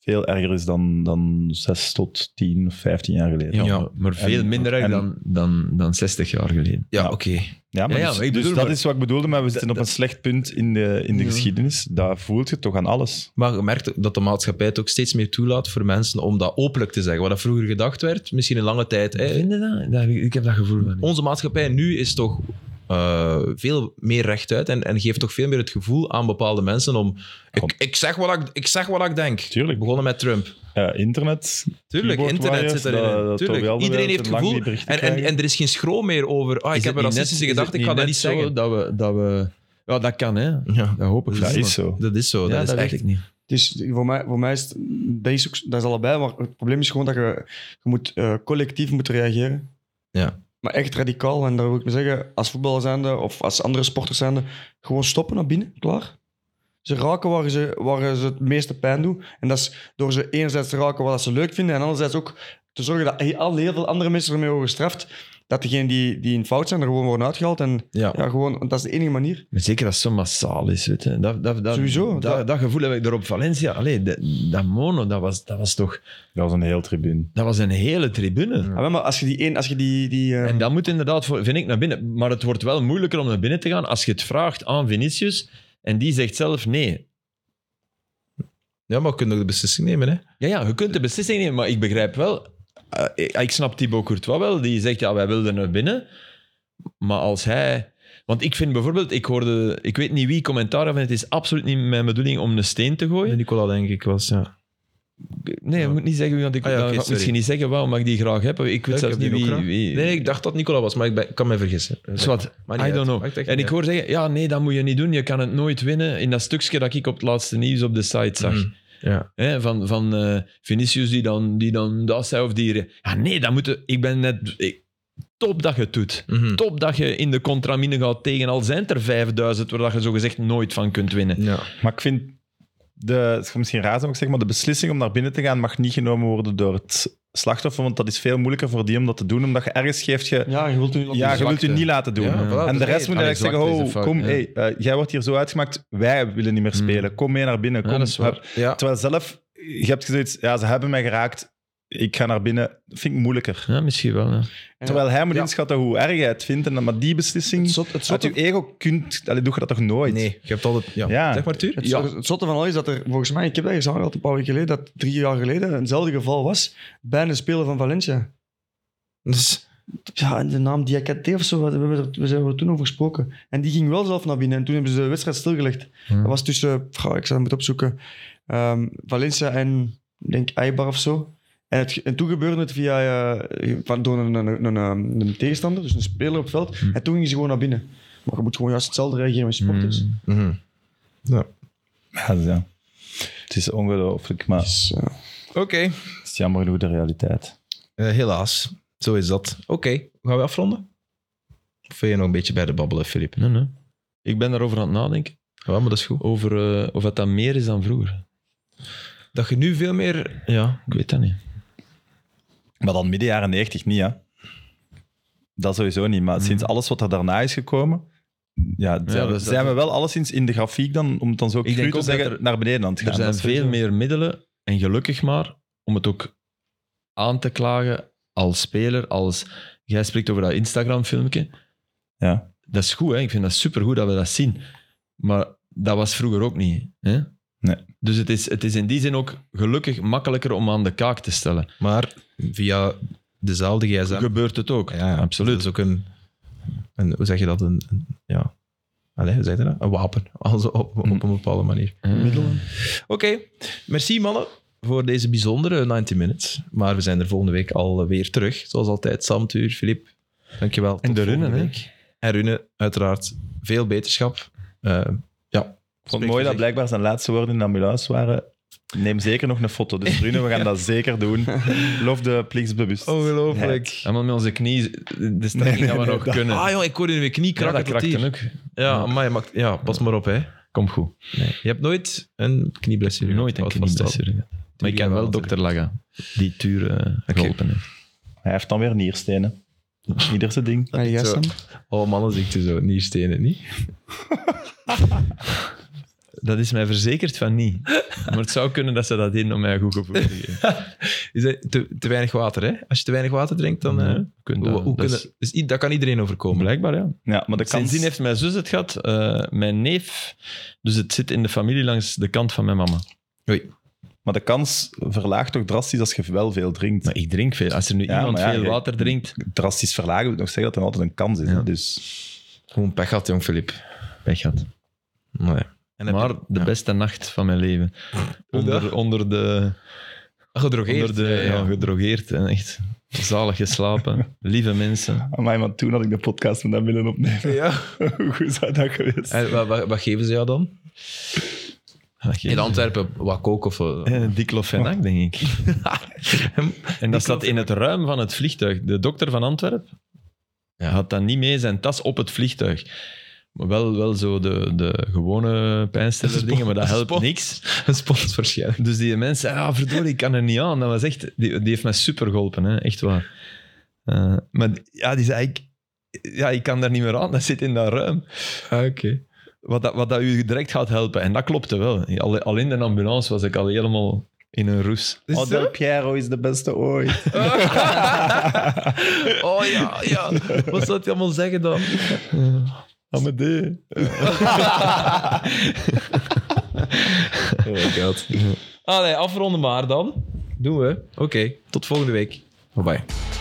veel erger is dan, dan 6 tot 10 of 15 jaar geleden. Ja. maar- Maar veel En- minder erg en- dan, dan, dan 60 jaar geleden. ja Ja. oké. Ja, maar Ja, ja, dus, maar ik dus bedoel dat maar- is wat ik bedoelde, maar we zitten op een slecht punt in de, in de Ja. geschiedenis. Daar voelt je toch aan alles. Maar je merkt dat de maatschappij het ook steeds meer toelaat voor mensen om dat openlijk te zeggen. Wat dat vroeger gedacht werd, misschien een lange tijd. hè. Vind je dat? dat? Ik heb dat gevoel van. niet. Onze maatschappij nu is toch eh, veel meer rechtuit en, en geeft toch veel meer het gevoel aan bepaalde mensen om... Kom. Ik, ik, zeg wat ik, ik zeg wat ik denk. Tuurlijk. Begonnen met Trump. Eh, internet. Tuurlijk, keyboard internet warriors, zit erin. eh, dat- dat Tuurlijk. terwijl de Iedereen wereld heeft lang gevoel. die berichten En, en, krijgen. en er is geen schroom meer over. Ah, ik Is heb een het niet racistische net- is gedachte, het ik ga dat niet net zo zeggen. Dat we, dat we, ja, dat kan, hè. Ja, Dat hoop ik. Dat wel, is zo. dat is zo. maar- Ja, dat is weet echt. ik niet. Het is, voor, mij, voor mij is het, dat is, ook, dat is allebei, maar het probleem is gewoon dat je, je moet, eh, collectief moet reageren. Ja. Maar echt radicaal, en daar wil ik me zeggen, als voetballer zijnde of als andere sporters zijnde, gewoon stoppen naar binnen, klaar. Ze raken waar ze, waar ze het meeste pijn doen. En dat is door ze enerzijds te raken wat ze leuk vinden, en anderzijds ook te zorgen dat he- al heel veel andere mensen ermee worden gestraft, dat degenen die, die in fout zijn er gewoon worden uitgehaald. En Ja. ja, gewoon, want dat is de enige manier. Maar zeker als het zo massaal is. Weet je. Dat, dat, dat, Sowieso, Dat, dat- dat, gevoel heb ik er op Valencia. Allee, dat, dat mono, dat was, dat was toch... Dat was een heel tribune. Dat was een hele tribune. Ja. Ah, maar als je die, één, als je die, die eh, En dat moet inderdaad, voor- vind ik, naar binnen. Maar het wordt wel moeilijker om naar binnen te gaan als je het vraagt aan Vinicius en die zegt zelf nee. Ja, maar we kunnen ook de beslissing nemen. Hè? Ja, ja, je kunt de beslissing nemen, maar ik begrijp wel... eh, ik, ik snap Thibaut Courtois wel, die zegt, ja, wij wilden naar binnen. Maar als hij... Want ik vind bijvoorbeeld, ik hoorde... Ik weet niet wie commentaar had, en het is absoluut niet mijn bedoeling om een steen te gooien. Nicola, denk ik, was. Ja. Nee, ik Ja. moet niet zeggen wie, want ik Ah ja, dan oké, ga ik sorry. misschien niet zeggen waarom ik die graag heb. Ik weet Ik zelfs heb die niet ook wie... graag. wie- Nee, ik dacht dat Nicola was, maar ik ben- ik kan me vergissen. Zwat, Maar I niet don't uit. know. Maakt echt En niet ik hoor zeggen, ja, nee, dat moet je niet doen. Je kan het nooit winnen. In dat stukje dat ik op het laatste nieuws op de site zag. Mm. Ja. Hè, van van eh, Vinicius die dan, die dan dat zei of die... Ja, nee, dat moet... je- Ik ben net... ik- top dat je het doet. Mhm. Top dat je in de contramine gaat tegen, al zijn het er 5000 waar dat je zogezegd nooit van kunt winnen. Ja. Maar ik vind, de, het is misschien raar, maar ik zeg maar, de beslissing om naar binnen te gaan mag niet genomen worden door het slachtoffer, want dat is veel moeilijker voor die om dat te doen, omdat je ergens geeft je... ja, je wilt nu Ja, je wilt zwakte. je niet laten doen. Ja, voilà, en dus de rest nee, moet aan eigenlijk de zeggen, zwakte is oh, de fout, kom, ja. hey, eh, jij wordt hier zo uitgemaakt, wij willen niet meer Mm. spelen. Kom mee naar binnen, Ja, kom. dat is waar. hup. Ja. Terwijl zelf, je hebt zoiets, ja, ze hebben mij geraakt, ik ga naar binnen. Dat vind ik moeilijker. Ja, misschien wel. Ja. Terwijl hij moet Ja. inschatten hoe erg hij het vindt, en dan, maar die beslissing, Het zot- het uit zotte- je ego kunt, allee, doe je dat toch nooit? Nee, je hebt altijd. Ja. Ja. Zeg maar, Tuur. Het, het zotte van al is dat er, volgens mij, ik heb dat eens aangehaald een paar weken geleden, dat drie jaar geleden eenzelfde geval was bij een speler van Valencia. *laughs* Dus, Ja, en de naam Diakate of zo, we, hebben er, we zijn er toen over gesproken. En die ging wel zelf naar binnen en toen hebben ze de wedstrijd stilgelegd. Hmm. Dat was tussen, goh, ik zou het moeten opzoeken, ehm, Valencia en, ik denk Eibar of zo. En, het, en toen gebeurde het via, eh, van, door een, een, een, een- een tegenstander, dus een speler op het veld. En toen gingen ze gewoon naar binnen. Maar je moet gewoon juist hetzelfde reageren met sporters. Mm. mhm. Ja, dus ja. Het is ongelooflijk, maar het Dus, eh, Oké, is jammer genoeg de realiteit. Eh, helaas. Zo is dat. Oké, gaan we afronden? Of wil je nog een beetje bij de babbelen, Filip? Nee, nee. Ik ben daarover aan het nadenken. Ja, maar dat is goed. Over eh, of het dan meer is dan vroeger. Dat je nu veel meer... Ja, ik weet dat niet. Maar dan midden jaren 90 niet, hè? Dat sowieso niet. Maar sinds alles wat er daarna is gekomen, ja, zijn, dat is- zijn we wel alleszins in de grafiek dan, om het dan zo denk cru ook te dat zeggen, er- naar beneden aan het gaan. Er zijn Dat is sowieso- veel meer middelen, en gelukkig maar, om het ook aan te klagen als speler, als... Jij spreekt over dat Instagram-filmpje. Ja. Dat is goed, hè? ik vind dat supergoed dat we dat zien. Maar dat was vroeger ook niet. Hè? Nee. Dus het is, het is in die zin ook gelukkig makkelijker om aan de kaak te stellen. Maar via dezelfde gsm... Ah, Gebeurt het ook, Ja, ja, absoluut. Dat is ook een, een... Hoe zeg je dat? Een... een- ja. Allee, hoe zeg je dat? Een wapen. *laughs* Also op, op een bepaalde manier. middelen. Oké. Merci, mannen. Voor deze bijzondere 90 Minutes. Maar we zijn er volgende week alweer terug. Zoals altijd, Sam, Tuur, Filip. Dankjewel. En Tot de volgende runnen, hè? week. En Runnen, uiteraard. Veel beterschap. Eh, Ik vond het mooi dat blijkbaar zijn laatste woorden in de ambulance waren. Neem zeker nog een foto. Dus Rune, we gaan dat zeker *laughs* doen. Lof de plichtsbewust. Ongelooflijk. Allemaal met onze knie, de sterk Nee, nee, dat we nee, nog dat- kunnen. Ah joh, ik Ah, hoorde in mijn knie Ja, kraken dat tot hier. kraakt dan ook. Ja, amai, maakt, ja, pas maar op hè. Kom goed. Nee. Je hebt nooit een knieblessure gehad, Nooit een houd vast knieblessure. gehad. Maar ik ken wel dokter Laga, die Turen Oké. geholpen heeft. Hij heeft dan weer nierstenen. Ieder zijn ding. Ja, zo. jij, Sam? Oh, mannenziekte zo, nierstenen, niet? Dat is mij verzekerd van niet. Maar het zou kunnen dat ze dat in om mij een goed gevoel te geven. Is dat te, te weinig water, hè? Als je te weinig water drinkt, dan... eh, Nee, kun hoe, dat, hoe dat kunnen, is- dus i- dat kan iedereen overkomen. Blijkbaar, ja. Ja, maar de kans... Sindsdien heeft mijn zus het gehad, eh, mijn neef. Dus het zit in de familie langs de kant van mijn mama. Maar de kans verlaagt toch drastisch als je wel veel drinkt. Maar ik drink veel. Als er nu Ja, iemand maar ja, veel je- water drinkt, Drastisch verlagen wil nog zeggen dat er altijd een kans is. hè. Ja. Dus Gewoon pech had, jong, Filip. weg gaat. Nee. En heb Maar je- de ja. beste nacht van mijn leven. Onder, onder de... Gedrogeerd. Onder de, ja, gedrogeerd en echt zalig geslapen. *laughs* Lieve mensen. Amai, maar toen had ik de podcast met dat willen opnemen. *laughs* Hoe goed zou dat geweest? *laughs* En wat, wat, wat geven ze jou dan? Ah, In Antwerpen, wat kook of... eh, Eh, Diclofenac, denk ik. en dat zat in het ruim van het vliegtuig. De dokter van Antwerpen Ja. had dan niet mee zijn tas op het vliegtuig. Maar wel, wel zo de, de gewone pijnstiller dingen, maar dat helpt Spot. niks. Een spot waarschijnlijk. Dus die mensen, ja, verdorie, ik kan er niet aan. Dat was echt, die, die heeft mij super geholpen, hè. echt waar. Eh, maar ja, die zei, ik, ja, ik kan daar niet meer aan, dat zit in dat ruim. Ah, Oké. Wat dat, wat dat u direct gaat helpen. En dat klopte wel. Al, al in de ambulance was ik al helemaal in een roes. Oh, Del Piero is de beste ooit. Oh ja, ja. Wat zou je allemaal zeggen dan? Amadee. *laughs* Oh my god. Allee, afronden maar dan. Doen we. Oké, tot volgende week. Bye bye.